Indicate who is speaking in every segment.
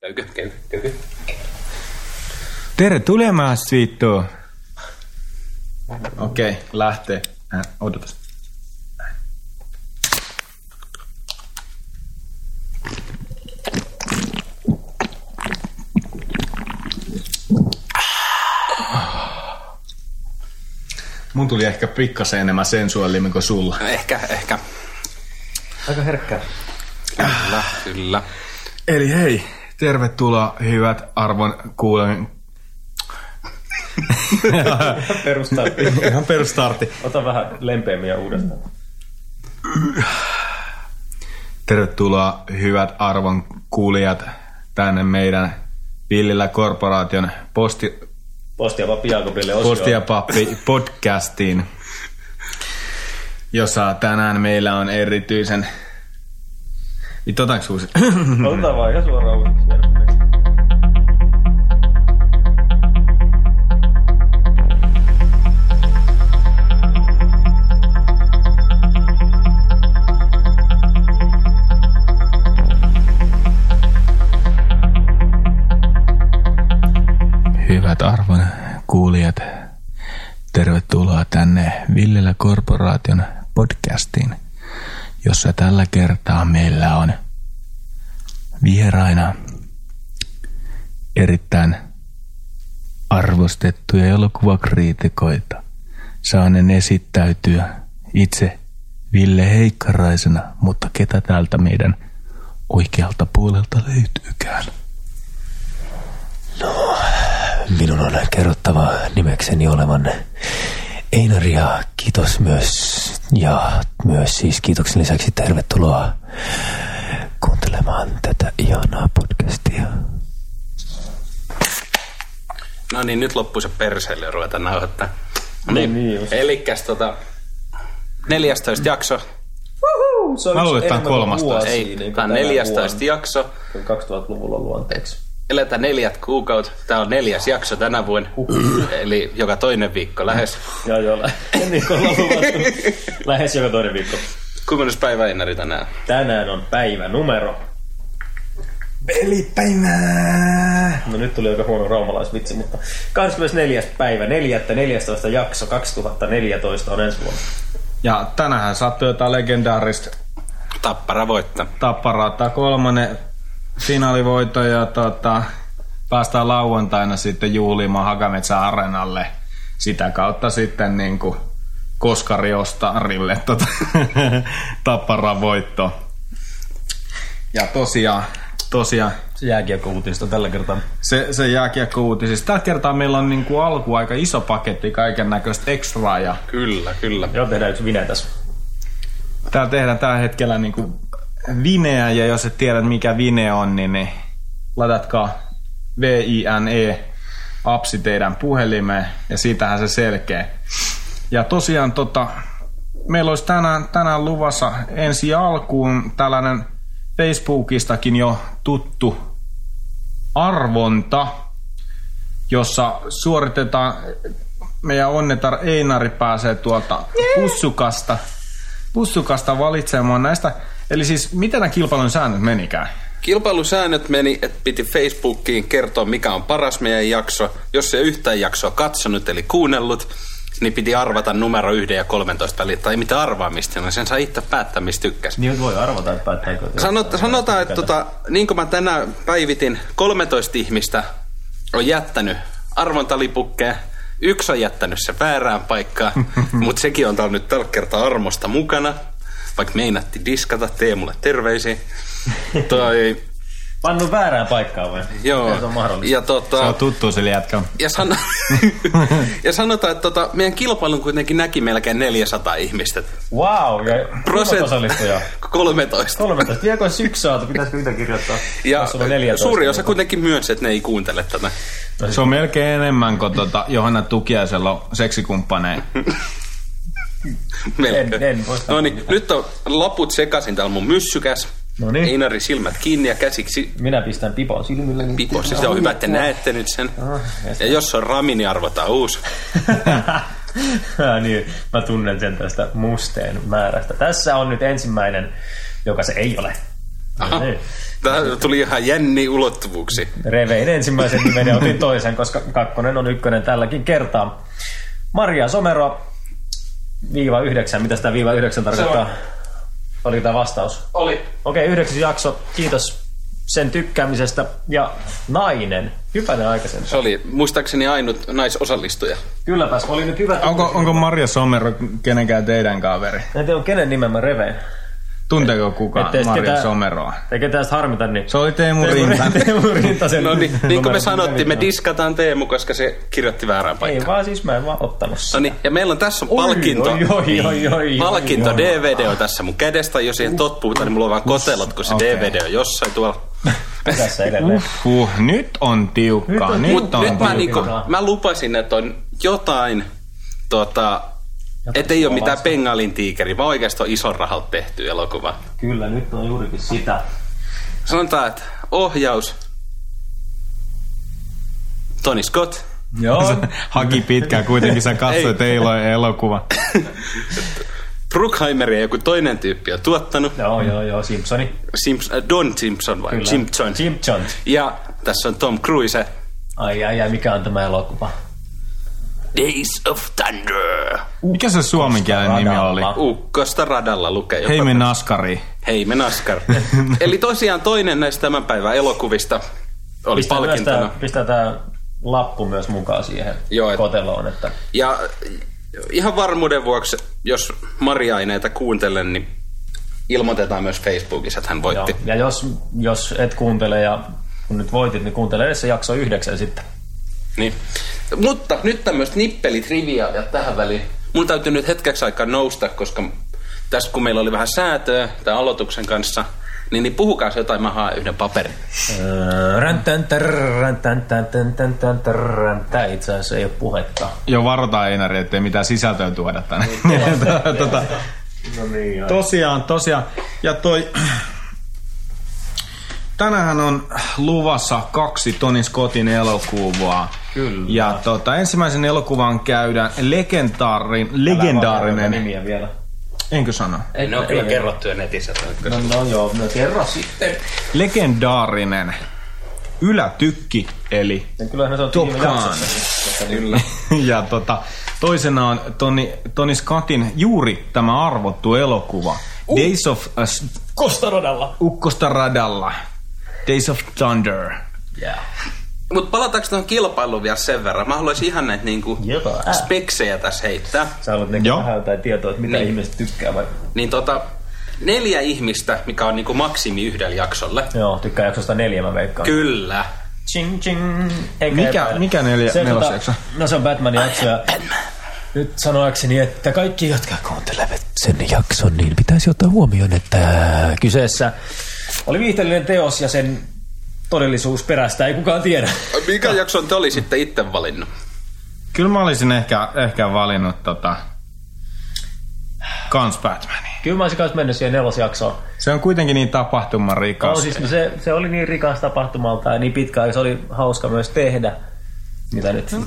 Speaker 1: Käykö? Käykö? Käykö?
Speaker 2: Tere tulemas, vittu!
Speaker 3: Okei, lähtee. Äh, odotas. Mun tuli ehkä pikkasen enemmän sensuaalimmin kuin sulla.
Speaker 1: Ehkä, ehkä.
Speaker 4: Aika herkkää.
Speaker 1: Kyllä, kyllä.
Speaker 3: Eli hei, tervetuloa hyvät arvon kuulen...
Speaker 4: Perustaa.
Speaker 3: Ihan perustarti.
Speaker 4: Ota vähän lempeämmin ja uudestaan.
Speaker 3: Tervetuloa hyvät arvon kuulijat tänne meidän Villillä Korporaation posti,
Speaker 4: Postia vaan Piakopille osio.
Speaker 3: posti ja pappi podcastiin, jossa tänään meillä on erityisen... Vittu, otanko uusi?
Speaker 4: Otetaan vaan ihan suoraan uudestaan.
Speaker 3: Hyvät arvon kuulijat, tervetuloa tänne Villellä Korporaation podcastiin, jossa tällä kertaa meillä on vieraina erittäin arvostettuja elokuvakriitikoita. Saanen esittäytyä itse Ville Heikkaraisena, mutta ketä täältä meidän oikealta puolelta löytyykään?
Speaker 5: Minun on kerrottava nimekseni olevan Einari ja kiitos myös. Ja myös siis kiitoksen lisäksi tervetuloa kuuntelemaan tätä ihanaa podcastia.
Speaker 1: No niin, nyt loppui se perseily ja ruvetaan nauhoittaa. No niin,
Speaker 4: niin just.
Speaker 1: Elikkäs tota, 14 jakso.
Speaker 4: Se on
Speaker 3: Mä luulen,
Speaker 4: yksi
Speaker 3: että tää on
Speaker 4: enemmän kuin
Speaker 3: kolmastoista.
Speaker 4: vuosi,
Speaker 1: Ei,
Speaker 4: niin kuin
Speaker 1: tää on
Speaker 4: tänä
Speaker 1: 14 jakso.
Speaker 4: vuonna, kun 2000-luvulla luonteeksi.
Speaker 1: Eletään neljät kuukautta. Tää on neljäs jakso tänä vuonna. Eli joka toinen viikko lähes.
Speaker 4: Joo, joo. lä- niin kuin ollaan luvattu. Lähes joka toinen viikko.
Speaker 1: Kuinka monessa päivä Einari tänään?
Speaker 4: Tänään on päivä numero.
Speaker 3: Pelipäivää!
Speaker 4: No nyt tuli aika huono raumalaisvitsi, mutta 24. päivä, 4. 14. jakso 2014 on ensi vuonna.
Speaker 3: Ja tänähän sattui jotain legendaarista
Speaker 1: Tappara voittaa.
Speaker 3: tapparata kolmonen finaalivoitto ja tota, päästään lauantaina sitten juhlimaan Hakametsä Areenalle. Sitä kautta sitten niin kuin Koskari Ostarille tota, tapparan voitto. Ja tosiaan, tosiaan
Speaker 4: Se jääkiekko-uutista tällä kertaa.
Speaker 3: se, se jääkiekko-uutisista. Tällä kertaa meillä on niin kuin alku aika iso paketti kaiken näköistä ekstraa ja
Speaker 1: Kyllä, kyllä.
Speaker 4: Joo, tehdään yksi vine tässä.
Speaker 3: Täällä tehdään tällä hetkellä niinku vineä, ja jos et tiedä mikä vine on, niin, niin ladatkaa VINE apsi E teidän puhelimeen, ja siitähän se selkeä. Ja tosiaan tota, meillä olisi tänään, tänään luvassa ensi alkuun tällainen Facebookistakin jo tuttu arvonta, jossa suoritetaan meidän onnetar Einari pääsee tuolta pussukasta, pussukasta valitsemaan näistä. Eli siis, mitä nämä kilpailun säännöt menikään?
Speaker 1: Kilpailusäännöt meni, että piti Facebookiin kertoa, mikä on paras meidän jakso. Jos ei yhtään jaksoa katsonut eli kuunnellut, niin piti arvata numero 1 ja 13 väliin. Tai mitä arvaamista, no sen saa itse päättää, mistä tykkäsi.
Speaker 4: Niin nyt voi arvata, että päättääkö.
Speaker 1: Sanot, sanotaan, että tota, niin kuin mä tänään päivitin, 13 ihmistä on jättänyt arvontalipukkeja. Yksi on jättänyt se väärään paikkaan, mutta sekin on täällä nyt tällä kertaa armosta mukana. Vaikka meinatti diskata, tee mulle terveisiä. Toi,
Speaker 4: Pannu väärään paikkaan vai?
Speaker 1: joo.
Speaker 4: Se on mahdollista.
Speaker 1: Ja tota,
Speaker 3: tuttu sille jätkä.
Speaker 1: ja, sano, ja sanotaan, että tota, meidän kilpailun kuitenkin näki melkein 400 ihmistä.
Speaker 4: Wow, ja
Speaker 1: Prosent-
Speaker 4: Prosent... osallistujaa.
Speaker 1: 13.
Speaker 4: 13. Vieläkö olisi yksi saatu? Pitäisikö mitä kirjoittaa?
Speaker 1: Ja
Speaker 4: Jos sulla on 14,
Speaker 1: suuri osa
Speaker 4: niin-
Speaker 1: kuitenkin myönsi, että ne ei kuuntele tätä.
Speaker 3: Se on melkein enemmän kuin tuota, Johanna Tukiaisella on seksikumppaneen.
Speaker 1: Melkein.
Speaker 4: En- en voi sanoa
Speaker 1: no niin, nyt on laput sekaisin, täällä on mun myssykäs.
Speaker 4: No niin.
Speaker 1: Einari silmät kiinni ja käsiksi
Speaker 4: Minä pistän pipon silmille. Niin...
Speaker 1: pipossa. Se on hyvä, että näette nyt sen. Ja jos on rami, niin arvotaan uusi.
Speaker 4: Ah, niin, mä tunnen sen tästä musteen määrästä. Tässä on nyt ensimmäinen, joka se ei ole. Niin,
Speaker 1: Aha. Tämä tuli ihan jänni ulottuvuuksi.
Speaker 4: Revein ensimmäisen nimen ja otin toisen, koska kakkonen on ykkönen tälläkin kertaa. Maria Somero, viiva yhdeksän. Mitä tämä viiva yhdeksän tarkoittaa? Oliko tämä vastaus?
Speaker 1: Oli.
Speaker 4: Okei, yhdeksäs jakso. Kiitos sen tykkäämisestä. Ja nainen. Hypänen aikaisen.
Speaker 1: Se oli muistaakseni ainut naisosallistuja.
Speaker 4: Kylläpäs, oli nyt hyvä.
Speaker 3: Onko, onko Maria Somero kenenkään teidän kaveri?
Speaker 4: En tiedä, kenen nimen mä reveen.
Speaker 3: Tunteeko kukaan
Speaker 4: Ettei
Speaker 3: Maria
Speaker 4: ketään-
Speaker 3: Someroa?
Speaker 4: Eikä tästä harmita, niin...
Speaker 3: Se oli Teemu Rintanen.
Speaker 4: Teemu Rintasen.
Speaker 1: No niin, niin kuin
Speaker 4: numero.
Speaker 1: me sanottiin, me diskataan Teemu, koska se kirjoitti väärään
Speaker 4: Ei
Speaker 1: paikkaan.
Speaker 4: vaan siis mä en vaan ottanut sitä.
Speaker 1: No niin, ja meillä on tässä on palkinto.
Speaker 4: Oi, oi, oi, oi,
Speaker 1: Palkinto
Speaker 4: oi,
Speaker 1: DVD on tässä mun kädestä, jos siihen tot puhutaan, niin mulla on vaan kotelot, kun se
Speaker 3: okei.
Speaker 1: DVD on jossain tuolla.
Speaker 4: oi. Tässä edelleen.
Speaker 3: Huh, Uhuh, nyt on tiukkaa. Nyt on,
Speaker 1: Mut nyt mä,
Speaker 3: tiukkaa.
Speaker 1: niinku,
Speaker 4: tiukkaa.
Speaker 1: mä lupasin, että on jotain, tota, et ei ole mitään Bengalin tiikeri, vaan oikeasti on ison rahalla tehty elokuva.
Speaker 4: Kyllä, nyt on juurikin sitä.
Speaker 1: Sanotaan, että ohjaus, Tony Scott,
Speaker 4: Joo.
Speaker 3: Haki pitkään, kuitenkin sä katsoit eiloin elokuva.
Speaker 1: Bruckheimer ja joku toinen tyyppi on tuottanut,
Speaker 4: joo, joo, joo, Simpsoni.
Speaker 1: Simps- äh, Don Simpson vai
Speaker 4: Kyllä.
Speaker 1: Simpson.
Speaker 4: Simpson.
Speaker 1: Ja tässä on Tom Cruise,
Speaker 4: Ai, ai, ai, mikä on tämä elokuva?
Speaker 1: Days of Thunder.
Speaker 3: Mikä se suomenkielinen nimi oli?
Speaker 4: Radalla.
Speaker 1: Ukkosta radalla lukee jopa.
Speaker 3: Hei me naskari.
Speaker 1: Hei me naskar. Eli tosiaan toinen näistä tämän päivän elokuvista oli
Speaker 4: Pistää myös
Speaker 1: palkintona.
Speaker 4: tää, pistää tää lappu myös mukaan siihen
Speaker 1: Joo, et-
Speaker 4: koteloon, että
Speaker 1: Ja ihan varmuuden vuoksi, jos Maria ei näitä kuuntele, niin ilmoitetaan myös Facebookissa, että hän
Speaker 4: joo.
Speaker 1: voitti.
Speaker 4: Ja jos, jos et kuuntele ja kun nyt voitit, niin kuuntele edes se jakso yhdeksän sitten.
Speaker 1: Niin. Mutta nyt tämmöistä nippelitriviaalia tähän väliin. Mun täytyy nyt hetkeksi aikaa nousta, koska tässä kun meillä oli vähän säätöä tämän aloituksen kanssa, niin, niin puhukaa se jotain, mä haen yhden paperin.
Speaker 4: Öö, räntän, tär, räntän, tän, tän, tän, tän, tär, räntää. itse asiassa ei ole puhetta.
Speaker 3: Jo varotaan Einari, ettei mitään sisältöä tuoda tänne. tota,
Speaker 4: Niin, No niin,
Speaker 3: tosiaan, tosiaan. Ja toi... Tänään on luvassa kaksi Tony Scottin elokuvaa.
Speaker 4: Kyllä.
Speaker 3: Ja tota, ensimmäisen elokuvan käydään legendaarin, legendaarinen,
Speaker 4: nimiä vielä.
Speaker 3: enkö sano?
Speaker 1: Ne on kyllä kerrottu jo netissä.
Speaker 4: No, no joo, no kerro sitten.
Speaker 3: Legendaarinen ylätykki, eli
Speaker 4: Ja Kyllähän se on
Speaker 3: Top
Speaker 4: viime
Speaker 3: Gun.
Speaker 4: jaksossakin. Kyllä.
Speaker 3: ja tota, toisena on Tony, Tony Scottin juuri tämä arvottu elokuva. Days of uh,
Speaker 4: Kostarodalla.
Speaker 3: Ukkosta radalla. Days of Thunder.
Speaker 4: Yeah.
Speaker 1: Mutta palataanko tuohon kilpailuun vielä sen verran? Mä haluaisin ihan näitä niinku
Speaker 4: Jopa.
Speaker 1: speksejä tässä heittää.
Speaker 4: Sä haluat näkyä
Speaker 3: Joo.
Speaker 4: vähän jotain tietoa, että mitä
Speaker 1: Niin.
Speaker 4: ihmiset tykkää vai?
Speaker 1: Niin tota, neljä ihmistä, mikä on niinku maksimi yhdelle jaksolle.
Speaker 4: Joo, tykkää jaksosta neljä mä veikkaan.
Speaker 1: Kyllä.
Speaker 4: Ching, ching. Eikä
Speaker 3: Mikä-
Speaker 4: epäile.
Speaker 3: mikä neljä-
Speaker 4: Se,
Speaker 3: nelosjakso?
Speaker 4: No se on Batmanin jakso ja nyt sanoakseni, että kaikki jotka
Speaker 5: kuuntelevat sen jakson, niin pitäisi ottaa huomioon, että
Speaker 4: äh, kyseessä oli viihteellinen teos ja sen todellisuus perästä ei kukaan tiedä.
Speaker 1: Mikä jakson te oli sitten itse valinnut?
Speaker 3: Kyllä mä olisin ehkä, ehkä valinnut tota, kans Batmanin.
Speaker 4: Kyllä mä olisin kanssa mennyt siihen nelosjaksoon.
Speaker 3: Se on kuitenkin niin tapahtumarikas.
Speaker 4: No, siis, no se, se oli niin rikas tapahtumalta ja niin pitkä ja se oli hauska myös tehdä. Mitä nyt?
Speaker 3: Mm.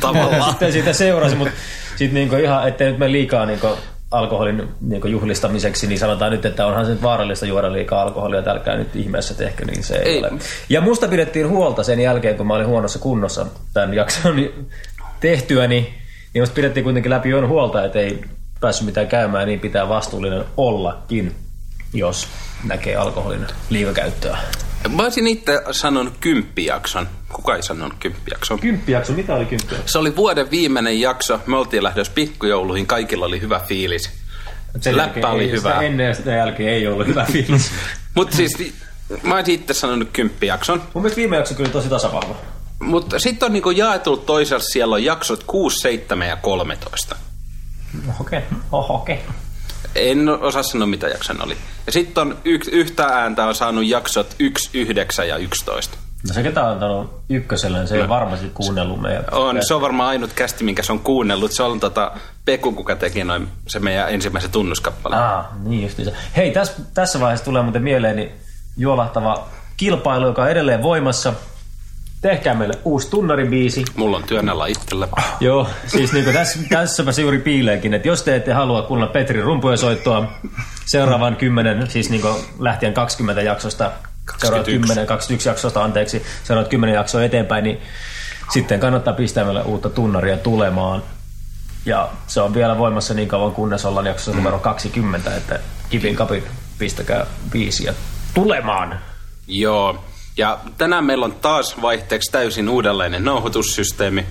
Speaker 1: Tavallaan.
Speaker 4: Sitten siitä seurasi, mutta sitten niinku ihan, ettei nyt mene liikaa niinku alkoholin niinku juhlistamiseksi, niin sanotaan nyt, että onhan se nyt vaarallista juoda liikaa alkoholia, että älkää nyt ihmeessä tehkö, niin se ei,
Speaker 1: Ei.
Speaker 4: ei. ole. Ja musta pidettiin huolta sen jälkeen, kun mä olin huonossa kunnossa tämän jakson tehtyäni, niin musta pidettiin kuitenkin läpi yön huolta, että ei päässyt mitään käymään, niin pitää vastuullinen ollakin, jos näkee alkoholin liikakäyttöä.
Speaker 1: Mä olisin itse sanonut kymppijakson. Kuka ei sanonut kymppijakson?
Speaker 4: Kymppijakso, mitä oli kymppijakso?
Speaker 1: Se oli vuoden viimeinen jakso. Me oltiin lähdössä pikkujouluihin. Kaikilla oli hyvä fiilis. Se läppä oli hyvä.
Speaker 4: Ennen ja sitä jälkeen ei ollut hyvä fiilis.
Speaker 1: Mutta siis ni- mä olisin itse sanonut kymppijakson.
Speaker 4: Mun mielestä viime jakso kyllä tosi tasavahva.
Speaker 1: Mutta sitten on niinku jaetu toisella. Siellä on jaksot 6, 7 ja 13.
Speaker 4: Okei, oho, okei.
Speaker 1: En osaa sanoa, mitä jakson oli. Ja sitten on y- yhtä ääntä on saanut jaksot 1, 9 ja 11.
Speaker 4: No se ketä on antanut ykköselle, se ei varmasti kuunnellut meidän.
Speaker 1: On, se on varmaan ainut kästi, minkä se on kuunnellut. Se on tota Peku, kuka teki noin se meidän ensimmäisen tunnuskappale.
Speaker 4: Aa, niin justiinsa. Hei, täs, tässä vaiheessa tulee muuten mieleeni juolahtava kilpailu, joka on edelleen voimassa. Tehkää meille uusi tunnaribiisi.
Speaker 1: Mulla on työn alla itsellä.
Speaker 4: Joo, niinku siis niin tässä, tässäpä se juuri piileekin, että jos te ette halua kuunnella Petrin rumpuja soittoa, seuraavan 10, siis niin lähtien 20 jaksosta, seuraavat 10, 21 jaksosta, anteeksi, seuraavat 10 jaksoa eteenpäin, niin sitten kannattaa pistää meille uutta tunnaria tulemaan. Ja se on vielä voimassa niin kauan, kunnes ollaan jaksossa numero 20, että kipin kapin pistäkää viisiä tulemaan.
Speaker 1: Joo. Ja tänään meillä on taas vaihteeksi täysin uudenlainen nauhoitussysteemi.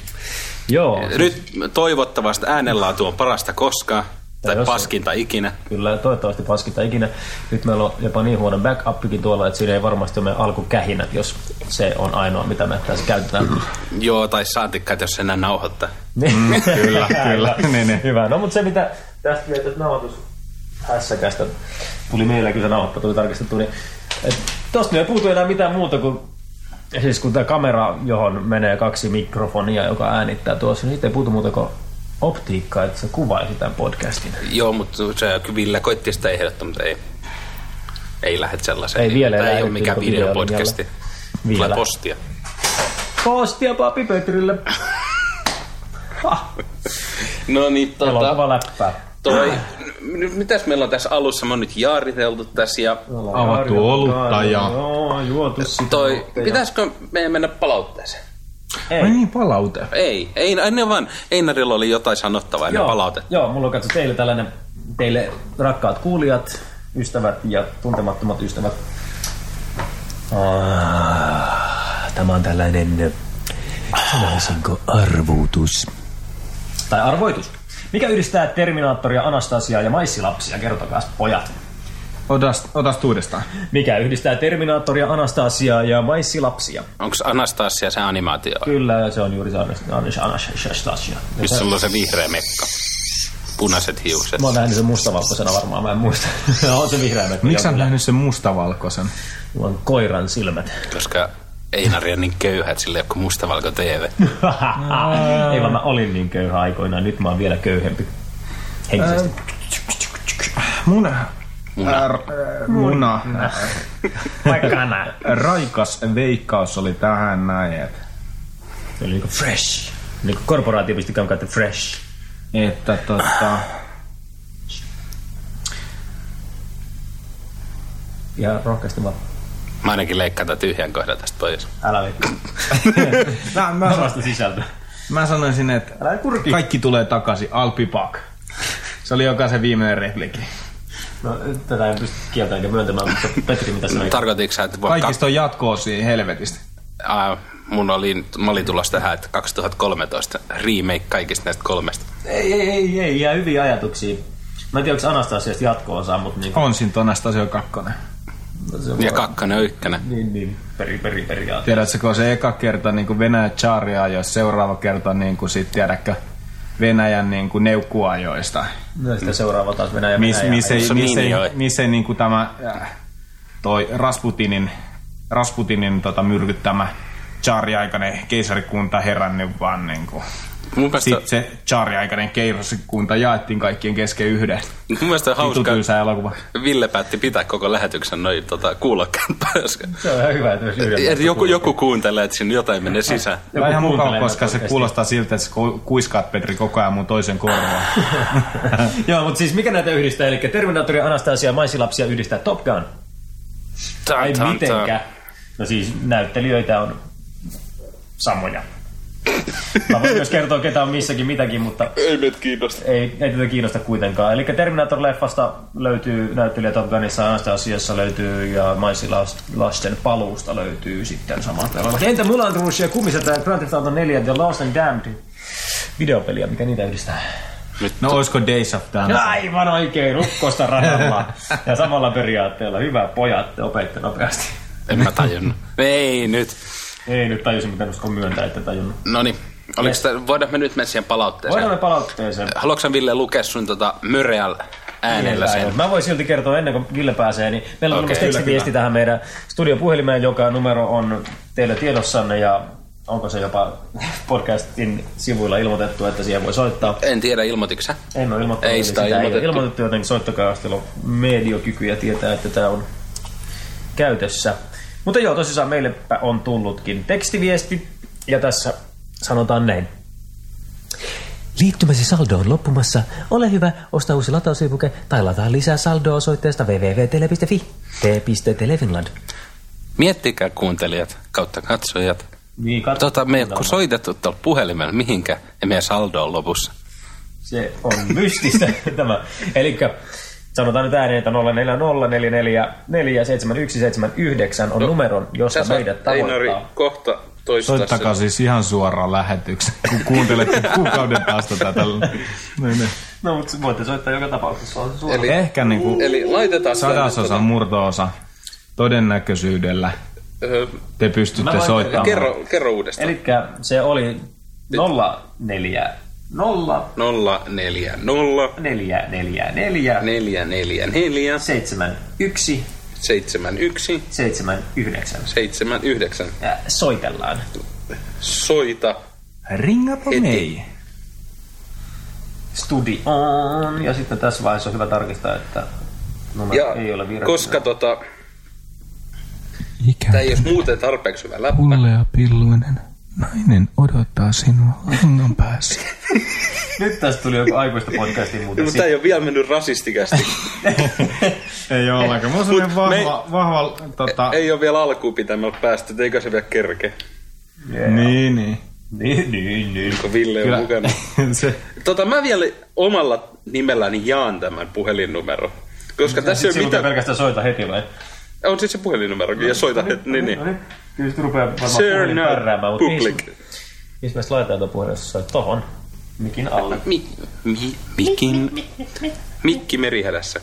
Speaker 4: Joo,
Speaker 1: Nyt toivottavasti äänenlaatu on parasta koskaan, tai,
Speaker 4: jos-
Speaker 1: paskinta ikinä.
Speaker 4: kyllä toivottavasti paskita ikinä. Nyt meillä on jopa niin huono backupikin tuolla, että siinä ei varmasti ole meidän alkukähinät, jos se on ainoa, mitä me tässä
Speaker 3: Mm,
Speaker 4: käytetään.
Speaker 1: Joo, tai saatikka, että jos enää nauhoittaa.
Speaker 4: Niin.
Speaker 3: kyllä, kyllä. Niin, niin.
Speaker 4: Hyvä. No mutta se mitä tästä vielä tästä nauhoitus hässäkästä tuli meillä kyllä nauhoittaa, tuli tarkistettu, niin et tosta nyt ei puutu enää mitään muuta kuin siis kun tämä kamera, johon menee kaksi mikrofonia, joka äänittää tuossa, niin siitä ei puutu muuta kuin optiikkaa, että se kuvaisi tämän podcastin.
Speaker 1: Joo, mutta se Ville koitti sitä ehdottaa, mutta ei, ei lähde sellaiseen.
Speaker 4: Ei vielä
Speaker 1: Tämä ei
Speaker 4: lähde,
Speaker 1: ole mikään
Speaker 4: kyllä, kun video on
Speaker 1: videopodcasti.
Speaker 4: vielä.
Speaker 1: Tulee
Speaker 4: Vielä.
Speaker 1: postia.
Speaker 4: Postia papi Petrille.
Speaker 1: No niin,
Speaker 4: Elokuva
Speaker 1: tota,
Speaker 4: läppää.
Speaker 1: toi, n- mitäs meillä on tässä alussa? Me on nyt jaariteltu tässä ja
Speaker 4: No,
Speaker 3: Avattu olutta ja...
Speaker 4: Joo, juotu sitä.
Speaker 1: toi,
Speaker 4: olutta ja-
Speaker 1: pitäisikö meidän mennä palautteeseen?
Speaker 3: Ai niin, palaute.
Speaker 1: Ei, ei, ennen vaan Einarilla oli jotain sanottavaa ennen palautetta.
Speaker 4: Joo, mulla on katso teille tällainen, teille rakkaat kuulijat, ystävät ja tuntemattomat ystävät. Ah, Tämä on tällainen,
Speaker 5: Sanoisinko arvuutus?
Speaker 4: tai arvoitus. Mikä yhdistää Terminaattoria, Anastasiaa ja maissilapsia? Kertokaa pojat.
Speaker 3: Otas, otas uudestaan.
Speaker 4: Mikä yhdistää Terminaattoria, Anastasiaa ja maissilapsia?
Speaker 1: Onko Anastasia se animaatio,
Speaker 4: Kyllä, se on juuri se Anas- Anas- Anastasia.
Speaker 1: missä sulla on se vihreä mekka? Punaiset hiukset.
Speaker 4: Mä oon nähnyt sen mustavalkoisena varmaan, mä en muista. on se vihreä mekko.
Speaker 3: Miksi sä oot
Speaker 4: Kyllä.
Speaker 3: nähnyt sen mustavalkoisen?
Speaker 4: Mulla on koiran silmät.
Speaker 1: koska Einari on niin köyhä, että sillä ei ole kuin mustavalko TV.
Speaker 4: Ei vaan mä olin niin köyhä aikoinaan, nyt mä oon vielä köyhempi. Henkisesti.
Speaker 3: Mun... Muna. Ää, muna.
Speaker 4: Vaikka nää.
Speaker 3: Raikas veikkaus oli tähän näin, että,
Speaker 4: Eli niinku fresh. Niinku korporaatio pisti kautta fresh.
Speaker 3: että tota,
Speaker 4: Ja rohkeasti vaan.
Speaker 1: Mä ainakin leikkaan tämän tyhjän kohdan tästä pois.
Speaker 4: Älä vittu.
Speaker 3: mä, mä, sa-
Speaker 4: Samasta sisältöä.
Speaker 3: No. mä sanoisin, että
Speaker 4: Älä kurki.
Speaker 3: kaikki tulee takaisin, Alpi Pak. Se oli jokaisen viimeinen repliki.
Speaker 4: No, tätä en pysty kieltämään eikä myöntämään, mutta Petri, mitä sanoi?
Speaker 1: Tarkoititko sä, että vuonna
Speaker 3: Kaikista on jatkoa siihen helvetistä.
Speaker 1: ka- äh, mun oli, mä olin tulossa tähän, että 2013 remake kaikista näistä kolmesta.
Speaker 4: Ei, ei, ei, ei, jää hyviä ajatuksia. Mä en tiedä, onko Anastasiasta jatko-osaa, mutta niinku...
Speaker 3: On siinä tonasta se on kakkonen.
Speaker 4: se on
Speaker 1: Ja
Speaker 4: vaan-
Speaker 1: kakkonen ja ykkönen.
Speaker 4: Niin, niin, peri, peri, periaate.
Speaker 3: Tiedätkö, kun se eka kerta niin kuin Venäjä chariajoissa, seuraava kerta niin kuin sit, tiedätkö, Venäjän niin kuin neukkuajoista.
Speaker 4: No, sitten seuraava taas Venäjä,
Speaker 3: Miss,
Speaker 4: Venäjä.
Speaker 3: miss, ei,
Speaker 1: missä
Speaker 3: miss, ei,
Speaker 1: linjoi.
Speaker 3: miss ei niin kuin tämä äh, toi Rasputinin, Rasputinin tota, myrkyttämä tsaariaikainen keisarikunta herännyt vaan niin kuin.
Speaker 1: Mun mielestä,
Speaker 3: Sitten se tsaariaikainen keisarikunta jaettiin kaikkien kesken yhden.
Speaker 1: mun mielestä on
Speaker 3: Hauska.
Speaker 1: hauska.
Speaker 3: Tylsä elokuva.
Speaker 1: Ville päätti pitää koko lähetyksen noin tota, kuulokkaan päässä.
Speaker 4: Se on ihan hyvä, että myös yhden.
Speaker 1: Et Joku, joku kuuntelee, että siinä jotain menee sisään.
Speaker 3: Tämä on ihan mukava,
Speaker 4: kuuntelee
Speaker 3: koska
Speaker 4: tätä
Speaker 3: se
Speaker 4: podcastia.
Speaker 3: kuulostaa siltä, että sä ku- kuiskaat Petri koko ajan mun toisen korvaan.
Speaker 4: Joo, mutta siis mikä näitä yhdistää? Eli Terminaattori, Anastasia ja Maisilapsia yhdistää Top Gun.
Speaker 1: Tan,
Speaker 4: Ei
Speaker 1: tan, tan.
Speaker 4: mitenkä. No siis näyttelijöitä on samoja. Mä voin myös kertoa, ketä on missäkin mitäkin, mutta
Speaker 1: Ei meitä kiinnosta.
Speaker 4: ei, ei tätä kiinnosta kuitenkaan. Eli Terminator-leffasta löytyy näyttelijä Top Gunissa, Anastasiassa löytyy ja Maisilasten paluusta löytyy sitten samat elokuvat. Entä Mulan Rouge ja kumissa tämä Grand Theft Auto 4 The Lost and Damned videopeliä, mikä niitä yhdistää?
Speaker 3: No oisko Days of Dance?
Speaker 1: No,
Speaker 4: Aivan oikein, rukkosta radalla. Ja samalla periaatteella. Hyvä pojat, te opeitte nopeasti.
Speaker 1: En mä tajunnut. Ei nyt.
Speaker 4: Ei nyt tajusin, mitä uskon myöntää, että tajunnut.
Speaker 1: Noniin. Oliko tää, voidaan me nyt mennä siihen palautteeseen?
Speaker 4: Voidaan me palautteeseen.
Speaker 1: Haluatko sä, Ville lukea sun tota, möreällä äänellä sen?
Speaker 4: Mä voin silti kertoa ennen kuin Ville pääsee, niin meillä on
Speaker 1: Okei,
Speaker 4: okay,
Speaker 1: kyllä,
Speaker 4: tekstiviesti tähän meidän studiopuhelimeen, joka numero on teillä tiedossanne ja onko se jopa podcastin sivuilla ilmoitettu, että siihen voi soittaa.
Speaker 1: En tiedä, ilmoitiksä?
Speaker 4: En ole ilmoittanut,
Speaker 1: Ei
Speaker 4: eli
Speaker 1: sitä
Speaker 4: ei ole
Speaker 1: ilmoitettu.
Speaker 4: ilmoitettu, joten soittakaa, jos teillä on mediokykyjä tietää, että tämä on käytössä. Mutta joo, tosissaan meille on tullutkin tekstiviesti, ja tässä sanotaan näin.
Speaker 5: Liittymäsi saldo on loppumassa. Ole hyvä, osta uusi latausivuke tai lataa lisää saldoa osoitteesta www.tele.fi. t.telefinland.
Speaker 1: Miettikää kuuntelijat kautta katsojat.
Speaker 4: Niin, kat-
Speaker 1: Tota, me ei ole soitettu tuolla puhelimella mihinkä ja meidän saldo on lopussa.
Speaker 4: Se on mystistä tämä. Eli sanotaan nyt ääneen, että 0404447179
Speaker 1: No,
Speaker 4: on numero, josta meidät tavoittaa.
Speaker 1: kohta toistaa
Speaker 3: Soittakaa siis ihan suoraan lähetykseen, kun kuuntelette kuukauden päästä tätä. Niin, niin.
Speaker 4: No, mutta voitte soittaa joka tapauksessa. On suora.
Speaker 1: Eli,
Speaker 3: Ehkä niin kuin
Speaker 1: eli laitetaan sitä nyt,
Speaker 3: sadasosa,
Speaker 1: tota,
Speaker 3: murtoosa todennäköisyydellä
Speaker 1: öö,
Speaker 3: te pystytte
Speaker 4: voin
Speaker 3: soittamaan.
Speaker 1: kerro, kerro uudestaan.
Speaker 4: Eli se oli 04 0
Speaker 1: Nolla, neljä, nolla,
Speaker 4: 4 4 4
Speaker 1: neljä, neljä, neljä,
Speaker 4: 7 1
Speaker 1: seitsemän, yksi,
Speaker 4: 7 9.
Speaker 1: seitsemän, yhdeksän.
Speaker 4: Ja soitellaan.
Speaker 1: Soita.
Speaker 3: Ringapa
Speaker 1: Heti.
Speaker 3: mei.
Speaker 4: Studioon. Ja sitten tässä vaiheessa on hyvä tarkistaa, että numero
Speaker 1: Ja
Speaker 4: ei ole virallinen.
Speaker 1: koska tota,
Speaker 5: Ikä
Speaker 1: tää ei ole muuten tarpeeksi hyvä läppä.
Speaker 5: pullea pilluinen. Nainen odottaa sinua langan päässä.
Speaker 4: Nyt tästä tuli joku aikuista podcastin
Speaker 1: Niin,
Speaker 4: muuten.
Speaker 1: mutta tää ei ole vielä mennyt rasistikästi.
Speaker 3: Ei ole ollenkaan. Mulla on sellainen vahva, vahva
Speaker 4: Ah.
Speaker 3: tota,
Speaker 1: ei ole vielä alkuun pitämällä päästä, et eikö se vielä kerke,
Speaker 4: Yeah.
Speaker 3: niin, niin.
Speaker 4: Niin, niin, niin.
Speaker 1: kun Ville on
Speaker 3: Kyllä.
Speaker 1: mukana.
Speaker 3: se,
Speaker 1: Tota, mä vielä omalla nimelläni jaan tämän puhelinnumero. Koska tässä ei ole
Speaker 4: Silloin mitä...
Speaker 1: mitään...
Speaker 4: pelkästään soita heti vai?
Speaker 1: On siis se puhelinnumerokin, ja soita heti. Niin, niin.
Speaker 4: No niin, kyllä sit rupeaa varmaan
Speaker 1: Sir
Speaker 4: puhelin
Speaker 1: No
Speaker 4: pärräämään, mutta
Speaker 1: Public.
Speaker 4: Mistä me laitetaan tuon puhelin, jos sä soit tohon? Mikin alle.
Speaker 1: Mi, mi, mikin... Mikki merihädässä.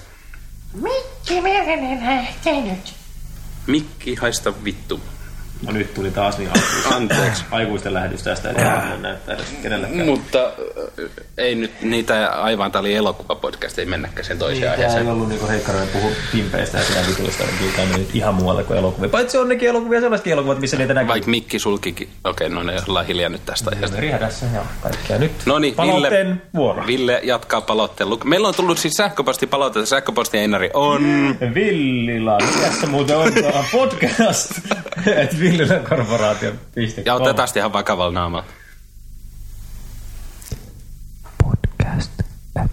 Speaker 2: Mikki Merinen lähtenyt.
Speaker 1: Mikki haista vittu.
Speaker 4: No nyt tuli taas niin aikuista.
Speaker 1: Anteeksi.
Speaker 4: aikuisten lähetys tästä, ei tarvitse näyttää edes kenellekään.
Speaker 1: Mutta äh, ei nyt niitä aivan, tää oli elokuvapodcast, ei mennäkään sen toiseen
Speaker 4: Tämä ei
Speaker 1: aiheeseen.
Speaker 4: ollut niinku Heikkaroinen puhu pimpeistä ja sinä vituista, niin kyllä tämä meni nyt ihan muualle kuin elokuvia. Paitsi onnekin elokuvia, sellaisetkin elokuvat, missä niitä näkyy.
Speaker 1: Vaikka Mikki sulkikin. Okei, no ne ollaan hiljaa nyt tästä aiheesta.
Speaker 4: Riehädässä ja kaikkea. Nyt
Speaker 1: No niin,
Speaker 4: Mm. palautteen
Speaker 1: Ville,
Speaker 4: vuoro.
Speaker 1: Ville jatkaa palautteen luk- Meillä on tullut siis sähköpostipalautetta. Sähköposti Einari on...
Speaker 4: Villila, mikä se muuten on tuo podcast? Et Villilä korporaatio.
Speaker 1: Ja otetaan sitten ihan vakavalla naamalla.
Speaker 5: Podcast at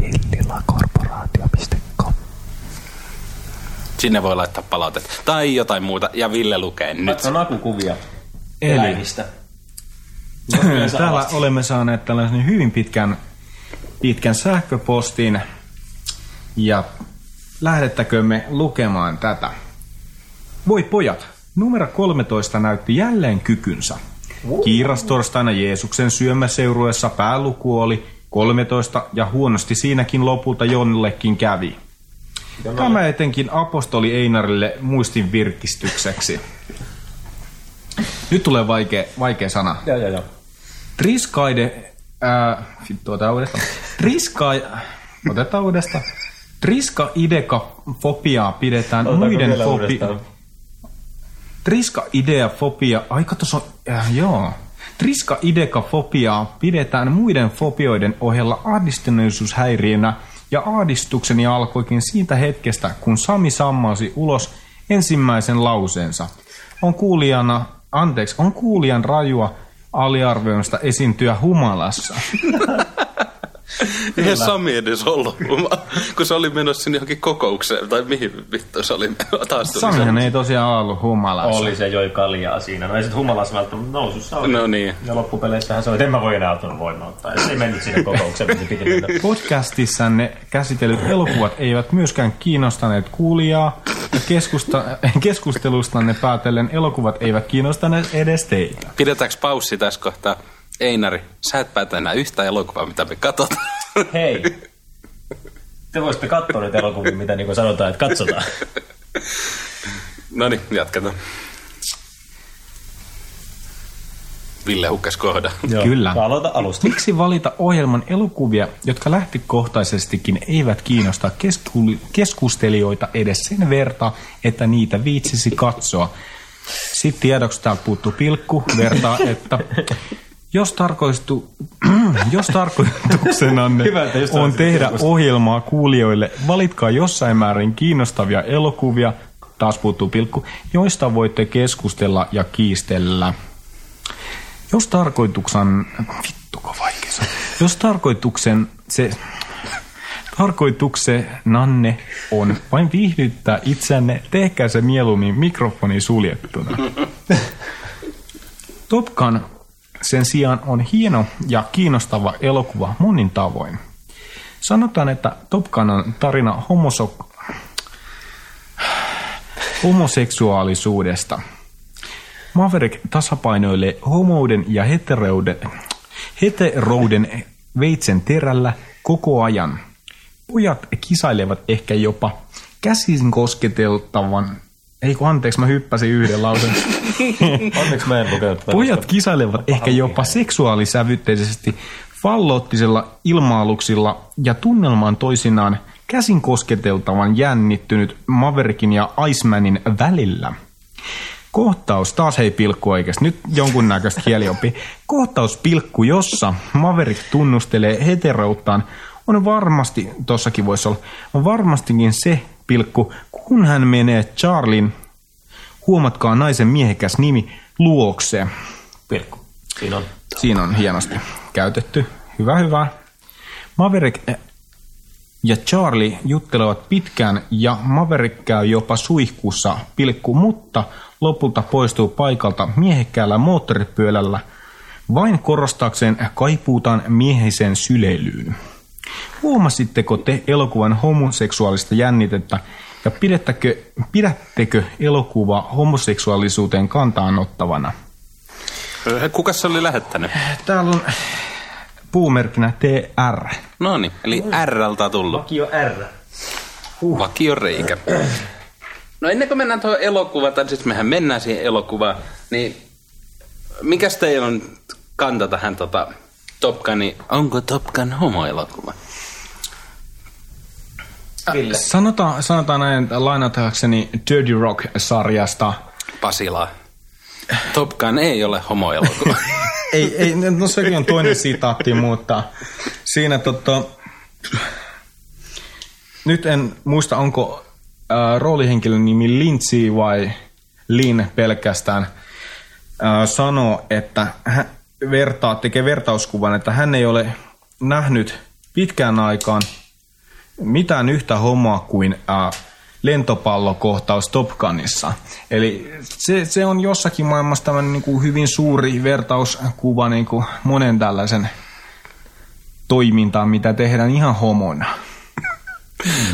Speaker 5: villilakorporaatio.com
Speaker 1: Sinne voi laittaa palautetta. Tai jotain muuta. Ja Ville lukee nyt.
Speaker 4: Nyt on akukuvia
Speaker 3: Eli.
Speaker 4: eläimistä.
Speaker 3: Täällä olemme saaneet tällaisen hyvin pitkän, pitkän sähköpostin ja lähdettäkömme lukemaan tätä. Voi pojat, numero 13 näytti jälleen kykynsä. Kiirastorstaina Jeesuksen syömäseurueessa pääluku oli 13 ja huonosti siinäkin lopulta jonnellekin kävi. Tämä etenkin apostoli Einarille muistin virkistykseksi. Nyt tulee vaikea, vaikea sana.
Speaker 4: Joo, joo, joo.
Speaker 3: Triskaide... Ää, vittu, otetaan uudestaan. Triska... Otetaan uudestaan. Triska ideka fobiaa pidetään
Speaker 4: Otetaanko
Speaker 3: muiden
Speaker 4: vielä
Speaker 3: fobi...
Speaker 4: uudestaan?
Speaker 3: Triska idea fobia... Ai kato, se on... Äh, joo. Triska ideka fobiaa pidetään muiden fobioiden ohella ahdistuneisuushäiriönä ja ahdistukseni alkoikin siitä hetkestä, kun Sami sammasi ulos ensimmäisen lauseensa. On kuulijana, anteeksi, on kuulijan rajua aliarvioimista esiintyä humalassa.
Speaker 1: Eihän Sami edes ollut, kun se oli menossa sinne johonkin kokoukseen, tai mihin vittu se oli taas tuli
Speaker 3: Samihan ei tosiaan ollut humalassa.
Speaker 4: Oli se joi kaljaa siinä. No ei sit humalassa välttämättä nousussa
Speaker 1: se.
Speaker 4: ole.
Speaker 1: No niin.
Speaker 4: Ja loppupeleissähän se oli, että en mä voi enää tuon voimauttaa. Ja Se ei mennyt sinne kokoukseen, mitä piti mennä.
Speaker 3: Podcastissanne käsitellyt elokuvat eivät myöskään kiinnostaneet kuulijaa. ja Keskusta, keskustelustanne päätellen elokuvat eivät kiinnostaneet edes teitä.
Speaker 1: Pidetäänkö paussi tässä kohtaa? Einari, sä et päätä enää yhtä elokuvaa, mitä me katsotaan.
Speaker 4: Hei, te voisitte katsoa nyt elokuvia, mitä niin sanotaan, että katsotaan.
Speaker 1: No niin, jatketaan. Ville hukkas kohda.
Speaker 4: Joo.
Speaker 3: Kyllä.
Speaker 4: Aloita alusta.
Speaker 3: Miksi valita ohjelman elokuvia, jotka lähtökohtaisestikin eivät kiinnosta kesku- keskustelijoita edes sen verta, että niitä viitsisi katsoa? Sitten tiedoksi täältä puuttuu pilkku vertaa, että jos, tarkoistu, jos tarkoituksenanne
Speaker 4: Hyvä, että just
Speaker 3: on
Speaker 4: tällaista
Speaker 3: tehdä ohjelmaa kuulijoille, valitkaa jossain määrin kiinnostavia elokuvia, taas puuttuu pilkku, joista voitte keskustella ja kiistellä. Jos tarkoituksen... Vittuko vaikea sanoa. Jos tarkoituksen se... Tarkoituksenanne on vain viihdyttää itsenne, tehkää se mieluummin mikrofoni suljettuna. Top Gun sen sijaan on hieno ja kiinnostava elokuva monin tavoin. Sanotaan, että Top Gun on tarina homosok... homoseksuaalisuudesta. Maverick tasapainoilee homouden ja heterouden, heterouden veitsen terällä koko ajan. Pojat kisailevat ehkä jopa käsin kosketeltavan... Ei kun anteeksi, mä hyppäsin yhden lausen.
Speaker 4: Onneksi mä en lukenut tätä.
Speaker 3: Pojat kisailevat ehkä jopa seksuaalisävytteisesti fallottisella ilmaaluksilla ja tunnelmaan toisinaan käsin kosketeltavan jännittynyt Maverickin ja Icemanin välillä. Kohtaus, taas hei pilkku oikeasti, nyt jonkunnäköistä kieliopi. Kohtaus pilkku, jossa Maverick tunnustelee heterouttaan, on varmasti, tossakin voisi olla, on varmastikin se pilkku, kun hän menee Charlin, huomatkaa naisen miehekäs nimi, luokse.
Speaker 4: Pilkku. Siinä on.
Speaker 3: Siinä on hienosti käytetty. Hyvä, hyvä. Maverick eh, ja Charlie juttelevat pitkään ja Maverick käy jopa suihkussa pilkku, mutta lopulta poistuu paikalta miehekkäällä moottoripyörällä vain korostaakseen kaipuutaan miehisen syleilyyn. Huomasitteko te elokuvan homoseksuaalista jännitettä ja pidättekö, pidättekö elokuvaa homoseksuaalisuuteen kantaan ottavana?
Speaker 1: Kuka se oli lähettänyt?
Speaker 3: Täällä on puumerkkinä TR.
Speaker 1: No niin, eli R-ltä tullut.
Speaker 4: Vakio R.
Speaker 1: Vakio reikä. No ennen kuin mennään tuohon elokuvaan, tai siis mehän mennään siihen elokuvaan, niin mikäs teillä on kanta tähän tota, Top Gunin, onko Top Gun homoelokuva?
Speaker 4: Ville.
Speaker 3: Sanotaan, sanotaan näin lainatakseni Dirty Rock-sarjasta.
Speaker 1: Pasilaa. Top Gun ei ole homoelokuva.
Speaker 3: Ei, ei, no sekin on toinen sitaatti, mutta siinä tota... Nyt en muista, onko äh, roolihenkilön nimi Lindsay vai Lin pelkästään. Äh, sanoo, että hän vertaa, tekee vertauskuvan, että hän ei ole nähnyt pitkään aikaan mitään yhtä homoa kuin äh, lentopallokohtaus Top Gunissa. Eli se, se on jossakin maailmassa tämmöinen niin kuin hyvin suuri vertauskuva niin kuin monen tällaisen toimintaan, mitä tehdään ihan homona.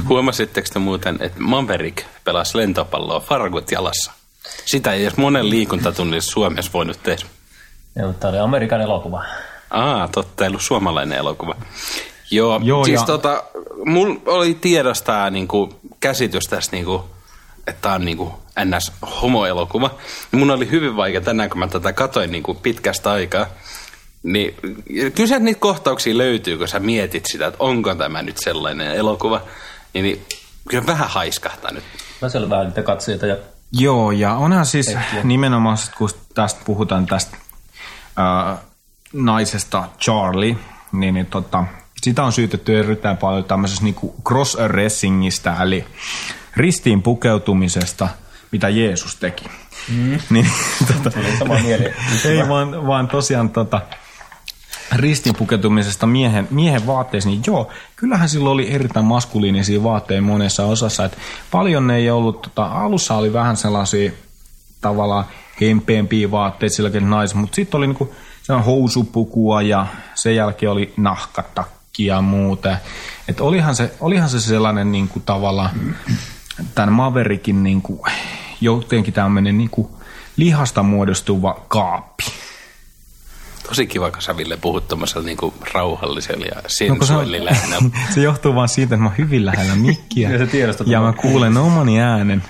Speaker 1: Huomasitteko te muuten, että Maverick pelasi lentopalloa farkut jalassa? Sitä ei edes monen liikuntatunnissa Suomessa voinut tehdä.
Speaker 4: Ja, mutta tämä oli Amerikan elokuva.
Speaker 1: Aa, totta, ei ollut suomalainen elokuva. Joo,
Speaker 3: Joo,
Speaker 1: Joo siis
Speaker 3: ja-
Speaker 1: ja... tota, mulla oli tiedostaa niinku, käsitys tässä, niinku, että tämä on niinku, ns. homoelokuva. Mun oli hyvin vaikea tänään, kun mä tätä katoin niinku, pitkästä aikaa. Niin, kyllä sieltä niitä kohtauksia löytyy, kun sä mietit sitä, että onko tämä nyt sellainen elokuva. Niin, niin kyllä vähän haiskahtaa nyt.
Speaker 4: Mä siellä vähän niitä katsojia ja
Speaker 3: Joo, ja onhan siis nimenomaan, kun tästä puhutaan tästä ää, naisesta Charlie, niin, niin tota, sitä on syytetty erittäin paljon tämmöisestä niinku cross-dressingistä, eli ristiin pukeutumisesta, mitä Jeesus teki. Mm. Niin, tota,
Speaker 4: sama mieli.
Speaker 3: ei vaan, vaan tosiaan tota, ristin pukeutumisesta miehen, miehen vaatteisiin, niin joo, kyllähän sillä oli erittäin maskuliinisia vaatteita monessa osassa. Et paljon ne ei ollut, tota, alussa oli vähän sellaisia tavallaan hempeämpiä vaatteita silläkin nais, mutta sitten oli niinku sellainen housupukua ja sen jälkeen oli nahkatakki ja muuta. Et olihan, se, olihan se sellainen niinku tavallaan tämän Maverikin niinku, jotenkin tämmöinen niinku lihasta muodostuva kaappi.
Speaker 1: Tosi kiva, kun sä Ville puhut tommosella niinku, rauhallisella ja
Speaker 3: No, kun sä-
Speaker 1: sensuaalilla äänellä.
Speaker 3: se johtuu vaan siitä, että mä oon hyvin lähellä mikkiä.
Speaker 4: Ja sä tiedostat
Speaker 3: ja mä
Speaker 4: tämän.
Speaker 3: kuulen omani äänen.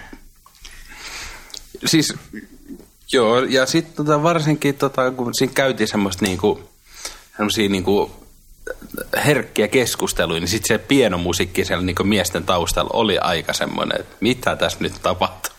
Speaker 1: siis, joo, ja sitten tota, varsinkin tota, kun siinä käytiin semmoista niinku, semmosia niinku herkkiä keskusteluja, niin sitten se pienomusiikki siellä niinku miesten taustalla oli aika semmoinen, että mitä tässä nyt tapahtuu.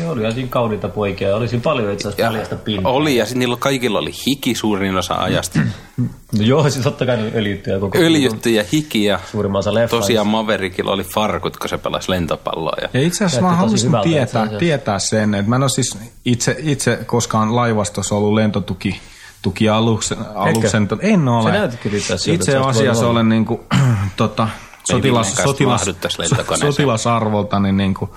Speaker 4: Ne oli siinä kauniita poikia ja oli siinä paljon itse asiassa paljasta pintaa.
Speaker 1: oli, ja Oh. sitten niillä kaikilla oli hiki suurin osa ajasta.
Speaker 4: No joo, siis totta kai ne öljyttyjä koko
Speaker 1: Öljytty ja hiki, ja
Speaker 4: Suurimman osa leffa.
Speaker 1: tosiaan Maverikilla oli farkut, kun se pelasi lentopalloa. Ja
Speaker 3: Ja itse asiassa
Speaker 4: Näytti
Speaker 3: mä
Speaker 4: tosi
Speaker 3: haluaisin
Speaker 4: hyvältä itse
Speaker 3: tietää,
Speaker 4: asiassa.
Speaker 3: tietää sen, että mä en ole siis itse, itse koskaan laivastossa ollut lentotuki tukialuksen. Aluksen, tot- en ole.
Speaker 4: näytit kyllä itse asiassa,
Speaker 3: Itse
Speaker 4: että sä olisit
Speaker 3: asiassa
Speaker 4: voinut olla.
Speaker 3: olen niin kuin, tota, sotilas,
Speaker 1: Villen kanssa
Speaker 3: sotilas,
Speaker 1: mahdu tässä
Speaker 3: so-
Speaker 1: lentokoneeseen.
Speaker 3: sotilasarvolta, niin, niin kuin,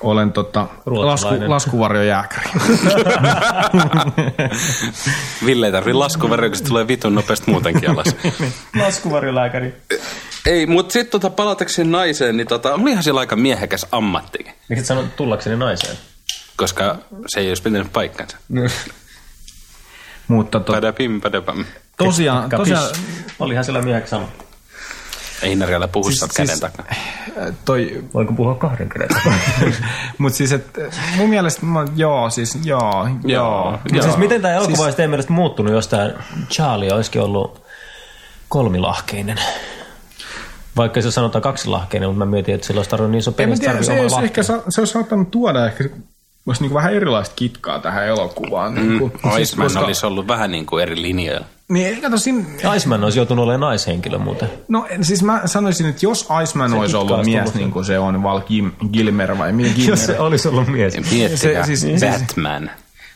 Speaker 3: olen tota, lasku,
Speaker 4: Ruotsalainen.
Speaker 3: laskuvarjojääkäri.
Speaker 1: Ville ei tarvii laskuverran, kun se tulee vitun nopeasti muutenkin alas.
Speaker 4: Laskuvarjolääkäri.
Speaker 1: ei, mutta sitten tota, palatakseni naiseen, niin tota, olihan sillä aika miehekäs ammattikin,
Speaker 4: Miksi et sanonut tullakseni naiseen?
Speaker 1: koska se ei olisi pitänyt paikkansa.
Speaker 3: Mutta to,
Speaker 1: Padapim, padapam.
Speaker 3: tosiaan,
Speaker 4: Kapis.
Speaker 3: tosiaan
Speaker 4: Olihan siellä mieheksi sama.
Speaker 1: Ei närkällä puhu
Speaker 3: Siis-
Speaker 1: siis, käden
Speaker 3: siis-
Speaker 1: siis... takana.
Speaker 3: toi
Speaker 4: Voinko puhua kahden käden?
Speaker 3: Mutta siis, et, mun mielestä, mä, joo, siis joo, joo.
Speaker 4: Mut siis
Speaker 1: Joo.
Speaker 4: miten tämä elokuva olisi teidän mielestä muuttunut, jos tämä Charlie olisikin ollut kolmilahkeinen? Vaikka se sanotaan kaksilahkeinen, mutta mä mietin, että sillä olisi tarvinnut niin iso
Speaker 3: En mä
Speaker 4: penis
Speaker 3: tiedä,
Speaker 4: tarvitse
Speaker 3: se,
Speaker 4: omaa
Speaker 3: olisi
Speaker 4: lahkeen.
Speaker 3: ehkä, sa- se olisi saattanut tuoda ehkä olisi niinku vähän erilaista kitkaa tähän elokuvaan.
Speaker 1: Mm,
Speaker 3: Niinku,
Speaker 1: Iceman koska... olisi ollut vähän niin kuin eri linjoilla.
Speaker 3: Niin, eikä tosin,
Speaker 4: Iceman olisi joutunut olemaan naishenkilö muuten.
Speaker 3: no en- siis mä sanoisin, että jos Iceman se olisi
Speaker 4: kitkaa
Speaker 3: ollut
Speaker 4: olisi
Speaker 3: mies,
Speaker 4: tullut
Speaker 3: niin kuin se on Val Gim- Gilmer vai Mil Gilmer,
Speaker 4: olisi ollut mies.
Speaker 1: Miettikää,
Speaker 3: Se-
Speaker 1: se,
Speaker 3: siis-
Speaker 1: siis, Batman,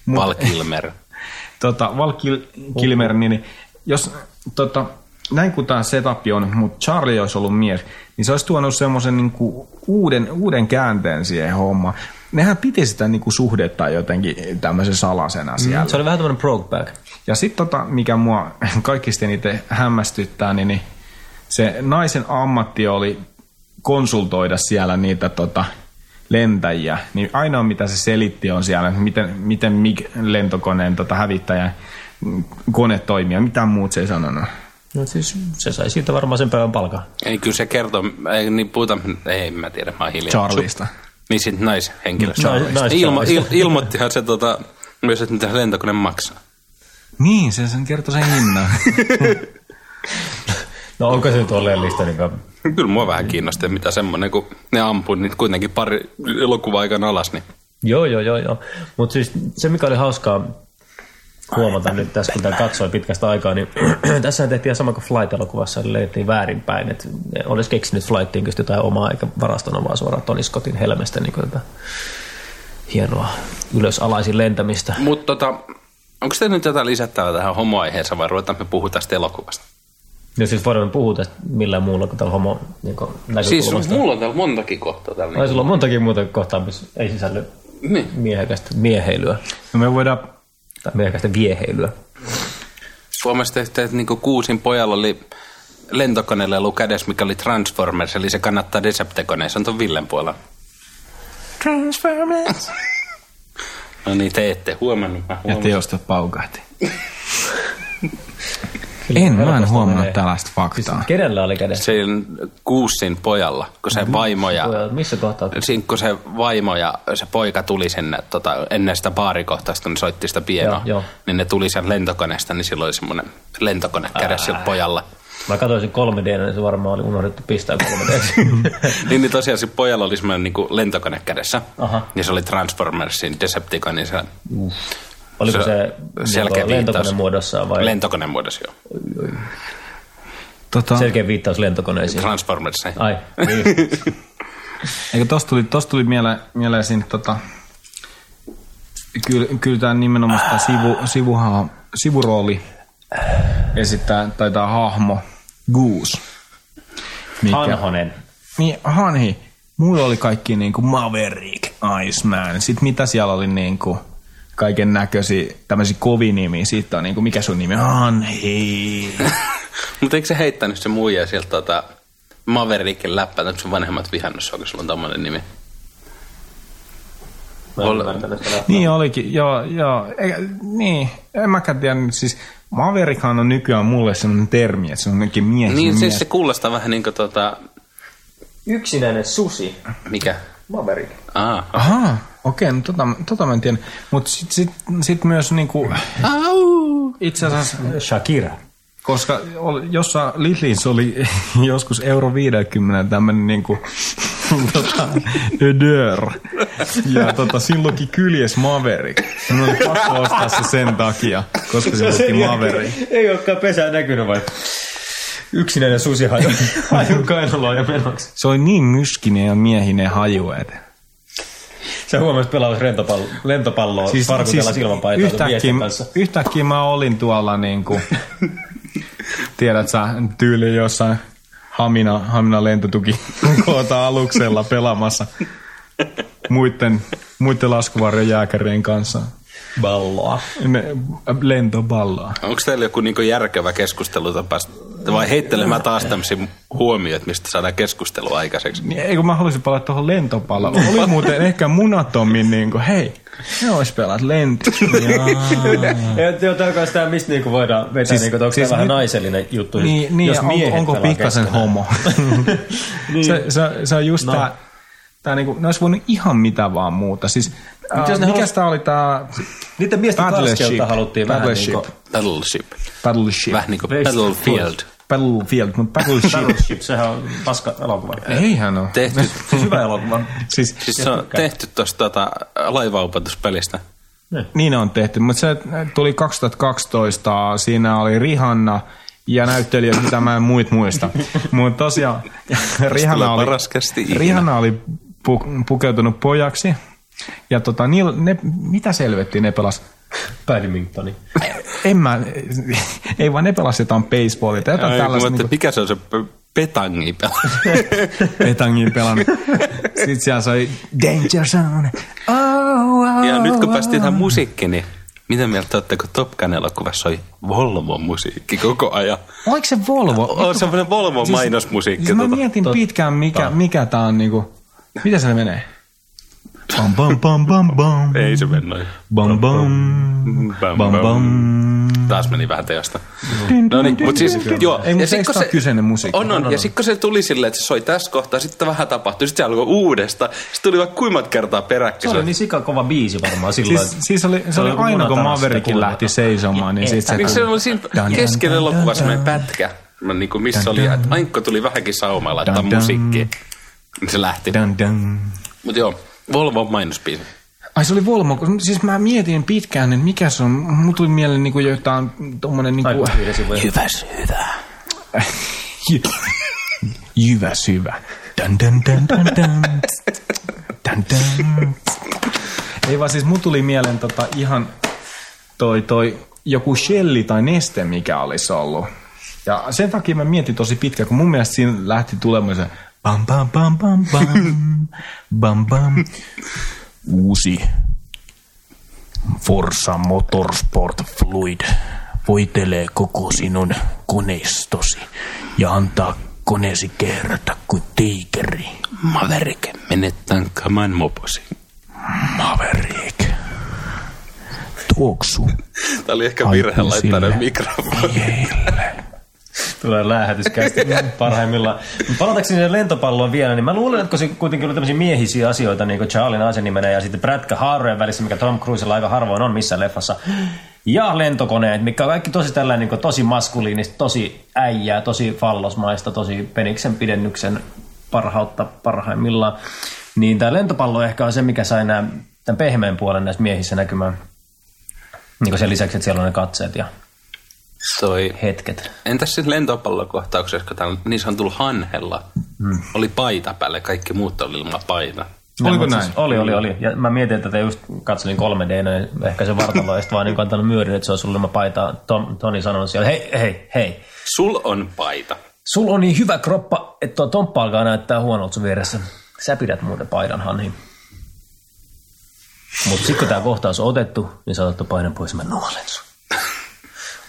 Speaker 3: Mut-
Speaker 1: Val Kilmer.
Speaker 3: tota, Val Kil- Kilmer, niin, niin jos tota, näin kuin tämä setup on, mutta Charlie olisi ollut mies, niin se olisi tuonut semmoisen niinku uuden, uuden käänteen siihen hommaan. Nehän piti sitä niinku suhdetta jotenkin tämmöisen salasena siellä.
Speaker 4: Se oli vähän tämmöinen Brokeback.
Speaker 3: Ja sitten tota, mikä mua kaikista eniten hämmästyttää, niin, niin se naisen ammatti oli konsultoida siellä niitä tota, lentäjiä. Niin ainoa mitä se selitti on siellä, miten, miten MIG-lentokoneen tota, hävittäjän mm, kone toimii ja mitään muut se ei sanonut.
Speaker 4: No siis se sai siitä varmaan sen päivän palkan.
Speaker 1: Ei, kyllä se kertoo, ei, niin puhuta, ei en mä tiedä, mä oon hiljaa.
Speaker 3: Charlista.
Speaker 1: Niin sitten naishenkilöstä.
Speaker 4: Nais- nais-
Speaker 1: Ilmo, il,
Speaker 4: Charlista.
Speaker 1: ilmoittihan se tota, myös, että mitä lentokone maksaa.
Speaker 3: Niin, se sen kertoi sen hinnan.
Speaker 4: No onko se nyt oleellista? Niin
Speaker 1: Kyllä mua vähän kiinnosti, mitä semmoinen, kun ne ampui niitä kuitenkin pari elokuva-aikana alas, niin
Speaker 4: Joo, joo, joo. joo. Mutta siis se, mikä oli hauskaa huomata nyt tässä, kun tämä katsoi pitkästä aikaa, niin tässä tehtiin ihan sama kuin Flight-elokuvassa, eli löydettiin väärinpäin. Et ne olisi keksinyt Flightiin kyllä jotain omaa, eikä varastanut vaan suoraan Tony Scottin helmestä niin tätä hienoa ylösalaisin lentämistä.
Speaker 1: Mutta tota, onko teillä nyt jotain lisättävää tähän homoaiheeseen vai ruvetaanko me puhua tästä elokuvasta?
Speaker 4: Ja siis voidaan puhua tästä millään muulla kuin tällä homo niin
Speaker 1: Siis
Speaker 4: näkökulmasta.
Speaker 1: mulla on täällä montakin kohtaa täällä.
Speaker 4: Ai
Speaker 1: Niin.
Speaker 4: sulla on montakin muuta kohtaa, missä ei sisälly
Speaker 1: Niin.
Speaker 4: miehekästä mieheilyä
Speaker 3: no me voidaan
Speaker 4: tai miehekästä vieheilyä.
Speaker 1: Suomessa tehtiin, että niinku kuusin pojalla oli lentokoneella ollut kädessä, mikä oli Transformers, eli se kannattaa Decepticoneja. Se on ton Villen puolella.
Speaker 3: Transformers.
Speaker 1: No niin, te ette huomannut. Mä
Speaker 3: Ja
Speaker 1: huomasin.
Speaker 3: teosta paukahti. en, mä en
Speaker 4: helposti
Speaker 3: huomannut
Speaker 4: menee.
Speaker 3: tällaista
Speaker 4: Siis
Speaker 3: faktaa.
Speaker 4: kenellä oli kädessä?
Speaker 1: Se kuusin pojalla, kun se vaimo ja
Speaker 4: Voi olla, Missä kohtaa?
Speaker 1: Siinä kun se vaimo ja se poika tuli sinne tota, ennen sitä baarikohtausta, ne soitti sitä pienoa,
Speaker 4: Joo, joo.
Speaker 1: niin ne tuli sen lentokoneesta, niin silloin oli semmoinen lentokone kädessä sillä pojalla.
Speaker 4: Mä katsoin sen 3D, niin se varmaan oli unohdettu pistää 3D.
Speaker 1: niin, niin tosiaan se pojalla oli semmoinen niin lentokone kädessä,
Speaker 4: Aha.
Speaker 1: ja se oli Transformersin Decepticonin se,
Speaker 4: Oliko
Speaker 1: se
Speaker 4: se,
Speaker 1: selkeä
Speaker 4: se lentokone
Speaker 1: viittaus.
Speaker 4: muodossaan vai Lent-
Speaker 1: lentokoneen muodossa jo,
Speaker 3: Tota,
Speaker 4: selkeä viittaus lentokoneisiin?
Speaker 1: Transformersiin.
Speaker 4: siis- Ai, niin.
Speaker 3: Eikö tosta tuli, tosta tuli mieleen, mieleen siinä, tota, kyllä, kyllä tämä nimenomaan tämä sivu, sivuha, sivurooli esittää, tai tämä hahmo, Goose.
Speaker 4: Hanhonen.
Speaker 3: Niin, Hanhi. Mulla oli kaikki niinku Maverick, Iceman. Sitten mitä siellä oli niinku kaiken näköisiä tämmöisiä kovinimiä. Sitten on niinku, mikä sun nimi on? Hanhi.
Speaker 1: Mutta eikö se heittänyt se muija sieltä tota, Maverickin läppää, että sun vanhemmat vihannut sua, kun sulla on tommonen nimi?
Speaker 4: Mä en
Speaker 1: Ol-
Speaker 4: ymmärtänyt sitä läppää.
Speaker 3: Niin olikin, joo, joo. Eikä, niin, en mäkään tiedä, siis Maverickhan on nykyään mulle sellainen termi, että se on jotenkin mies.
Speaker 1: Niin,
Speaker 3: mies.
Speaker 1: siis se kuulostaa vähän niin kuin tota,
Speaker 4: Yksinäinen susi.
Speaker 1: mikä?
Speaker 4: Maverick.
Speaker 1: Aa,
Speaker 3: Aha, okei, no tota, tota mä en tiedä. Mutta sitten sit, sit myös niinku, itse asiassa,
Speaker 4: Shakira.
Speaker 3: koska oli- jossain Lidlissä oli joskus euro 50 tämmöinen niinku, tota, ödör. Ja tota, silloinkin kyljes Maverick. Mun oli pakko ostaa se sen takia, koska se luki Maverick.
Speaker 4: Ei olekaan pesää näkynyt vai? Yksinäinen susi haju, haju kainaloa ja menoksi.
Speaker 3: Se oli niin myskinen ja miehinen haju, että
Speaker 4: Sä huomasit pelaavasi lentopallo, lentopalloa siis, parkutellaan siis ilman paitaa tuon
Speaker 3: yhtäkkiä,
Speaker 4: miesten kanssa.
Speaker 3: yhtäkkiä mä olin tuolla niinku, tiedät sä, tyyli jossain Hamina, Hamina lentotuki koota aluksella pelaamassa muiden, muiden laskuvarjon jääkärien kanssa.
Speaker 4: Balloa.
Speaker 3: Ne, äh, lentopalloa.
Speaker 1: Onko teillä joku niin järkevä keskustelutapa? Vai heittelemään mä taas tämmöisiä huomioita, mistä saadaan keskustelua aikaiseksi?
Speaker 3: Niin, Ei kun mä halusin palata tuohon lentopalloon. Oli muuten ehkä munatomin niinku, hei, ne ois pelaat lenti.
Speaker 4: Joo, tämä sitä, mistä niinku voidaan vetää,
Speaker 3: Siis-
Speaker 4: siis, niinku, että
Speaker 3: siis
Speaker 4: onko siis vähän
Speaker 3: nyt-
Speaker 4: naisellinen juttu,
Speaker 3: Niin, niin
Speaker 4: jos
Speaker 3: jos
Speaker 4: miehet
Speaker 3: onko, onko
Speaker 4: pelaa
Speaker 3: pikkasen
Speaker 4: keskenään.
Speaker 3: homo? niin. se, se, se on just no. tää, tää niinku, ne olisi voinut ihan mitä vaan muuta. Siis, äh,
Speaker 4: jos
Speaker 3: mikäs
Speaker 4: ne halus-
Speaker 3: tää oli tää
Speaker 4: Niitä miesten karskeutta haluttiin vähän
Speaker 3: Battleship.
Speaker 4: niinku...
Speaker 1: Battleship.
Speaker 3: Battleship.
Speaker 1: Vähän niin kuin
Speaker 4: Best
Speaker 1: Battlefield.
Speaker 3: Battlefield, mutta Battleship.
Speaker 4: Battleship, sehän on paska elokuva.
Speaker 3: Eihän oo.
Speaker 1: Tehty,
Speaker 4: Siis hyvä elokuva.
Speaker 3: Siis,
Speaker 1: siis se on tehty tuosta tota, laivaupetuspelistä.
Speaker 3: niin on tehty, mutta se tuli 2012, siinä oli Rihanna ja näyttelijät, mitä mä en muit muista. Mutta tosiaan Rihanna
Speaker 1: Tulee
Speaker 3: oli,
Speaker 1: paras kästi ikinä.
Speaker 3: Rihanna oli pu, pukeutunut pojaksi. Ja tota, niil, ne, mitä selvettiin, ne pelas?
Speaker 4: Paddingtoni.
Speaker 3: En mä, ei vaan ne pelas jotain baseballia tai jotain
Speaker 1: Ai,
Speaker 3: tällaista.
Speaker 1: mutta
Speaker 3: niinku-
Speaker 1: mikä se on se p- petangi
Speaker 3: Petangin pelannut. Sitten siellä soi Danger Zone. Oh, oh,
Speaker 1: Ja nyt kun
Speaker 3: oh.
Speaker 1: päästiin tähän musiikkiin, niin mitä mieltä olette, kun Top Gun elokuvassa oli Volvon musiikki koko ajan?
Speaker 3: Oliko se Volvo?
Speaker 1: On semmoinen Volvon mainosmusiikki.
Speaker 3: Siis mä
Speaker 1: tota.
Speaker 3: mietin pitkään, mikä, mikä tää on niinku... Mitä se menee? Bam bam bam bam bam.
Speaker 1: Ei se mennä. noin.
Speaker 3: Bam bam.
Speaker 1: Bam,
Speaker 3: Bam
Speaker 1: bam.
Speaker 3: bam.
Speaker 1: Taas meni vähän teosta. No niin, mutta siis, joo.
Speaker 3: Ei,
Speaker 1: ja
Speaker 3: mutta
Speaker 1: sit,
Speaker 3: eikö
Speaker 1: kun
Speaker 3: tää ole kyseinen musiikki?
Speaker 1: On, on. Ja sitten kun se tuli silleen, että se soi tässä kohtaa, sitten vähän tapahtui, sitten se alkoi uudestaan. Sitten tuli vaikka kuimmat kertaa
Speaker 4: Se
Speaker 1: peräkkäin.
Speaker 4: oli niin sikakova biisi varmaan silloin.
Speaker 3: Siis, siis oli, se
Speaker 4: Se
Speaker 3: oli
Speaker 4: oli
Speaker 3: aina, kun
Speaker 4: munatarhasta
Speaker 3: Maverikin
Speaker 4: kuulemma.
Speaker 3: lähti seisomaan, niin
Speaker 4: Ei,
Speaker 3: sit se...
Speaker 1: Miksi se
Speaker 3: tuli.
Speaker 1: oli siinä keskellä elokuvaa semmoinen pätkä? Mä niin kuin missä oli, että Ainkko tuli vähänkin saumaan laittaa
Speaker 3: Dun, dun.
Speaker 1: musiikkia. Niin se lähti.
Speaker 3: Dun, dun.
Speaker 1: Mutta joo, Volvo on mainospiisi.
Speaker 3: Ai se oli Volvo, kun siis mä mietin pitkään, että mikä se on. Mulla tuli mieleen niinku jotain tommonen niinku...
Speaker 4: Aiku viiden sivuja.
Speaker 3: Jyväs hyvä. Jyväs hyvä. Dun, dun, dun, dun, dun. Dun, dun. Ei vaan siis mut tuli mieleen tota ihan toi, toi joku shelli tai neste, mikä olisi ollut. Ja sen takia mä mietin tosi pitkään, kun mun mielestä siinä lähti tulemaan se bam bam bam bam bam bam bam uusi Forza Motorsport Fluid voitelee koko sinun koneistosi ja antaa koneesi kerrata kuin tiikeri.
Speaker 1: Maverick, mene tankkaamaan moposi.
Speaker 3: Maverick. Tuoksu
Speaker 1: Tää oli ehkä virhe
Speaker 3: Aiku
Speaker 1: laittaa ne
Speaker 3: sille.
Speaker 1: mikrofoni.
Speaker 3: miehille.
Speaker 4: Tulee lähetyskästi parhaimmillaan. Mut Palataanko sinne lentopalloon vielä, niin mä luulen, että kun se kuitenkin oli tämmöisiä miehisiä asioita, niin kuin Charlie naisen nimenä ja sitten Prätkä Haarojen välissä, mikä Tom Cruisella aika harvoin on missään leffassa. Ja lentokoneet, mikä on kaikki tosi tällainen niin tosi maskuliinista, tosi äijää, tosi fallosmaista, tosi peniksen pidennyksen parhautta parhaimmillaan. Niin tämä lentopallo ehkä on se, mikä sai nämä, tämän pehmeän puolen näissä miehissä näkymään. Niin sen lisäksi, että siellä on ne katseet ja
Speaker 1: Toi.
Speaker 4: hetket.
Speaker 1: Entäs sitten lentopallokohtauksessa, kun täällä niissä on tullut hanhella. Oli paita päälle, kaikki muut oli ilman paita.
Speaker 3: Oliko
Speaker 4: mut
Speaker 3: näin?
Speaker 4: Siis, oli, oli, oli. Ja mä mietin, että te just katselin 3 d niin ehkä se vartalo, ja sit vaan niin antanut myöden, että se on sulle ilman paitaa. Tom, Toni sanonut siellä, hei, hei, hei.
Speaker 1: Sul on paita.
Speaker 4: Sul on niin hyvä kroppa, että tuo Tomppa alkaa näyttää huonolta sun vieressä. Sä pidät muuten paidan, Hanhi. Mut sit kun tää kohtaus on otettu, niin sä otat paidan pois ja mä nuolen sun.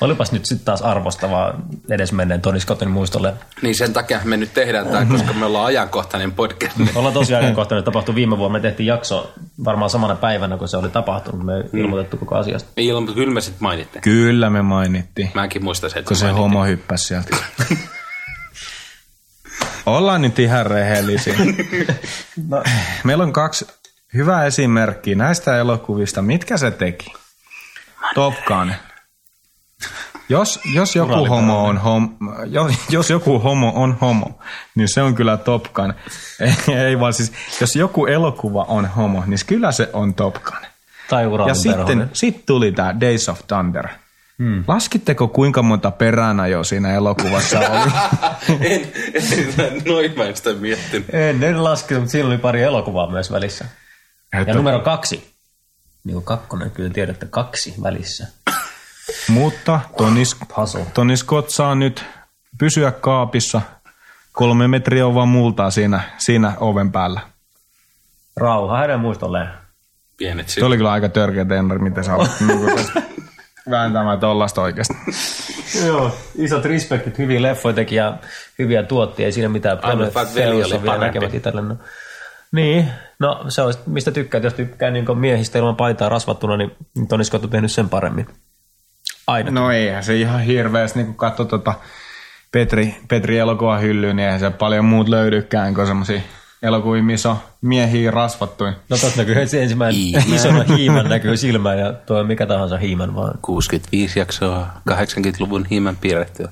Speaker 4: Olipas nyt sitten taas arvostavaa edesmenneen Toni Scottin muistolle.
Speaker 1: Niin sen takia me nyt tehdään tämä, koska me ollaan ajankohtainen podcast. niin
Speaker 4: Ollaan tosiaan ajankohtainen, tapahtui viime vuonna. Me tehtiin jakso varmaan samana päivänä, kun se oli tapahtunut. Me ei ilmoitettu koko asiasta.
Speaker 1: Ilman, mutta kyllä me sitten mainitte.
Speaker 3: Kyllä me mainittiin,
Speaker 1: Mäkin muistan sen, että
Speaker 3: kun se
Speaker 1: mainittiin.
Speaker 3: homo hyppäsi sieltä. Ollaan nyt ihan rehellisiä.
Speaker 4: No,
Speaker 3: Meillä on kaksi hyvää esimerkkiä näistä elokuvista. Mitkä se teki? Top Gun. Jos, jos, joku homo on hom, jos, jos joku homo on homo, niin se on kyllä Top Gun. Ei, ei vaan siis, jos joku elokuva on homo, niin kyllä se on Top Gun.
Speaker 4: tai ura
Speaker 3: Ja sitten sit tuli tämä Days of Thunder. Hmm. Laskitteko kuinka monta peränä jo siinä elokuvassa oli?
Speaker 1: en, en, noin mä en sitä miettinyt.
Speaker 4: En, en laskenut, mutta siinä oli pari elokuvaa myös välissä. Ja
Speaker 3: Että,
Speaker 4: numero kaksi. Niin kuin kakkonen, kyllä tiedätte, kaksi välissä.
Speaker 3: mutta Tony, Sk-
Speaker 4: Puzzle.
Speaker 3: Tony Scott saa nyt pysyä kaapissa. Kolme metriä on vaan multaa siinä, siinä oven päällä.
Speaker 4: Rauha hänen muistolleen.
Speaker 1: Pienet
Speaker 3: Se
Speaker 1: syyt.
Speaker 3: oli kyllä aika törkeä tenori, miten sä olet niinku tästä vääntämään tollasta oikeasti.
Speaker 4: Joo, isot respektit, hyviä leffoja teki ja hyviä tuottia, ei siinä mitään.
Speaker 1: Ainut
Speaker 4: Planet
Speaker 1: vaan veli
Speaker 4: Zeus
Speaker 1: oli
Speaker 4: on vielä
Speaker 1: parempi.
Speaker 4: näkemättä itselle, no. Niin, no se on, sit- mistä tykkää, jos tykkää niin miehistä ilman paitaa rasvattuna, niin Tony Scott on tehnyt sen paremmin. Aina.
Speaker 3: No eihän se ihan hirveästi, niin kun katsoo tota Petri, Petri elokuva hyllyyn, niin eihän se paljon muut löydykään kuin semmosia elokuvia, missä on miehiä rasvattuin.
Speaker 4: No tuossa näkyy heti se ensimmäinen isona hiiman näkyy silmään ja tuo on mikä tahansa hiiman vaan.
Speaker 1: 65 jaksoa 80-luvun hiiman piirrettyä.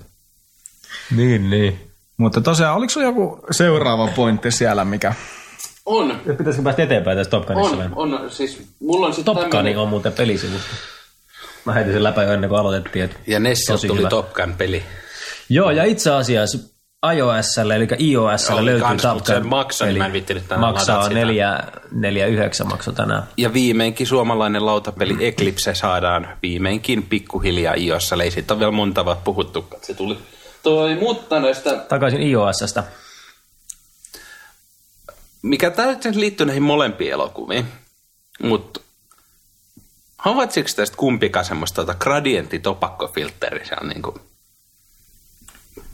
Speaker 4: Niin, niin.
Speaker 3: Mutta tosiaan, oliko sun joku seuraava pointti siellä, mikä...
Speaker 1: On,
Speaker 4: Pitäisikö päästä eteenpäin tässä Top Gunissa? vai?
Speaker 1: on, on. Siis mulla on sitten
Speaker 4: Top Gun on muuten pelisivusta. Mä heitin sen läpä jo ennen kuin aloitettiin. Et
Speaker 1: Ja Nessa
Speaker 4: Tosi
Speaker 1: tuli
Speaker 4: hyvä.
Speaker 1: Top Gun peli.
Speaker 4: Joo, ja itse asiassa iOSlle, eli iOSlle
Speaker 1: Oli
Speaker 4: löytyy
Speaker 1: kans,
Speaker 4: Top
Speaker 1: mut se
Speaker 4: Gun.
Speaker 1: maksoi, niin
Speaker 4: peli.
Speaker 1: mä en viittinyt tänään ladata
Speaker 4: Maksaa
Speaker 1: sitä.
Speaker 4: neljä, neljä yhdeksän maksoi tänään.
Speaker 1: Ja viimeinkin suomalainen lautapeli Eclipse saadaan viimeinkin pikkuhiljaa iossa. Ei siitä ole vielä monta vaan puhuttu. Se tuli. Toi, mutta näistä...
Speaker 4: Takaisin iOSsta.
Speaker 1: Mikä täysin liittyy näihin molempiin elokuviin. Mutta havaitsiko tästä kumpikaan semmoista tota, gradientitopakkofiltteri? Se on niinku...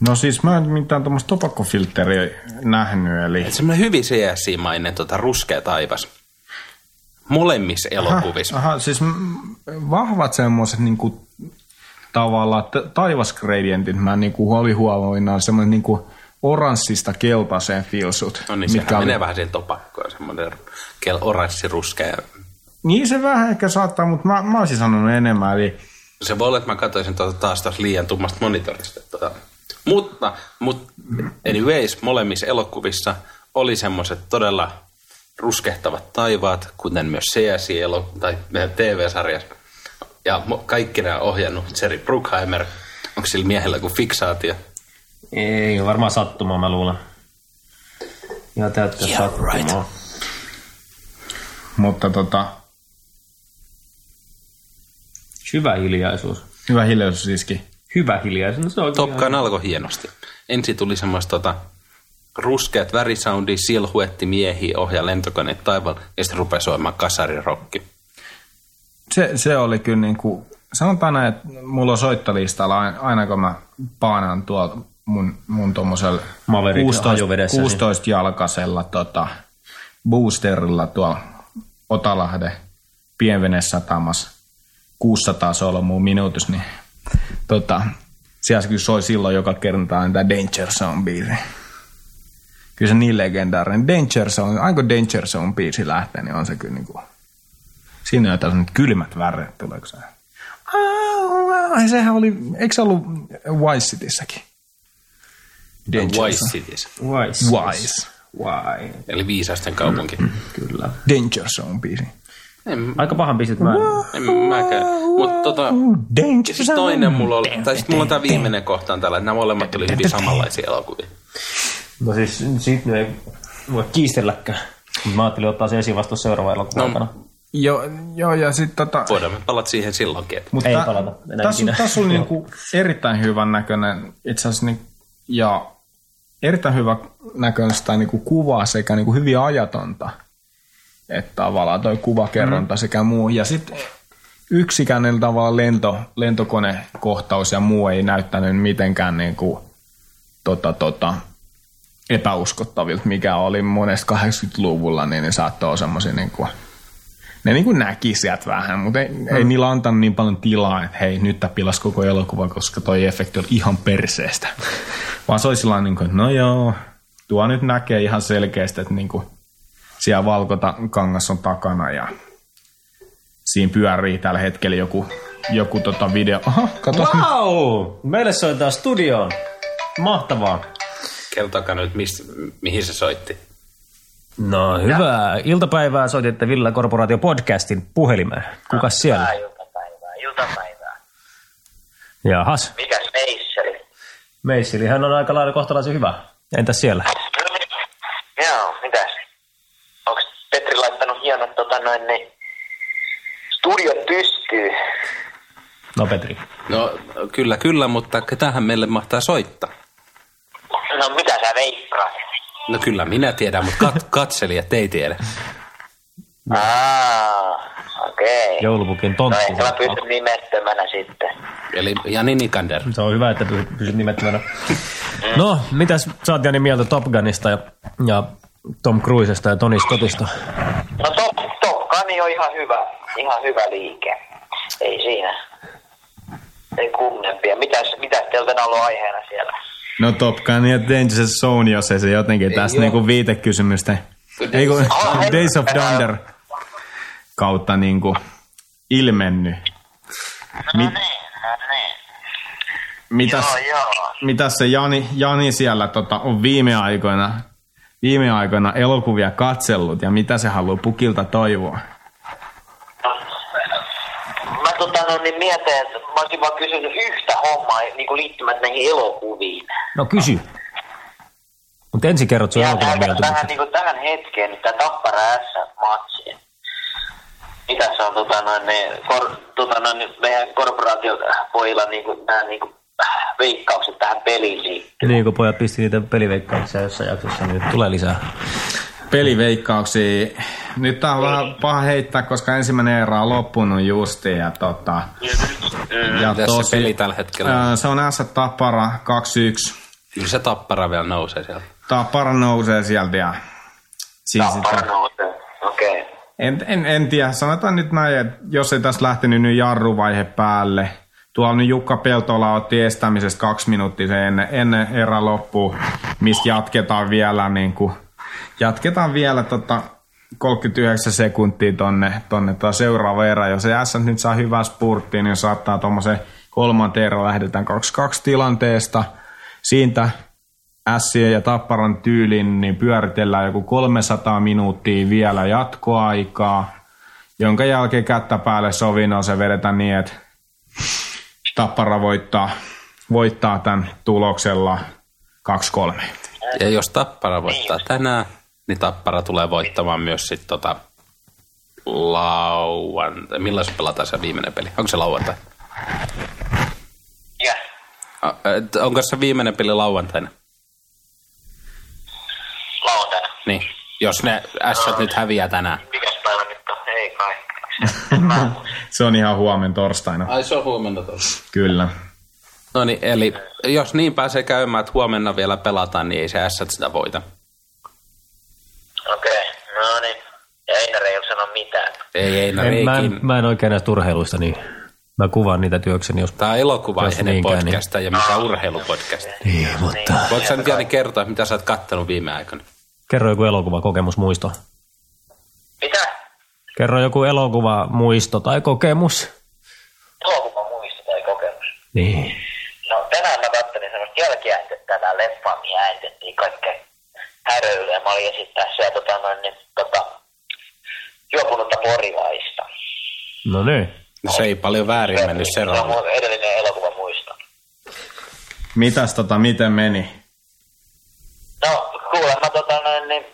Speaker 3: No siis mä en mitään tuommoista topakkofiltteriä nähnyt, eli...
Speaker 1: Et semmoinen hyvin CS-mainen tota, ruskea taivas. Molemmissa elokuvissa.
Speaker 3: Aha, siis mm, vahvat semmoiset niinku tavallaan t- taivasgradientit, mä niinku olin huomioinaan semmoinen niinku oranssista keltaiseen filsut.
Speaker 1: No niin, sehän menee vähän siihen topakkoon, semmoinen kel- oranssi ruskea.
Speaker 3: Niin se vähän ehkä saattaa, mutta mä, mä olisin sanonut enemmän, eli
Speaker 1: Se voi olla, että mä katsoisin tuota taas taas liian tummasta monitorista. Tuota. Mutta, mutta anyways, molemmissa elokuvissa oli semmoiset todella ruskehtavat taivaat, kuten myös CS-elo- tai TV-sarjassa. Ja mo- kaikki nämä on ohjannut Jerry Bruckheimer. Onko sillä miehellä kuin fiksaatio?
Speaker 4: Ei, varmaan sattumaa mä luulen. Ihan täyttä yeah, sattumaa. Right.
Speaker 3: mutta tota,
Speaker 4: Hyvä hiljaisuus.
Speaker 3: hyvä hiljaisuus iski.
Speaker 4: Hyvä hiljaisuus. No, se on
Speaker 1: Top
Speaker 4: ihan-
Speaker 1: Gun alkoi hienosti. Ensin tuli semmoista tota, ruskeat värisoundi, silhuetti miehiä ohjaa lentokoneet taivaalla ja sitten rupesi soimaan kasarirokki.
Speaker 3: Se, se oli kyllä niinku, sanotaan näin, että mulla on soittolistalla aina, aina kun mä paanaan tuolla mun, mun tommosella
Speaker 4: Maverick
Speaker 3: 16,
Speaker 4: hajuvedessä,
Speaker 3: 16 jalkasella tota, boosterilla tuolla Otalahden pienvenesatamassa 600 solmua minuutissa, niin tota, siellä kyllä soi silloin joka kerta tämä Danger Zone biisi. Kyllä se niin legendaarinen. Danger Zone, aina kun Danger Zone biisi lähtee, niin on se kyllä niinku, siinä on jotain nyt kylmät väreet, tuleeko se? Ai, sehän oli, eikö se ollut Vice Cityssäkin?
Speaker 1: Wise Cities,
Speaker 4: Wise.
Speaker 3: Wise.
Speaker 4: Wise.
Speaker 1: eli viisasten kaupunki.
Speaker 3: Mm.
Speaker 4: Kyllä.
Speaker 3: Danger Zone biisi.
Speaker 1: En,
Speaker 4: Aika pahan pistet mä.
Speaker 1: en mäkään. Mutta tota,
Speaker 3: Danger
Speaker 1: siis toinen mulla oli, tai sitten mulla on tää viimeinen kohta on tällä, että nämä molemmat oli hyvin samanlaisia elokuvia.
Speaker 4: No siis siitä ei voi kiistelläkään. Mut Mä ajattelin ottaa se esiin vasta seuraavan elokuvan aikana.
Speaker 1: No,
Speaker 3: Joo, joo, ja sitten tota...
Speaker 1: voidaan me palata siihen silloinkin. Että
Speaker 3: Mutta
Speaker 4: Ei palata enää
Speaker 3: Tässä on,
Speaker 4: ikinä.
Speaker 3: täs on niinku erittäin hyvän näköinen, itse asiassa, niin, ja erittäin hyvä näköinen sitä niinku kuvaa sekä niinku hyvin ajatonta, että tavallaan toi kuvakerronta mm. sekä muu. Ja sitten yksikään niillä tavalla lento, lentokonekohtaus ja muu ei näyttänyt mitenkään niinku, tota, tota, epäuskottavilta, mikä oli monesta 80-luvulla, niin ne saattoi olla semmoisia niinku, ne niin kuin näki sieltä vähän, mutta ei, mm. ei niillä antanut niin paljon tilaa, että hei, nyt tämä pilas koko elokuva, koska toi efekti oli ihan perseestä. Vaan se oli sillä niin kuin, no joo, tuo nyt näkee ihan selkeästi, että niin kuin siellä valkota kangas on takana ja siinä pyörii tällä hetkellä joku, joku tota video. Aha, katos nyt.
Speaker 4: Wow! Meille soittaa studioon. Mahtavaa.
Speaker 1: kertokaa nyt, mistä, mihin se soitti.
Speaker 4: No hyvää iltapäivää. Soititte Villa Korporaatio podcastin puhelimeen. Kukas siellä?
Speaker 6: iltapäivää, iltapäivää.
Speaker 4: Jahas.
Speaker 6: Mikäs meisseli?
Speaker 4: Meissilihän on aika lailla kohtalaisen hyvä. Entäs siellä?
Speaker 6: No niin. Joo, mitäs? Onks Petri laittanut hien, hienot tota noin, niin studio pystyy.
Speaker 4: No Petri.
Speaker 1: No kyllä, kyllä, mutta ketähän meille mahtaa soittaa?
Speaker 6: No mitä sä veikkaat?
Speaker 1: No kyllä minä tiedän, mutta kat- katselijat ei tiedä.
Speaker 6: Aa, okei.
Speaker 4: Joulupukin
Speaker 6: No
Speaker 4: tonttu.
Speaker 6: ehkä mä pysyn nimettömänä sitten.
Speaker 1: Eli Jani Nikander.
Speaker 4: Se on hyvä, että py- pysyt nimettömänä. No, mitäs sä oot Jani mieltä Top Gunista ja, ja Tom Cruisesta ja Tony Scottista?
Speaker 6: No Top, top Gun on ihan hyvä, ihan hyvä liike. Ei siinä. Ei kummempia. Mitäs, mitäs teiltä on ollut aiheena siellä?
Speaker 3: No Top Gun ja Danger Zone, jos ei se jotenkin tästä niinku viitekysymysten. Ei kun
Speaker 6: Days-
Speaker 3: Days of Thunder kautta niinku ilmennyt.
Speaker 6: No
Speaker 3: Mit,
Speaker 6: niin, no niin.
Speaker 3: mitäs,
Speaker 6: Joo, joo.
Speaker 3: mitäs se Jani, Jani siellä tota, on viime aikoina, viime aikoina elokuvia katsellut ja mitä se haluaa pukilta toivoa?
Speaker 6: Mä tota, no, niin mietin, että mä olisin vaan kysynyt yhtä hommaa niin kuin liittymät näihin elokuviin.
Speaker 4: No kysy. Mutta ensin kerrot sun
Speaker 6: Ihan
Speaker 4: elokuvan
Speaker 6: tähän, tähän,
Speaker 4: mieltymykset.
Speaker 6: niin kuin tähän hetkeen, niin tämä Tappara S-matsiin. Mitä se on tota, noin, niin, kor, tota, noin, niin, meidän korporaatiopojilla niin kuin, nämä niin kuin, veikkaukset tähän peliin liittyen?
Speaker 4: Niin kun pojat pisti niitä peliveikkauksia jossain jaksossa, niin nyt tulee lisää.
Speaker 3: Peliveikkauksia. Nyt tää on vähän
Speaker 6: Niin.
Speaker 3: paha heittää, koska ensimmäinen erä on loppunut justiin ja tota... Ja
Speaker 1: Mitäs se peli tällä hetkellä
Speaker 3: Ää, se on S Tappara 2-1.
Speaker 1: Kyllä se tappara vielä nousee siellä.
Speaker 3: Tappara nousee sieltä ja... Siis
Speaker 6: Tappara
Speaker 3: että-
Speaker 6: nousee. Okei. Okay.
Speaker 3: en, en, en, tiedä, sanotaan nyt näin, että jos ei tässä lähtenyt nyt jarruvaihe päälle, Tuolla nyt Jukka Peltola otti estämisestä kaksi minuuttia sen ennen, ennen erä loppuu, mistä jatketaan vielä, niin kuin, jatketaan vielä tota 39 sekuntia tonne, tonne tota seuraava erä. Jos se S nyt saa hyvää spurttia, niin saattaa tuommoisen kolmanteen erä lähdetään 2-2 tilanteesta. Siitä Ässien ja Tapparan tyylin niin pyöritellään joku 300 minuuttia vielä jatkoaikaa, jonka jälkeen kättä päälle sovinnon se vedetään niin, että Tappara voittaa, voittaa tämän tuloksella 2-3.
Speaker 1: Ja jos tappara voittaa tänään, niin tappara tulee voittamaan myös sitten tota lauantai. Milloin se pelataan se viimeinen peli? Onko se lauantai?
Speaker 6: Yeah.
Speaker 1: A- et Onko se viimeinen peli lauantaina?
Speaker 6: Lauantaina.
Speaker 1: Niin. Jos ne ässät nyt häviää tänään.
Speaker 6: Mikäs päivä nyt on? Ei kai.
Speaker 3: Se on ihan huomen torstaina,
Speaker 1: Ai se on huomenna tuossa.
Speaker 3: kyllä.
Speaker 1: No niin, eli jos niin pääsee käymään, että huomenna vielä pelataan, niin ei se ässät sitä voita.
Speaker 6: Okei. Okay. No niin. Ja Einar ei ole sanonut mitään.
Speaker 1: Ei, ei, no
Speaker 4: En, mä, en,
Speaker 1: reikin.
Speaker 4: mä en oikein näistä urheiluista, niin mä kuvaan niitä työkseni, jos...
Speaker 1: Tämä on
Speaker 4: Jos
Speaker 1: elokuvaiheinen
Speaker 4: niinkään, niin-
Speaker 1: podcast ja mikä urheilupodcast.
Speaker 4: Niin, mutta...
Speaker 1: Voitko sä nyt Jani kertoa, mitä sä oot kattonut viime aikoina?
Speaker 4: Kerro joku elokuva, kokemus, muisto.
Speaker 6: Mitä?
Speaker 4: Kerro joku elokuva, muisto tai kokemus.
Speaker 6: Elokuva muisti tai kokemus.
Speaker 4: Niin.
Speaker 6: No tänään mä kattelin semmoista jälkiäätettä tää leffaa, mihin äänitettiin kaikkea häröilyä. Mä olin esittää siellä tota noin niin, tota, juopunutta porilaista.
Speaker 4: No niin.
Speaker 1: No se ei paljon väärin mennyt se
Speaker 6: Se on
Speaker 1: rooli.
Speaker 6: mun edellinen elokuva muista.
Speaker 3: Mitäs tota, miten meni?
Speaker 6: No kuulemma tota noin niin,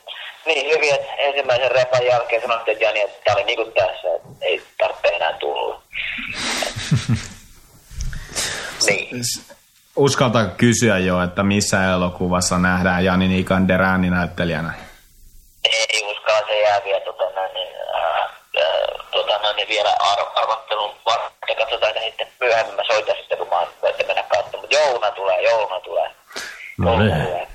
Speaker 6: niin hyvin, että ensimmäisen repan jälkeen sanottiin, että Jani, että tää oli niinku tässä, että ei tarvitse enää tulla. niin.
Speaker 3: Uskalta kysyä jo, että missä elokuvassa nähdään Jani Nikander ääninäyttelijänä?
Speaker 6: ei uskalla, se jää vielä tota, noin, niin, ää, ää, tota, noin, niin vielä ar- arvottelun varten. Katsotaan sitä sitten myöhemmin, mä soitan sitten, kun mä oon, että mennä katsomaan. Mutta jouluna tulee, jouluna tulee.
Speaker 4: No
Speaker 6: Jouluna
Speaker 4: niin.
Speaker 6: tulee.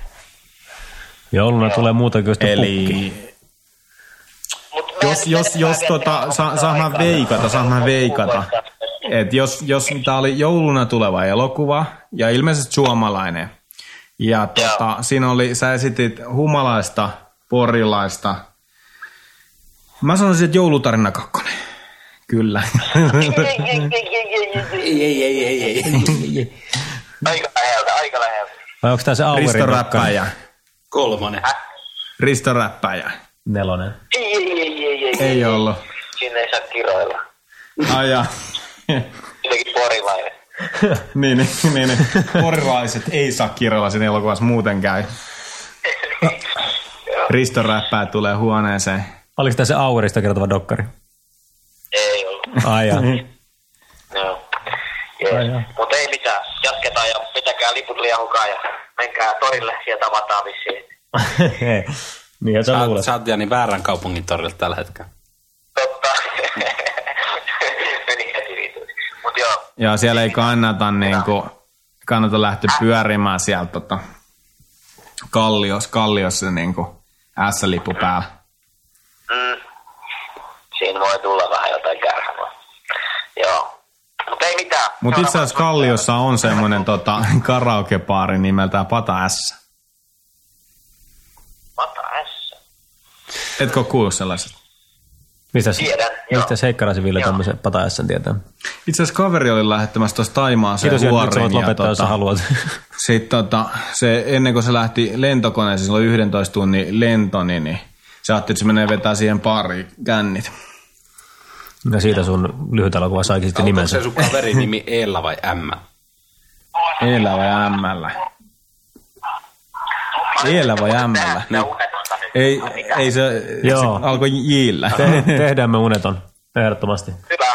Speaker 4: Jouluna tulee muuta kuin sitä pukki.
Speaker 3: Eli
Speaker 6: Mut mä
Speaker 3: jos,
Speaker 6: en-
Speaker 3: jos,
Speaker 6: mä
Speaker 3: jos
Speaker 6: en-
Speaker 3: tota, saa, saa mä
Speaker 6: aikaa.
Speaker 3: veikata, saa mä veikata. Et jos, jos tää oli jouluna tuleva elokuva ja ilmeisesti suomalainen. Ja tota, siinä oli, sä esitit humalaista, porilaista. Mä sanoisin, että joulutarina kakkonen. Kyllä.
Speaker 1: Ei, ei, ei, ei, ei.
Speaker 6: Aika läheltä, aika läheltä.
Speaker 4: Vai onko tää se
Speaker 3: Risto
Speaker 4: Auerin kakkonen?
Speaker 3: Räppäjä.
Speaker 1: Kolmonen.
Speaker 3: Risto Räppäjä.
Speaker 4: Nelonen.
Speaker 6: Ei, ei, ei, ei, ei.
Speaker 3: Ei ollut.
Speaker 6: Sinne ei saa kiroilla.
Speaker 3: Ai ja.
Speaker 6: Jotenkin porilainen.
Speaker 3: niin, niin, niin, niin. Porilaiset ei saa kirjalla sen elokuvassa muuten käy. Risto Räppää tulee huoneeseen.
Speaker 7: Oliko tämä se Auerista kertova dokkari?
Speaker 6: Ei ollut.
Speaker 7: Ai jaa.
Speaker 6: Niin. Joo. Jees. Mut ei mitään. Jatketaan ja pitäkää liput liian hukaan ja menkää torille ja tavataan vissiin.
Speaker 7: Niinhän sä
Speaker 1: Sä,
Speaker 7: luulet.
Speaker 1: sä oot Jani väärän kaupungin torilla tällä hetkellä.
Speaker 6: Totta. Meni heti viituiksi. Mut joo.
Speaker 3: Joo, siellä ei kannata, niin kuin, kannata lähteä pyörimään sieltä tota, kallios, kalliossa niin kuin S-lippu päällä.
Speaker 6: Mm. Siinä voi tulla vähän jotain kärhämää. Joo. Mut ei mitään.
Speaker 3: Mutta itse asiassa Kalliossa on semmoinen tota, karaokepaari nimeltään Pata S.
Speaker 6: Mata S.
Speaker 3: Etkö ole kuullut sellaisesta?
Speaker 7: Mistä,
Speaker 6: Tiedän, joo.
Speaker 7: mistä Seikkaraisen Ville
Speaker 6: Joo.
Speaker 7: tämmöisen pataessan tietää?
Speaker 3: Itse asiassa kaveri oli lähettämässä tuossa Taimaan sen
Speaker 7: Kiitos, Jani, nyt sä voit
Speaker 3: vuorin.
Speaker 7: lopettaa, jos sä
Speaker 6: tota.
Speaker 7: haluat.
Speaker 3: Sitten tota, se, ennen kuin se lähti lentokoneeseen, sillä oli 11 tunnin lento, niin, niin se ajatteli, että se menee vetää siihen pari kännit.
Speaker 7: Ja siitä sun lyhyt elokuva saikin sitten
Speaker 1: Onko
Speaker 7: nimensä.
Speaker 1: se sun kaverin nimi Eella vai M?
Speaker 3: Eellä vai Mllä? Eellä vai Mllä?
Speaker 1: Niin.
Speaker 6: Nää unetonta nyt.
Speaker 3: Ei, ei se,
Speaker 7: Joo.
Speaker 3: se alkoi Jillä.
Speaker 7: Te- Tehdään me uneton, ehdottomasti.
Speaker 6: Hyvä.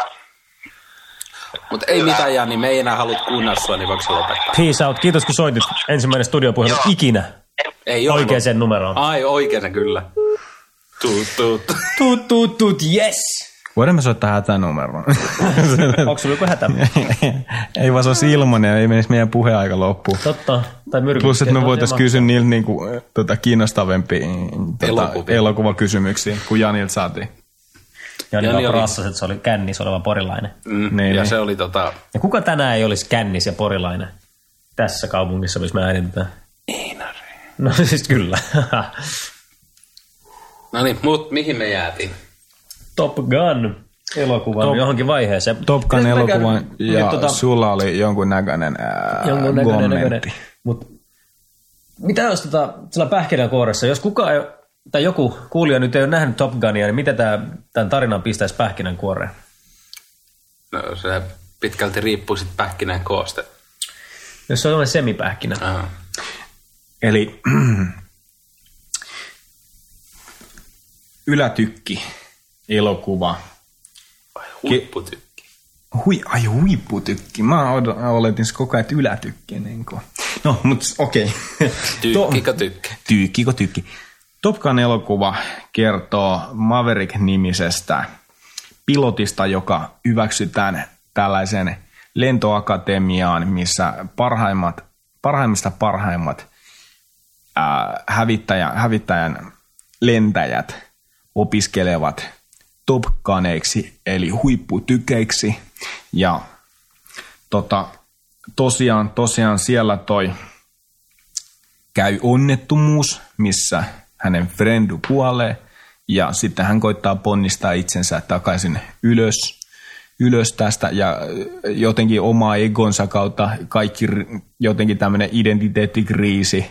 Speaker 1: Mutta ei mitään Jani, me ei enää halut kuunnella sua, niin voiko se lopettaa?
Speaker 7: Peace out, kiitos kun soitit. Ensimmäinen studiopuhelu
Speaker 6: Joo.
Speaker 7: ikinä
Speaker 1: Ei ole.
Speaker 7: oikeaan numeroon.
Speaker 1: Ai oikein kyllä. Tuut, tuut.
Speaker 7: Tut, tut, tut, yes!
Speaker 3: Voidaan me soittaa hätänumeroon.
Speaker 7: Onko sulla joku hätä?
Speaker 3: ei vaan se olisi ilmanen ja ei menisi meidän puheaika loppuun.
Speaker 7: Totta, tai myrkyt.
Speaker 3: Plus, että me
Speaker 7: Kertoo
Speaker 3: voitaisiin
Speaker 7: teema.
Speaker 3: kysyä niiltä niinku, tota, kiinnostavampia tota,
Speaker 1: Elokuvia.
Speaker 3: elokuvakysymyksiä, kun Janilta saatiin.
Speaker 1: Jani
Speaker 7: Jani Jani
Speaker 1: oli-
Speaker 7: rassas, että se oli kännis oleva porilainen.
Speaker 1: Mm,
Speaker 3: Niin,
Speaker 1: niin, ja
Speaker 3: niin.
Speaker 1: se oli tota...
Speaker 7: Ja kuka tänään ei olisi kännis ja porilainen tässä kaupungissa, missä me äänitetään? Einari. No siis kyllä.
Speaker 1: No niin, mut mihin me jäätiin?
Speaker 7: Top Gun elokuvan
Speaker 3: Top-
Speaker 7: Top. johonkin vaiheeseen.
Speaker 3: Top Gun
Speaker 7: Pitäis mä
Speaker 4: äh,
Speaker 3: elokuvan
Speaker 7: käydä-
Speaker 3: ja
Speaker 7: nyt tota-
Speaker 3: sulla oli jonkun näköinen, ää,
Speaker 7: jonkun näköinen, näköinen.
Speaker 3: kommentti.
Speaker 7: Mut, mitä jos tota, sillä pähkinänkuoressa, jos kuka ei, tai joku kuulija nyt ei ole nähnyt Top Gunia, niin mitä tää, tämän tarinan pistäisi pähkinänkuoreen?
Speaker 1: No, se pitkälti riippuu sit pähkinän koosta.
Speaker 7: Jos se on sellainen semipähkinä.
Speaker 1: Ah.
Speaker 3: Eli ylätykki elokuva.
Speaker 1: Huipputykki.
Speaker 3: Hui, ai huipputykki. Mä od- oletin se koko ajan, että ylätykki. Niin kuin. no, mutta okei.
Speaker 1: Tykkikö tykki?
Speaker 3: Tyykki, kun tyykki. Top Gun elokuva kertoo Maverick-nimisestä pilotista, joka hyväksytään tällaiseen lentoakatemiaan, missä parhaimmat, parhaimmista parhaimmat ää, hävittäjä, hävittäjän lentäjät opiskelevat Top Guneiksi, eli huipputykeiksi. Ja tota, tosiaan, tosiaan siellä toi käy onnettomuus, missä hänen frendu kuolee ja sitten hän koittaa ponnistaa itsensä takaisin ylös, ylös tästä ja ö, jotenkin omaa egonsa kautta kaikki r- jotenkin tämmöinen identiteettikriisi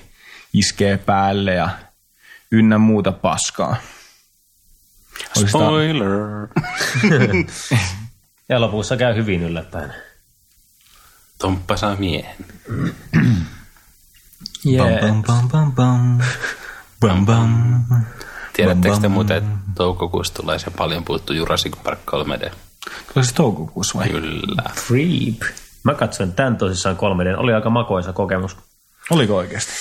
Speaker 3: iskee päälle ja ynnä muuta paskaa. Oliko sitä-
Speaker 1: Spoiler.
Speaker 7: Ja lopussa käy hyvin yllättäen.
Speaker 1: Tomppa saa miehen.
Speaker 7: Yeah.
Speaker 3: pam, pam, pam. Pam, pam.
Speaker 1: Tiedättekö
Speaker 3: Bam,
Speaker 1: te
Speaker 3: bam.
Speaker 1: muuten, että toukokuussa tulee se paljon puhuttu Jurassic Park 3D?
Speaker 3: Oliko se toukokuussa vai?
Speaker 1: Kyllä.
Speaker 7: Creep. Mä katsoin tämän tosissaan 3 Oli aika makoisa kokemus.
Speaker 3: Oliko oikeasti?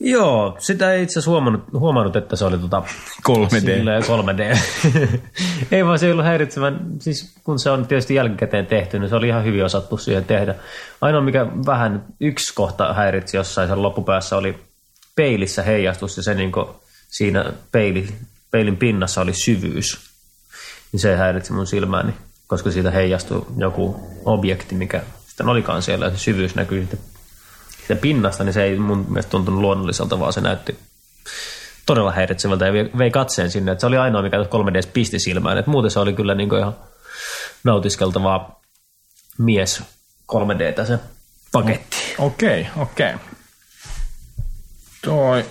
Speaker 7: Joo, sitä ei itse asiassa huomannut, huomannut, että se oli tota
Speaker 3: 3D.
Speaker 7: Silleen 3D. ei vaan se ei ollut häiritsevän, siis kun se on tietysti jälkikäteen tehty, niin se oli ihan hyvin osattu siihen tehdä. Ainoa mikä vähän yksi kohta häiritsi jossain sen loppupäässä oli peilissä heijastus ja se niin siinä peili, peilin pinnassa oli syvyys. Niin se häiritsi mun silmääni, koska siitä heijastui joku objekti, mikä sitten olikaan siellä ja se syvyys näkyi sitten siitä pinnasta, niin se ei mun mielestä tuntunut luonnolliselta, vaan se näytti todella häiritsevältä ja vie- vei katseen sinne. Että se oli ainoa, mikä 3 d pisti silmään. Et muuten se oli kyllä niinku ihan nautiskeltavaa mies 3 d se paketti.
Speaker 3: Okei, okei. Toi...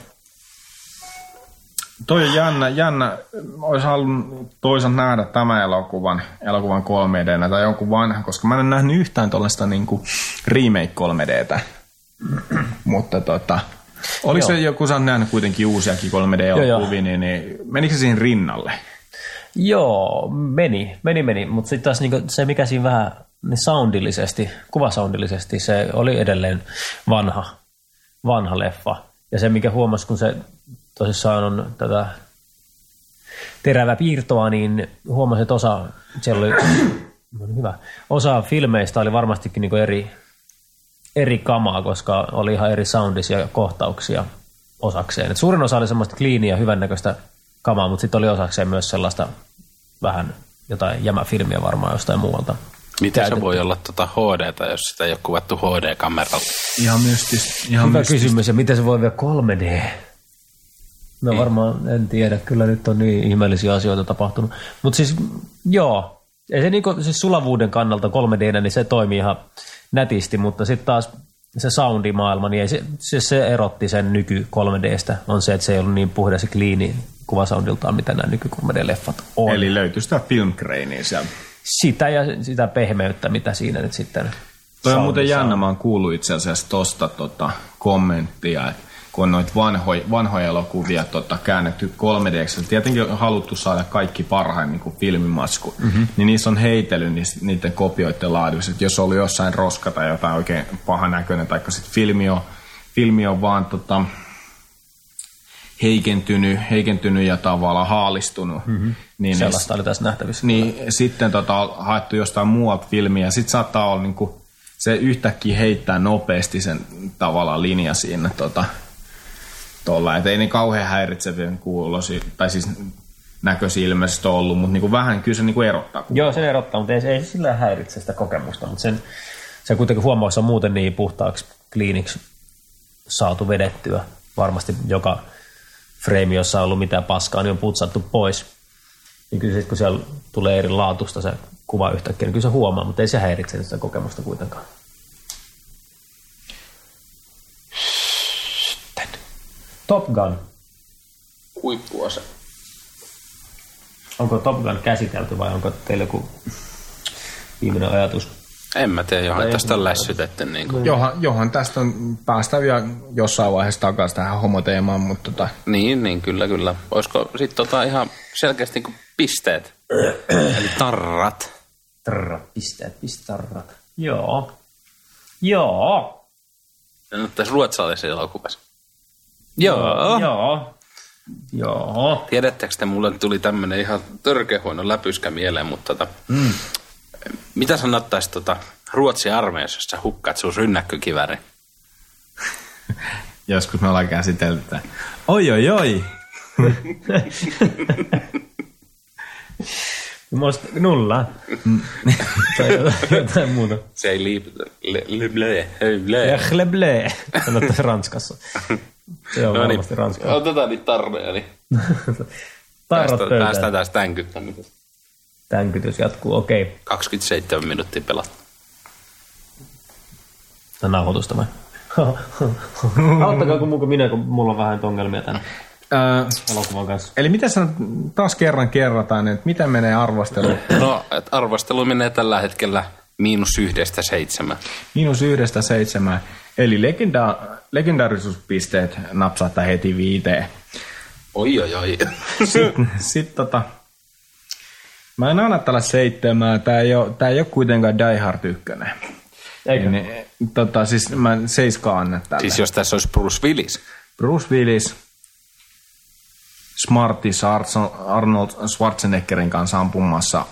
Speaker 3: Toi on jännä, jännä. Olisi halunnut toisaalta nähdä tämän elokuvan, elokuvan 3 d tai jonkun vanhan, koska mä en nähnyt yhtään tuollaista niinku remake 3 d Mutta tota, oliko se joku, sä oot nähnyt kuitenkin uusiakin 3D-elokuvia, niin, niin menikö se siihen rinnalle?
Speaker 7: Joo, meni, meni, meni. Mutta sitten taas niinku se, mikä siinä vähän niin soundillisesti, kuvasoundillisesti, se oli edelleen vanha, vanha leffa. Ja se, mikä huomasi, kun se tosissaan on tätä terävää piirtoa, niin huomasi, että osa, siellä oli, no niin hyvä, osa filmeistä oli varmastikin niinku eri, eri kamaa, koska oli ihan eri soundisia kohtauksia osakseen. Et suurin osa oli semmoista kliiniä, hyvännäköistä kamaa, mutta sitten oli osakseen myös sellaista vähän jotain jämäfilmiä varmaan jostain muualta.
Speaker 1: Mitä se voi olla tuota hd jos sitä ei ole kuvattu HD-kameralla?
Speaker 3: Ihan mystistä. Ihan
Speaker 7: Hyvä
Speaker 3: mystistä.
Speaker 7: kysymys, ja miten se voi vielä 3D? No varmaan en tiedä, kyllä nyt on niin ihmeellisiä asioita tapahtunut. Mutta siis joo, ei se niinku, siis sulavuuden kannalta 3D, niin se toimii ihan nätisti, mutta sitten taas se soundimaailma, niin ei se, se, se erotti sen nyky 3Dstä, on se, että se ei ollut niin puhdas ja kliini kuvasoundiltaan, mitä nämä nyky 3D-leffat on. Eli...
Speaker 3: Eli löytyy sitä filmcrainia sieltä.
Speaker 7: Sitä ja sitä pehmeyttä, mitä siinä nyt sitten
Speaker 3: Toi on muuten jännä, mä oon kuullut itse asiassa tosta tota, kommenttia, että kun on noita vanhoja, vanhoja elokuvia tota, käännetty 3 d tietenkin on haluttu saada kaikki parhain niin kuin filmimasku, mm-hmm. niin niissä on heitely niis- niiden kopioiden laaduissa, että jos oli jossain roska tai jotain oikein pahan näköinen, tai sitten filmi on, filmi on vaan tota, heikentynyt, heikentynyt ja tavallaan haalistunut, mm-hmm. niin niissä-
Speaker 7: sellaista oli tässä nähtävissä.
Speaker 3: niin sitten tota, on haettu jostain muualta filmiä. Sitten saattaa olla niinku, se yhtäkkiä heittää nopeasti sen tavallaan linja siinä tota, tuolla. Et ei niin kauhean häiritsevien kuulosi, tai siis näköisiä ilmeisesti ole ollut, mutta niinku vähän kyllä se niinku erottaa.
Speaker 7: Joo, sen erottaa, mutta ei, se- ei se sillä häiritse sitä kokemusta, mutta sen, se kuitenkin huomaa, että se on muuten niin puhtaaksi kliiniksi saatu vedettyä. Varmasti joka frame, jossa on ollut mitään paskaa, niin on putsattu pois. Niin kyllä sit, kun siellä tulee eri laatusta se kuva yhtäkkiä, niin kyllä se huomaa, mutta ei se häiritse sitä kokemusta kuitenkaan. Sitten. Top Gun.
Speaker 1: Huippuosa.
Speaker 7: Onko Top Gun käsitelty vai onko teillä joku viimeinen ajatus?
Speaker 1: En mä tiedä, johon tästä on lässytetty. Niin kuin.
Speaker 3: Johan, johan tästä on päästään vielä jossain vaiheessa takaisin tähän homoteemaan, mutta tota,
Speaker 1: Niin, niin kyllä, kyllä. Olisiko sitten tota ihan selkeästi niin pisteet? Eli tarrat.
Speaker 7: Tarrat, pisteet, pistarrat. Joo. Joo.
Speaker 1: No, tässä ruotsalaisessa elokuvassa.
Speaker 7: Ah.
Speaker 1: Joo.
Speaker 7: Joo. Joo.
Speaker 1: Tiedättekö te, mulle tuli tämmönen ihan törkeä huono läpyskä mieleen, mutta tota, mm. mitä sanottaisi tota, Ruotsin armeijassa, jos sä hukkaat sun rynnäkkökiväri?
Speaker 3: joskus me ollaan käsitelty tämän. Oi, oi, oi!
Speaker 7: Musta nulla. Mm. tai jotain muuta.
Speaker 1: Se ei liipytä. Le, le, le, le, le.
Speaker 7: Ehle Eh, ble. Sanotaan Ranskassa. Se on no varmasti niin. Ranska.
Speaker 1: Otetaan niitä tarroja, niin
Speaker 7: Tarrat
Speaker 1: päästään, päästään
Speaker 7: pöytään.
Speaker 1: taas tänkyttämisestä.
Speaker 7: Tänkytys jatkuu, okei. Okay.
Speaker 1: 27 minuuttia pelattu.
Speaker 7: Tää nauhoitusta vai? Auttakaa kun muka minä, kun mulla on vähän nyt ongelmia tämän
Speaker 3: Öö,
Speaker 7: elokuvan kanssa.
Speaker 3: eli mitä sanot, taas kerran kerrataan, että miten menee arvostelu
Speaker 1: No, et arvostelu menee tällä hetkellä miinus yhdestä seitsemän.
Speaker 3: Miinus yhdestä seitsemään. Eli legenda, legendaarisuuspisteet napsahtaa heti viiteen.
Speaker 1: Oi, oi, oi.
Speaker 3: Sitten sit, tota, mä en anna tällä seitsemää. Tää ei, oo, tää ei oo kuitenkaan Die Hard 1.
Speaker 7: Eikö?
Speaker 3: Niin, tota, siis mä en seiskaa anna tälle.
Speaker 1: siis jos tässä olisi Bruce Willis.
Speaker 3: Bruce Willis, Smartis Arso- Arnold Schwarzeneggerin kanssa ampumassa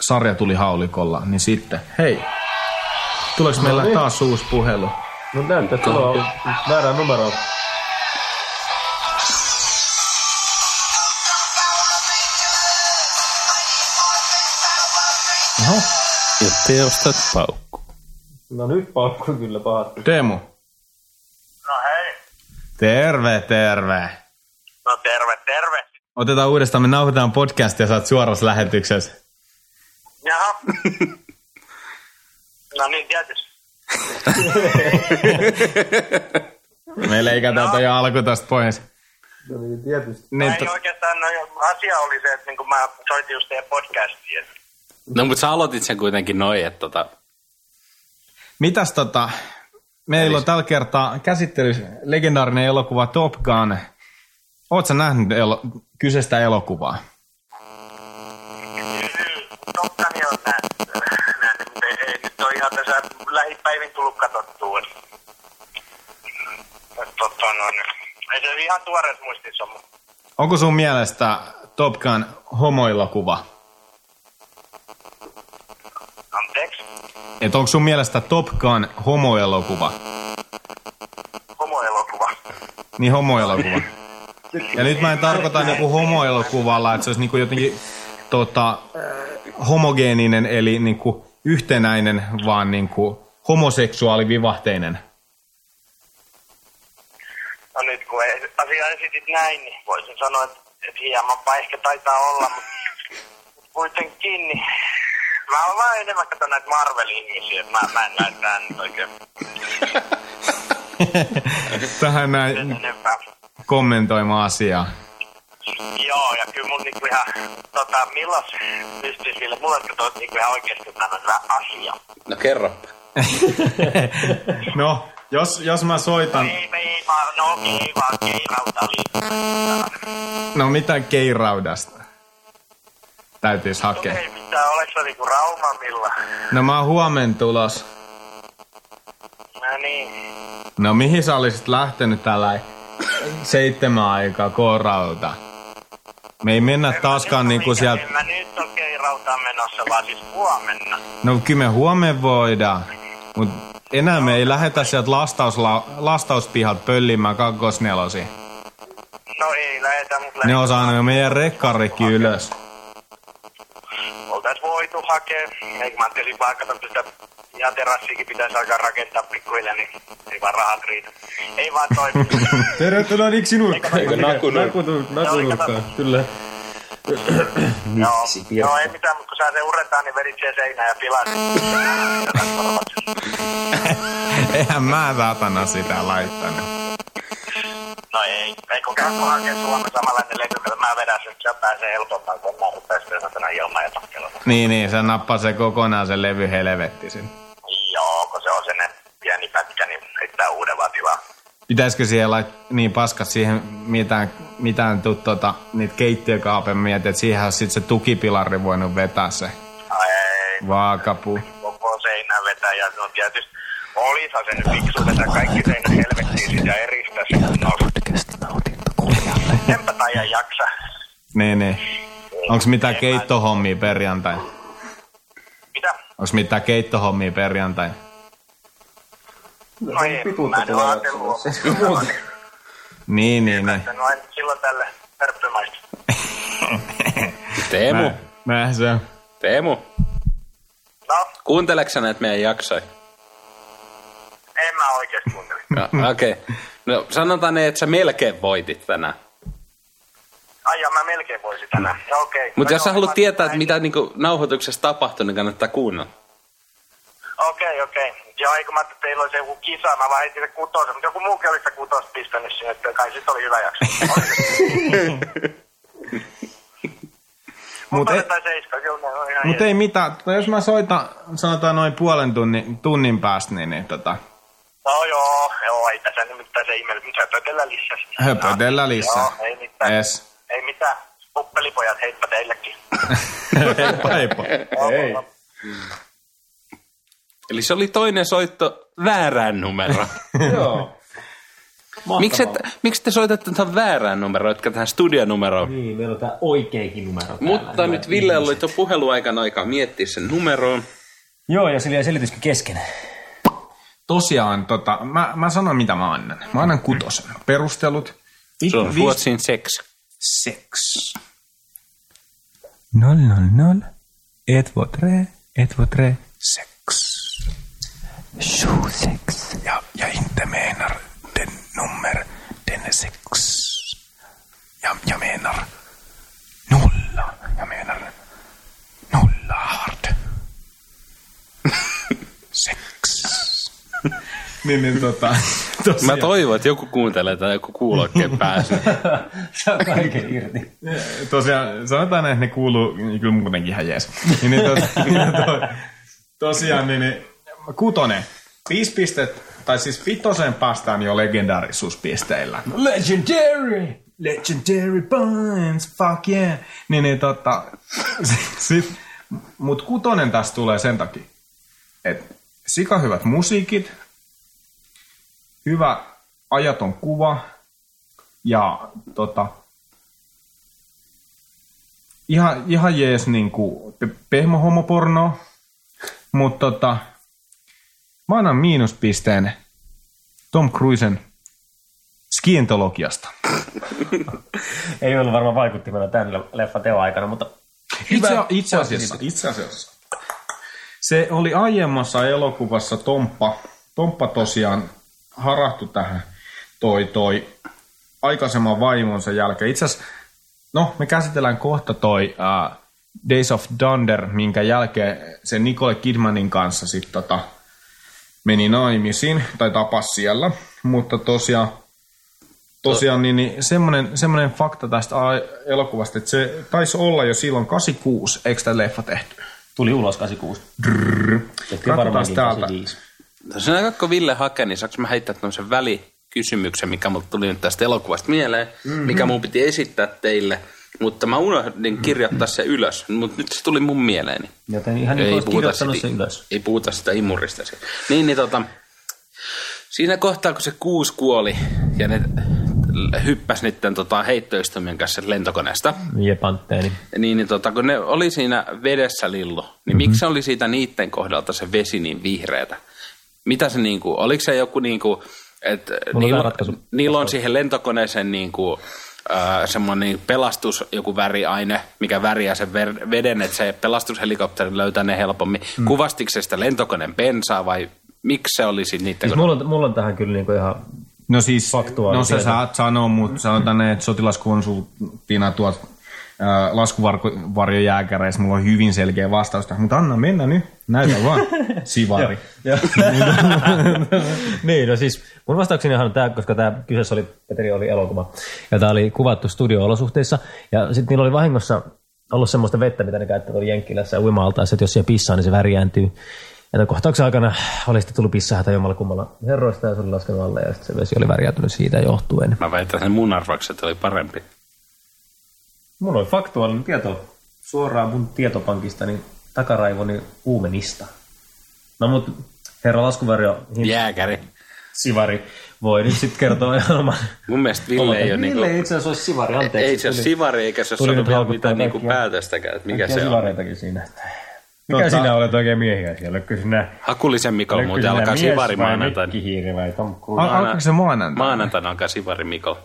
Speaker 3: sarja tuli haulikolla, niin sitten, hei, tuleeko meillä taas uusi puhelu?
Speaker 4: No näyttää, että tuo on väärä numero.
Speaker 1: Ja teostat paukku.
Speaker 4: No nyt paukku kyllä pahasti.
Speaker 3: Teemu.
Speaker 6: No hei.
Speaker 3: Terve, terve.
Speaker 6: No terve, terve.
Speaker 3: Otetaan uudestaan, me nauhoitetaan podcastia ja saat suorassa lähetyksessä.
Speaker 6: Jaha. no niin, tietysti.
Speaker 3: Me leikataan no. toi alku tästä pois. No niin,
Speaker 6: Ei
Speaker 3: tietysti.
Speaker 6: oikeastaan, no asia oli se, että niin mä soitin just teidän podcastiin. että
Speaker 1: No, mutta sä aloitit sen kuitenkin noin, että tota,
Speaker 3: Mitäs tota, meillä on tällä kertaa käsittelyssä legendaarinen elokuva Top Gun. Oot sä nähnyt elo- kyseistä elokuvaa?
Speaker 8: niin lähipäivin tullut katsottua. Et, et, tota, noin. Ei se ihan tuoreet muistissa, mutta
Speaker 3: Onko sun mielestä Top Gun homoilokuva?
Speaker 8: anteeksi.
Speaker 3: Et onko sun mielestä Top Gun homoelokuva?
Speaker 8: Homoelokuva.
Speaker 3: Niin homoelokuva. Ja nyt mä en tarkoita niinku homoelokuvalla, että se olisi niinku jotenkin tota, homogeeninen, eli niinku yhtenäinen, vaan niinku homoseksuaalivivahteinen.
Speaker 8: No nyt kun ei- asia esitit näin, niin voisin sanoa, että, että hiemanpa ehkä taitaa olla, mutta kuitenkin niin Mä oon vähän enemmän kato näitä Marvel-ihmisiä, että mä, mä en näe tää nyt oikein
Speaker 3: Tähän näin
Speaker 8: enempää.
Speaker 3: kommentoimaan asiaa.
Speaker 8: Joo, ja kyllä mun niinku ihan, tota, milloin pystyy sille, mulle kato niinku ihan oikeesti tää on hyvä asia.
Speaker 1: No kerropa.
Speaker 3: No, jos, jos mä soitan...
Speaker 8: Ei, ei, vaan, no okei, vaan keirauta liittyen.
Speaker 3: No mitä keiraudasta? Täytyisi
Speaker 8: Okay.
Speaker 3: hakea.
Speaker 8: Ei mitään, oleks se niinku Raumamilla?
Speaker 3: No mä oon huomen tulos.
Speaker 8: No niin,
Speaker 3: No mihin sä olisit lähtenyt tällä seitsemän aikaa koorauta? Me ei mennä taaskaan niinku sieltä...
Speaker 8: Niin, En mä nyt on keirautaan menossa, vaan siis huomenna.
Speaker 3: No kyllä me huomen voidaan. Mut enää me ei lähetä sieltä lastausla, lastauspihat pöllimään kakkosnelosi.
Speaker 8: No ei lähetä, mut
Speaker 3: Ne
Speaker 8: lähetä.
Speaker 3: on saanut jo meidän rekkarekki ylös.
Speaker 8: Oltais voitu hakea. Eikö mä ajattelin vaan kato, että sitä ihan terassiikin pitäisi alkaa rakentaa pikkuhiljaa, niin ei vaan rahat riitä. Ei vaan toimi.
Speaker 3: Tervetuloa Niksi nurkkaan.
Speaker 1: Eikö nakunut?
Speaker 8: Nakunurkkaan,
Speaker 7: kyllä.
Speaker 8: Joo, joo, ei mitään, mutta kun sä se uretaan, niin vedit sen seinään ja pilasit.
Speaker 3: Eihän mä saatana sitä laittanut.
Speaker 8: No ei, ei kun käy hakee Suomen samanlainen levy, että mä vedän sen, se pääsee helpompaan, kun mä rupean sitä satana ilman ja takkelemaan.
Speaker 3: Niin, niin, se nappasi se kokonaan sen levy helvetti sen.
Speaker 8: Joo, kun se on sen pieni pätkä, niin heittää uuden vaan tilaa.
Speaker 3: Pitäisikö siihen laittaa niin paskat siihen mitään, mitään tuu, tota, niitä keittiökaapemia, että siihen olisi sitten se tukipilari voinut vetää se
Speaker 8: Ai, ei,
Speaker 3: vaakapu.
Speaker 8: koko seinän vetää ja no tietysti olihan se nyt fiksu vetää kaikki seinän helvettiin sit ja eristää se kunnolla. Enpä taida jaksa.
Speaker 3: Niin, niin. Onko mitään keittohommia perjantai?
Speaker 8: Mitä?
Speaker 3: Onko mitään keittohommia perjantai?
Speaker 8: No ei, mä en ole ajatellut.
Speaker 3: Niin, niin, niin.
Speaker 8: No en silloin tälle pörppömaista.
Speaker 1: Teemu,
Speaker 3: Mä, mä se on.
Speaker 1: Teemu,
Speaker 8: No,
Speaker 1: kuunteleksä näitä meidän jaksoja?
Speaker 8: en mä oikeesti kuuntele.
Speaker 1: No, Okei. Okay. No sanotaan, että sä melkein voitit tänään.
Speaker 8: Ai ja mä melkein voisin tänään. No, okei.
Speaker 1: Mutta
Speaker 8: no,
Speaker 1: jos sä
Speaker 8: joo,
Speaker 1: haluat
Speaker 8: mä-
Speaker 1: tietää,
Speaker 8: mä-
Speaker 1: että mitä niinku nauhoituksessa tapahtui, niin kannattaa kuunnella.
Speaker 8: Okei, okei. Joo, eikö mä ajattelin, että teillä olisi joku kisa, mä vaan heitin se kutosen, mutta joku muukin oli sitä kutosta pistänyt sinne, että kai sit oli hyvä jakso.
Speaker 3: Mut
Speaker 8: Mutta
Speaker 3: ei-
Speaker 8: tai seiska, kyllä ne on ihan
Speaker 3: Mut
Speaker 8: jees.
Speaker 3: ei mitään. Tota, jos mä soitan, sanotaan noin puolen tunnin, tunnin päästä, niin, niin tota,
Speaker 8: No joo, joo, ei tässä nyt mitään se ihme, mitä höpötellä lisää.
Speaker 3: höpötellä lisää.
Speaker 8: Joo, ei mitään.
Speaker 3: Yes.
Speaker 8: Ei mitään. Puppelipojat, heippa teillekin.
Speaker 3: heippa, heippa.
Speaker 8: Ei.
Speaker 1: Eli se oli toinen soitto väärään numeroon.
Speaker 7: Joo.
Speaker 1: miksi, et, miksi te soitatte tähän väärään numeroon, etkä tähän studionumeroon?
Speaker 7: Niin, meillä on tää oikeakin numero täällä.
Speaker 1: Mutta
Speaker 7: Hyvät
Speaker 1: nyt Ville
Speaker 7: ihmiset.
Speaker 1: oli tuon puheluaikan aikaa miettiä sen numeroon.
Speaker 7: Joo, ja sillä jäi selityskin kesken.
Speaker 3: Tosiaan, tota, mä, mä sanon mitä mä annan. Mä annan kutosen. Perustelut.
Speaker 1: Se on
Speaker 3: Vi-
Speaker 1: Ruotsin seksi.
Speaker 3: Sex.
Speaker 5: Noll, noll, noll. Ett, två, tre. Ett, två, tre.
Speaker 3: Sex.
Speaker 5: Tjosex.
Speaker 3: Ja, ja inte menar den nummer, den sex. Ja, jag menar nolla. Jag menar nolla hard. Sex. niin, niin tota,
Speaker 1: Mä
Speaker 3: tosiaan.
Speaker 1: toivon, että joku kuuntelee tai joku kuulokkeen pääsee.
Speaker 7: Saa kaiken irti.
Speaker 3: tosiaan, sanotaan, että ne kuuluu niin kyllä muutenkin ihan jees. Niin, niin tos, to, tosiaan, niin, niin kutonen. Viisi pistettä, tai siis vitoseen päästään jo legendaarisuuspisteillä. Legendary! Legendary Binds, fuck yeah! Niin, niin tota, sit, mut kutonen tässä tulee sen takia, että sikahyvät musiikit, hyvä ajaton kuva ja tota, ihan, ihan jees niin kuin pe- pehmohomoporno, mutta tota, mä annan miinuspisteen Tom Cruisen skientologiasta.
Speaker 4: Ei ollut varmaan vaikuttimena tämän le- leffan teon aikana, mutta
Speaker 3: Itse, itse, asiassa, itse asiassa. Se oli aiemmassa elokuvassa Tomppa. Tomppa tosiaan harahtu tähän toi, toi aikaisemman vaimonsa jälkeen. Itse asiassa, no me käsitellään kohta toi uh, Days of Thunder, minkä jälkeen se Nicole Kidmanin kanssa sitten tota, meni naimisiin tai tapas siellä. Mutta tosiaan tosiaan niin, niin semmoinen, semmoinen fakta tästä a- elokuvasta, että se taisi olla jo silloin 86, eikö tämä leffa tehty?
Speaker 4: tuli ulos 86. Tehtiin
Speaker 3: Katsotaan
Speaker 4: varmaankin
Speaker 3: täältä.
Speaker 4: 85.
Speaker 1: Tässä No on aika, kun Ville hakee, niin saanko mä heittää tämmöisen välikysymyksen, mikä mulle tuli nyt tästä elokuvasta mieleen, mm-hmm. mikä mun piti esittää teille. Mutta mä unohdin kirjoittaa se ylös, mutta nyt se tuli mun mieleeni.
Speaker 4: Joten ihan niin kuin olisit kirjoittanut sen ylös.
Speaker 1: Ei puhuta sitä imurista. siellä. Niin, niin tota, siinä kohtaa, kun se kuusi kuoli ja ne hyppäs niiden tota, heittoistumien kanssa lentokoneesta,
Speaker 4: Jepantteeni.
Speaker 1: niin, niin tota, kun ne oli siinä vedessä lillo, niin mm-hmm.
Speaker 4: Mhm.
Speaker 1: miksi se oli siitä niiden kohdalta se vesi niin vihreätä? Mitä se niinku, oliko se joku niinku, että
Speaker 4: on tää ratkaisu.
Speaker 1: niillä on siihen lentokoneeseen niinku, äh, semmoinen pelastus, joku väriaine, mikä väriä sen ver- veden, että se pelastushelikopteri löytää ne helpommin. Mm. Kuvastiko se sitä lentokoneen bensaa vai miksi se olisi niiden
Speaker 4: Siis
Speaker 1: kohdalla?
Speaker 4: mulla on, mulla on tähän kyllä niinku ihan...
Speaker 3: No siis,
Speaker 4: Faktuaali
Speaker 3: no sä
Speaker 4: tieto.
Speaker 3: saat sanoa, mutta sanotaan, että sotilaskonsulttina tuot ää, laskuvarjojääkäreissä mulla on hyvin selkeä vastaus tähän, mutta anna mennä nyt, näytä vaan, sivari.
Speaker 4: niin, no siis mun vastauksenihan on tämä, koska tämä kyseessä oli, Petri oli elokuva, ja tämä oli kuvattu studio-olosuhteissa, ja sitten niillä oli vahingossa ollut semmoista vettä, mitä ne käyttävät oli Jenkkilässä ja uimaltaassa, että jos siellä pissaa, niin se värjääntyy. Ja tämän kohtauksen aikana oli sitten tullut pissahätä jommalla kummalla herroista, ja se oli laskenut alle, ja sitten se vesi oli värjäytynyt siitä johtuen.
Speaker 1: Mä väitän, että ne mun arvaukset oli parempi.
Speaker 4: Mulla oli faktuaalinen tieto suoraan mun tietopankista, niin takaraivoni uumenista. No mut herra laskuvarjo, hin-
Speaker 1: Jääkäri.
Speaker 4: sivari, voi nyt sitten kertoa ihan oman...
Speaker 1: Mun mielestä Ville ei ole niinku...
Speaker 4: Ville itse asiassa olisi sivari, anteeksi.
Speaker 1: Ei se ole
Speaker 4: tuli-
Speaker 1: sivari, eikä se ole
Speaker 4: tuli
Speaker 1: saanut
Speaker 4: nyt
Speaker 1: vielä
Speaker 4: haukuttaa
Speaker 1: mitään niinku
Speaker 4: kaikkia.
Speaker 1: päätöstäkään, että mikä
Speaker 4: kaikkia
Speaker 1: se on.
Speaker 4: sivareitakin siinä. että- Mikä sinä olet oikein miehiä siellä? Oletko sinä,
Speaker 1: Hakulisen Mikolla
Speaker 4: oletko
Speaker 1: muuten
Speaker 4: sinä
Speaker 1: alkaa
Speaker 4: mies
Speaker 1: sivari
Speaker 4: vai
Speaker 1: maanantaina.
Speaker 4: mikkihiiri vai Tom Cruise?
Speaker 3: Al- Alkoiko se maanantaina?
Speaker 1: Maanantaina alkaa sivari Mikolla.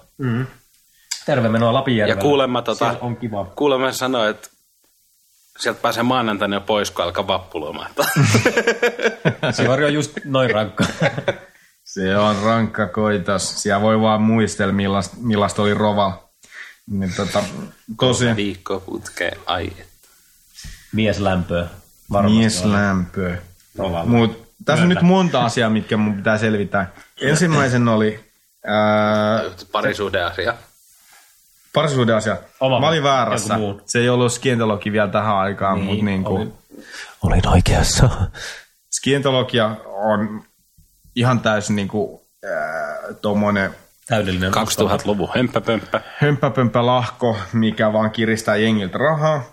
Speaker 4: Terve menoa
Speaker 1: Ja
Speaker 4: Lapinjärvelle.
Speaker 1: kuulemma, tota,
Speaker 4: Siellä on kiva.
Speaker 1: kuulemma sanoi, että sieltä pääsee maanantaina jo pois, kun alkaa vappuloma.
Speaker 4: Sivari on just noin rankka.
Speaker 3: Se on rankka koitas. Siellä voi vaan muistella, millaista, millaista oli rova. Niin, tota, tosiaan.
Speaker 1: Viikko putkeen, ai. että.
Speaker 4: Mies lämpöä. Varmasti
Speaker 3: Mies
Speaker 4: on.
Speaker 3: lämpö.
Speaker 4: Rovalla.
Speaker 3: Mut, tässä on nyt monta asiaa, mitkä mun pitää selvittää. Ensimmäisen oli äh, ää,
Speaker 1: Parisuhdeasia.
Speaker 3: parisuhdeasia.
Speaker 4: Oma-
Speaker 3: Mä olin väärässä.
Speaker 4: joku muu.
Speaker 3: Se ei ollut skientologi vielä tähän aikaan, niin, mutta niinku,
Speaker 9: Olin oikeassa.
Speaker 3: skientologia on ihan täysin niinku, ää, tommonen
Speaker 4: Täydellinen.
Speaker 1: 2000-luvun hömppäpömppä.
Speaker 3: hömppäpömpä lahko, mikä vaan kiristää jengiltä rahaa,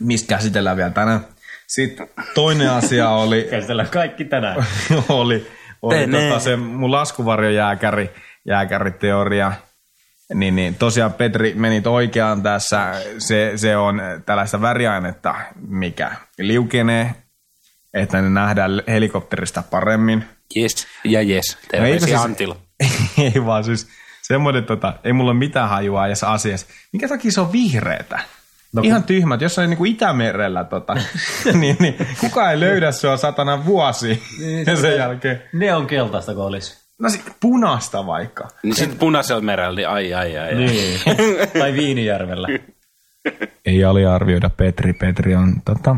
Speaker 3: mistä käsitellään vielä tänään. Sitten toinen asia oli,
Speaker 4: Käsitellään kaikki tänään.
Speaker 3: oli, oli
Speaker 1: Tänään.
Speaker 3: tota se mun laskuvarjojääkäri, jääkäriteoria. Niin, niin, tosiaan Petri menit oikeaan tässä. Se, se on tällaista väriainetta, mikä liukenee, että ne nähdään helikopterista paremmin.
Speaker 1: Yes ja
Speaker 4: No
Speaker 1: yes.
Speaker 3: eikö
Speaker 1: Terveisiä
Speaker 3: siis-
Speaker 1: Antilla.
Speaker 3: ei vaan siis semmoinen, tota, ei mulla ole mitään hajua edes asiassa. Minkä takia se on vihreätä? No, Ihan tyhmät, jos se on niinku Itämerellä, tota, niin, niin, kukaan ei löydä sua satana vuosi niin, sen jälkeen.
Speaker 4: Ne on keltaista kun olisi.
Speaker 3: No sit punaista vaikka.
Speaker 1: Niin sitten punaisella merellä, niin ai ai ai. ai.
Speaker 4: Niin. tai Viinijärvellä.
Speaker 3: Ei aliarvioida Petri. Petri on tota,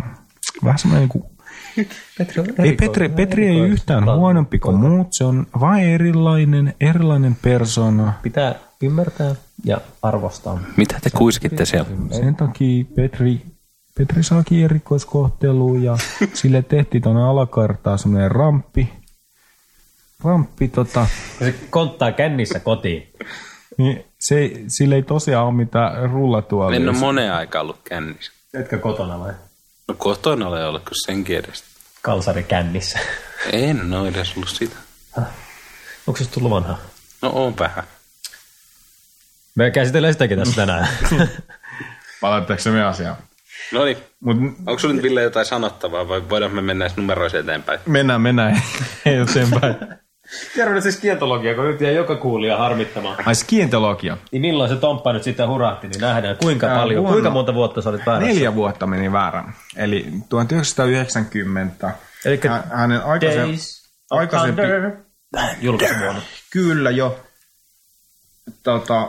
Speaker 3: vähän semmoinen kuin...
Speaker 4: Petri on
Speaker 3: Ei, Petri, Petri ei yhtään huonompi kuin muut. Se on vain erilainen, erilainen persona.
Speaker 4: Pitää ymmärtää ja arvostaa.
Speaker 1: Mitä te kuiskitte siellä?
Speaker 3: Sen takia Petri, Petri saakin erikoiskohtelua ja sille tehtiin tuonne alakartaan semmoinen ramppi. Ramppi tota,
Speaker 4: Se konttaa kännissä kotiin.
Speaker 3: niin se, ei- sillä ei tosiaan ole mitään rullatuolia.
Speaker 1: En ole moneen aikaan ollut kännissä.
Speaker 4: Etkö kotona vai?
Speaker 1: No kotona ole ollut, kun senkin edestä.
Speaker 4: Kalsari kännissä.
Speaker 1: En ole edes ollut sitä.
Speaker 4: Onko se tullut vanha?
Speaker 1: No on vähän.
Speaker 4: Me käsitellään sitäkin tässä tänään.
Speaker 3: Palataanko se me asiaan?
Speaker 1: No niin,
Speaker 3: Mut
Speaker 1: onko sulla nyt Ville jotain sanottavaa vai voidaanko me mennä edes numeroissa eteenpäin?
Speaker 3: mennään, mennään eteenpäin.
Speaker 4: Kerro nyt siis kientologia, kun nyt jäi joka kuulija harmittamaan.
Speaker 3: Ai skientologia.
Speaker 4: Niin milloin se tomppa nyt sitten hurahti, niin nähdään kuinka
Speaker 3: Tää on
Speaker 4: paljon,
Speaker 3: huono.
Speaker 4: kuinka monta vuotta sä olit väärässä.
Speaker 3: Neljä vuotta meni väärän. Eli 1990.
Speaker 4: Elikkä
Speaker 3: Hä- hänen aikaisem-
Speaker 4: Days of
Speaker 3: aikaisempi...
Speaker 4: Thunder. Julkaisuvuonna.
Speaker 3: Kyllä jo. Tota,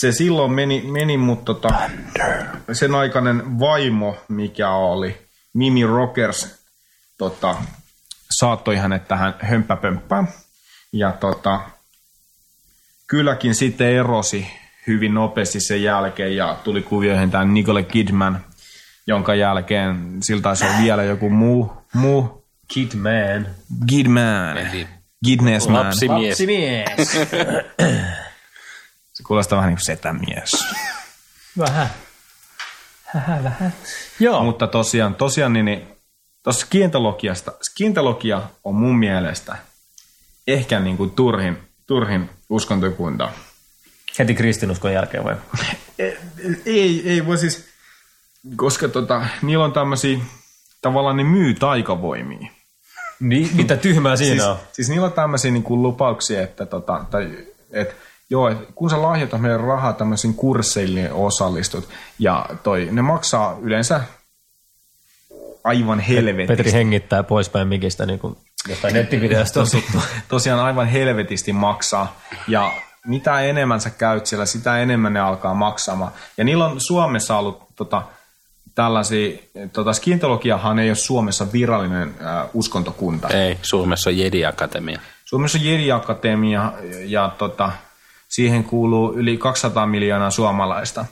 Speaker 3: se silloin meni, meni mutta tota, sen aikainen vaimo, mikä oli, Mimi Rockers, tota, saattoi hänet tähän hömpäpömppään. Ja tota, kylläkin sitten erosi hyvin nopeasti sen jälkeen ja tuli kuvioihin tämä Nicole Kidman, jonka jälkeen siltä taisi olla vielä joku muu, muu
Speaker 4: Kidman.
Speaker 3: Kidman.
Speaker 1: Eli
Speaker 3: Kidnessman.
Speaker 1: Lapsimies.
Speaker 4: Lapsimies.
Speaker 3: Se kuulostaa vähän niin kuin setämies.
Speaker 4: Vähän. Hähä, vähän. Joo.
Speaker 3: Mutta tosiaan, tosiaan niin, niin tuossa kientologiasta, kientologia on mun mielestä ehkä niin kuin turhin, turhin uskontokunta.
Speaker 4: Heti kristinuskon jälkeen vai?
Speaker 3: Ei, ei voi siis, koska tota, niillä on tämmöisiä, tavallaan ne myy taikavoimia.
Speaker 4: Niin, mitä tyhmää siinä
Speaker 3: siis,
Speaker 4: on?
Speaker 3: siis niillä on tämmöisiä niin kuin lupauksia, että tota, tai, et, joo, et kun sä lahjoitat meidän rahaa tämmöisiin kursseille niin osallistut, ja toi, ne maksaa yleensä aivan helvetisti.
Speaker 4: Petri hengittää poispäin mikistä niin kuin jostain nettivideosta on tuttu.
Speaker 3: tosiaan aivan helvetisti maksaa. Ja mitä enemmän sä käyt siellä, sitä enemmän ne alkaa maksamaan. Ja niillä on Suomessa ollut tota, tällaisia, tota, skintologiahan ei ole Suomessa virallinen ää, uskontokunta.
Speaker 1: Ei, Suomessa on Jedi Akatemia.
Speaker 3: Suomessa on Jedi Akatemia ja tota, siihen kuuluu yli 200 miljoonaa suomalaista.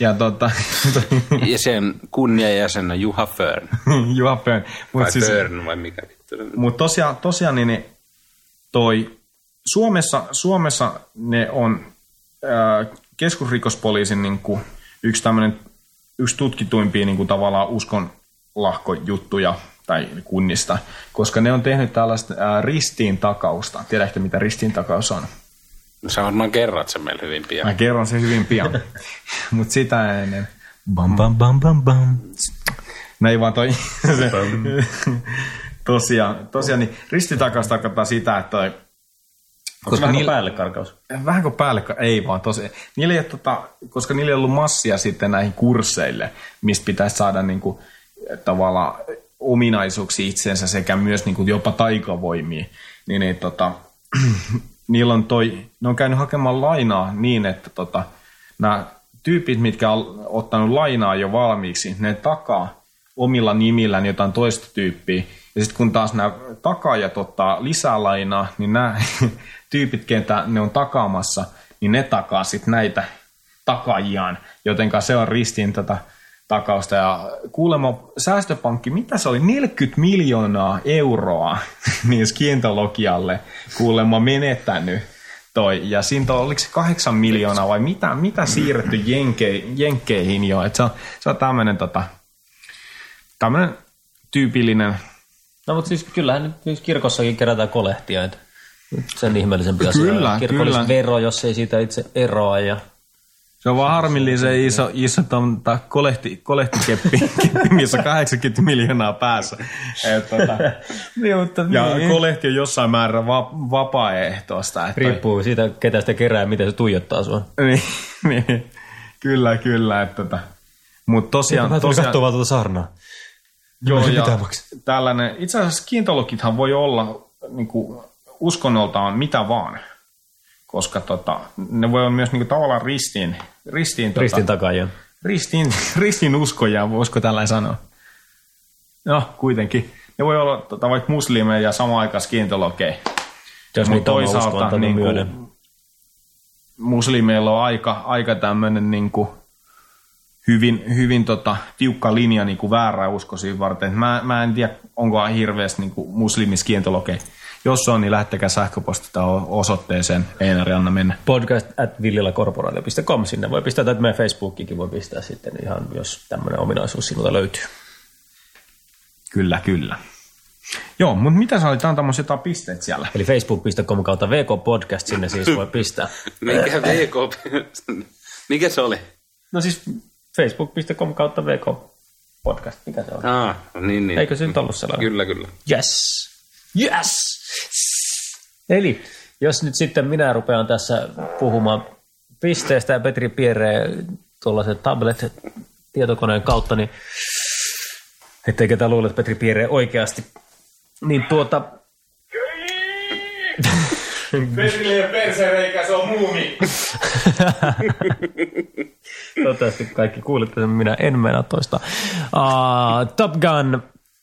Speaker 3: Ja tota,
Speaker 1: Ja sen kunniajäsen on Juha Fern.
Speaker 3: Juha Pöön.
Speaker 1: Vai
Speaker 3: Mut siis,
Speaker 1: Fern vai mikä vittu. se on.
Speaker 3: Mutta tosiaan, tosiaan niin ne toi Suomessa, Suomessa ne on ää, keskusrikospoliisin niin kuin, yksi tämmöinen yksi tutkituimpia niin kuin, tavallaan uskon lahkojuttuja tai kunnista, koska ne on tehnyt tällaista ää, ristiin takausta. Tiedätkö, mitä ristiin takaus on?
Speaker 1: Sä varmaan kerrot sen meille hyvin
Speaker 3: Mä
Speaker 1: pian.
Speaker 3: kerron sen hyvin pian. Mutta sitä ennen.
Speaker 5: Bam, bam, bam, bam, bam.
Speaker 3: No ei vaan toi... se, tosiaan, tosiaan niin ristitakaus tarkoittaa sitä, että toi
Speaker 4: Koska niillä... päälle karkaus.
Speaker 3: Vähän kuin päällekkä, ei vaan tosi. Niillä ei ole, tota, koska niillä ei ollut massia sitten näihin kursseille, mistä pitäisi saada niin kuin, tavallaan ominaisuuksia itsensä sekä myös niin kuin, jopa taikavoimia, niin ei, tota, niillä on toi, ne on käynyt hakemaan lainaa niin, että tota, nämä tyypit, mitkä on ottanut lainaa jo valmiiksi, ne takaa omilla nimillään jotain toista tyyppiä. Ja sitten kun taas nämä takaajat ottaa lisää lainaa, niin nämä tyypit, ketä ne on takaamassa, niin ne takaa sitten näitä takaajiaan. Jotenka se on ristiin tätä takausta. Ja kuulemma säästöpankki, mitä se oli, 40 miljoonaa euroa niin skientologialle kuulemma menettänyt. Toi. Ja siitä on, oliko se kahdeksan miljoonaa vai mitä, mitä siirretty jenke, jenkkeihin jo. Et se on, se on tämmöinen tota, tämmönen tyypillinen,
Speaker 4: No mutta siis kyllähän nyt siis kirkossakin kerätään kolehtia, että sen ihmeellisen pitäisi
Speaker 3: Kyllä, kyllä.
Speaker 4: vero, jos ei siitä itse eroa. Ja...
Speaker 3: se on vaan harmillinen se iso, iso tomta, kolehti, kolehtikeppi, keppi, missä on 80 miljoonaa päässä. Et, tota,
Speaker 4: niin, mutta
Speaker 3: ja kolehti on jossain määrä va, vapaaehtoista. Että,
Speaker 4: Riippuu siitä, ketä sitä kerää ja miten se tuijottaa sua.
Speaker 3: niin, niin, kyllä, kyllä. Että, tota. Mutta tosiaan, tosiaan
Speaker 4: vaan tuota sarnaa.
Speaker 3: joo, ja
Speaker 4: Mitä maksaa?
Speaker 3: tällainen, itse asiassa kiintologithan voi olla niin kuin, uskonnoltaan mitä vaan, koska tota, ne voi olla myös niin kuin, tavallaan ristiin, ristiin, tota,
Speaker 4: Ristin takaajan.
Speaker 3: ristin, ristin uskoja, voisiko tällainen sanoa? No, kuitenkin. Ne voi olla tota, vaikka muslimeja ja samaan aikaan skientologeja.
Speaker 4: Jos
Speaker 3: Mut
Speaker 4: niitä on uskonto, niin
Speaker 3: niinku,
Speaker 4: myöden.
Speaker 3: muslimeilla on aika, aika tämmöinen niin kuin hyvin, hyvin tota, tiukka linja niin kuin väärää uskoisiin varten. Mä, mä en tiedä, onko hirveästi niin kuin muslimiskientologeja. Jos on, niin lähtekää sähköpostita o- osoitteeseen. Einari, anna mennä.
Speaker 4: podcast at villilakorporaatio.com. Sinne voi pistää, tai meidän Facebookikin voi pistää sitten ihan, jos tämmöinen ominaisuus sinulta löytyy.
Speaker 3: Kyllä, kyllä. Joo, mutta mitä sä olit antamassa jotain pisteet siellä?
Speaker 4: Eli facebook.com kautta VK Podcast sinne siis voi pistää.
Speaker 1: Mikä VK... Mikä se oli?
Speaker 4: No siis facebook.com kautta VK Podcast, mikä se on?
Speaker 1: Ah, niin, niin.
Speaker 4: Eikö se nyt ollut sellainen?
Speaker 1: Kyllä, kyllä.
Speaker 4: Yes! Yes! Eli jos nyt sitten minä rupean tässä puhumaan pisteestä ja Petri Pierre tuollaisen tablet-tietokoneen kautta, niin ettei ketä luule, että Petri Pierre oikeasti. Niin tuota,
Speaker 3: Perille persereikä, se on muumi.
Speaker 4: toivottavasti kaikki kuulitte sen, minä en mennä toista. Uh, Top Gun,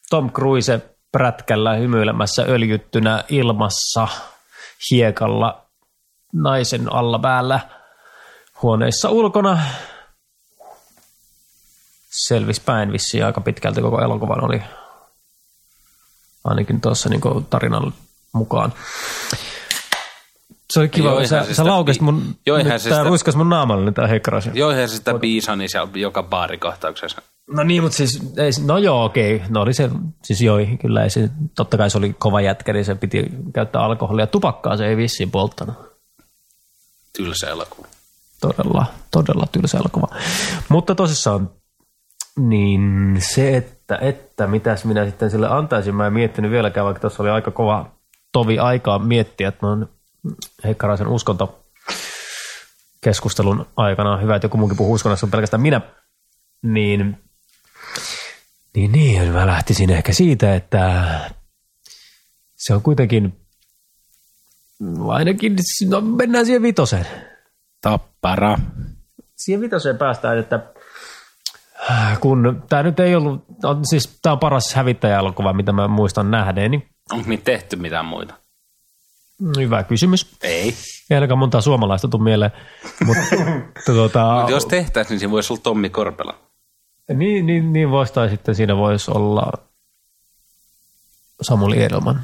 Speaker 4: Tom Cruise prätkällä hymyilemässä öljyttynä ilmassa hiekalla naisen alla päällä huoneissa ulkona. Selvis päin vissiin aika pitkälti koko elokuvan oli ainakin tuossa niin tarinan mukaan. Se oli kiva,
Speaker 1: Joo,
Speaker 4: Joo,
Speaker 1: eihän
Speaker 4: sä,
Speaker 1: se
Speaker 4: sä
Speaker 1: sitä
Speaker 4: laukasit
Speaker 1: pi-
Speaker 4: mun,
Speaker 1: Joo, eihän
Speaker 4: nyt
Speaker 1: se
Speaker 4: tää
Speaker 1: sitä-
Speaker 4: ruiskas mun naamalle, niin tää hekrasin.
Speaker 1: Joo, eihän se sitä biisani siellä joka baarikohtauksessa.
Speaker 4: No niin, mutta siis, ei, no joo, okei, no oli se, siis joi, kyllä ei se, totta kai se oli kova jätkä, niin se piti käyttää alkoholia. Tupakkaa se ei vissiin polttanut.
Speaker 1: Tylsä elokuva.
Speaker 4: Todella, todella tylsä elokuva. Mutta tosissaan, niin se, että, että mitäs minä sitten sille antaisin, mä en miettinyt vieläkään, vaikka tässä oli aika kova tovi aikaa miettiä, että noin Heikkaraisen uskonto keskustelun aikana, hyvä, että joku muukin puhuu uskonnosta, mutta pelkästään minä, niin Niin niin, mä lähtisin ehkä siitä, että se on kuitenkin ainakin, no mennään siihen vitoseen.
Speaker 1: Tappara.
Speaker 4: Siihen vitoseen päästään, että äh, kun tämä nyt ei ollut, on, siis tämä on paras hävittäjäelokuva, mitä mä muistan nähneeni.
Speaker 1: Onko niitä tehty mitään muita?
Speaker 4: Hyvä kysymys.
Speaker 1: Ei.
Speaker 4: Ei ainakaan montaa suomalaista tule mieleen. Mutta, tuota,
Speaker 1: Mut jos tehtäisiin, niin siinä voisi olla Tommi Korpela.
Speaker 4: niin, niin, niin voisi, tai sitten siinä voisi olla Samuli Edelman.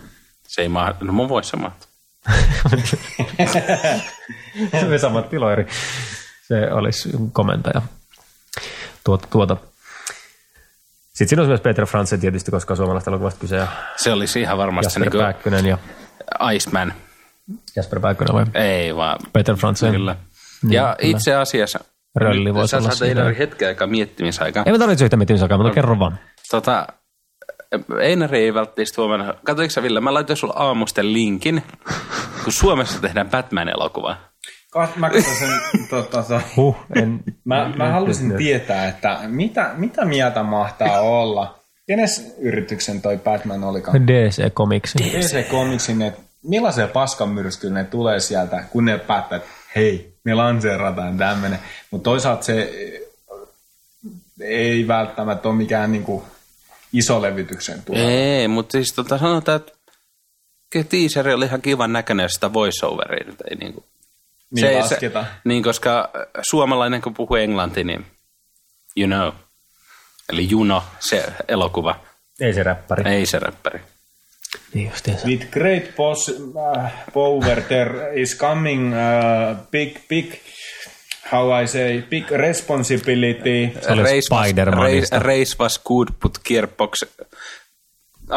Speaker 1: Se ei mahdu. No mun voisi samat.
Speaker 4: Se Vesa-Matti Loiri. Se olisi komentaja. Tuota, tuota. Sitten siinä olisi myös Peter Franze tietysti, koska on suomalaista elokuvasta kyse. Ja
Speaker 1: Se olisi ihan varmasti se
Speaker 4: Jasper
Speaker 1: niin kuin
Speaker 4: Pääkkönen ja
Speaker 1: Iceman.
Speaker 4: Jasper Pääkkönen vai
Speaker 1: Ei vaan.
Speaker 4: Peter Franze.
Speaker 1: Kyllä. Ja itse asiassa...
Speaker 4: Niin, Rölli
Speaker 1: Nyt
Speaker 4: voisi
Speaker 1: sä
Speaker 4: olla
Speaker 1: saat
Speaker 4: siinä.
Speaker 1: Einari hetken aikaa miettimisaikaa.
Speaker 4: Ei me tarvitse yhtä miettimisaikaa, mutta kerro vaan.
Speaker 1: Tota, Einari ei välttämättä huomenna... Katoinko sä Ville, mä laitoin sulle aamusten linkin, kun Suomessa tehdään Batman-elokuva.
Speaker 3: Kas- Mä katson sen, tota, se-
Speaker 4: Huh, en,
Speaker 3: Mä, mä halusin tietää, että mitä, mitä mieltä mahtaa olla. Kenes yrityksen toi Batman olikaan?
Speaker 4: DC Comics.
Speaker 3: DC Comicsin, että millaisia paskamyrskyjä ne tulee sieltä, kun ne päättää, että hei, me lanseerataan tämmönen. Mutta toisaalta se eh, ei välttämättä ole mikään niinku iso levytyksen tulo.
Speaker 1: Ei, mutta siis tota, sanotaan, että kyllä teaseri oli ihan kivan näköinen, jos sitä voiceoveria nyt ei niinku...
Speaker 3: Niin
Speaker 1: ei-
Speaker 3: lasketa.
Speaker 1: niin, koska suomalainen kun puhuu englantia, niin you know. Eli Juno, se elokuva,
Speaker 4: Ei se räppäri.
Speaker 1: ei se räppäri.
Speaker 4: Niin justiinsa.
Speaker 3: With great boss, uh, power there is coming uh, big, big, how I say, big responsibility.
Speaker 4: Se oli Spider-Manista.
Speaker 1: race, race was good, but gearbox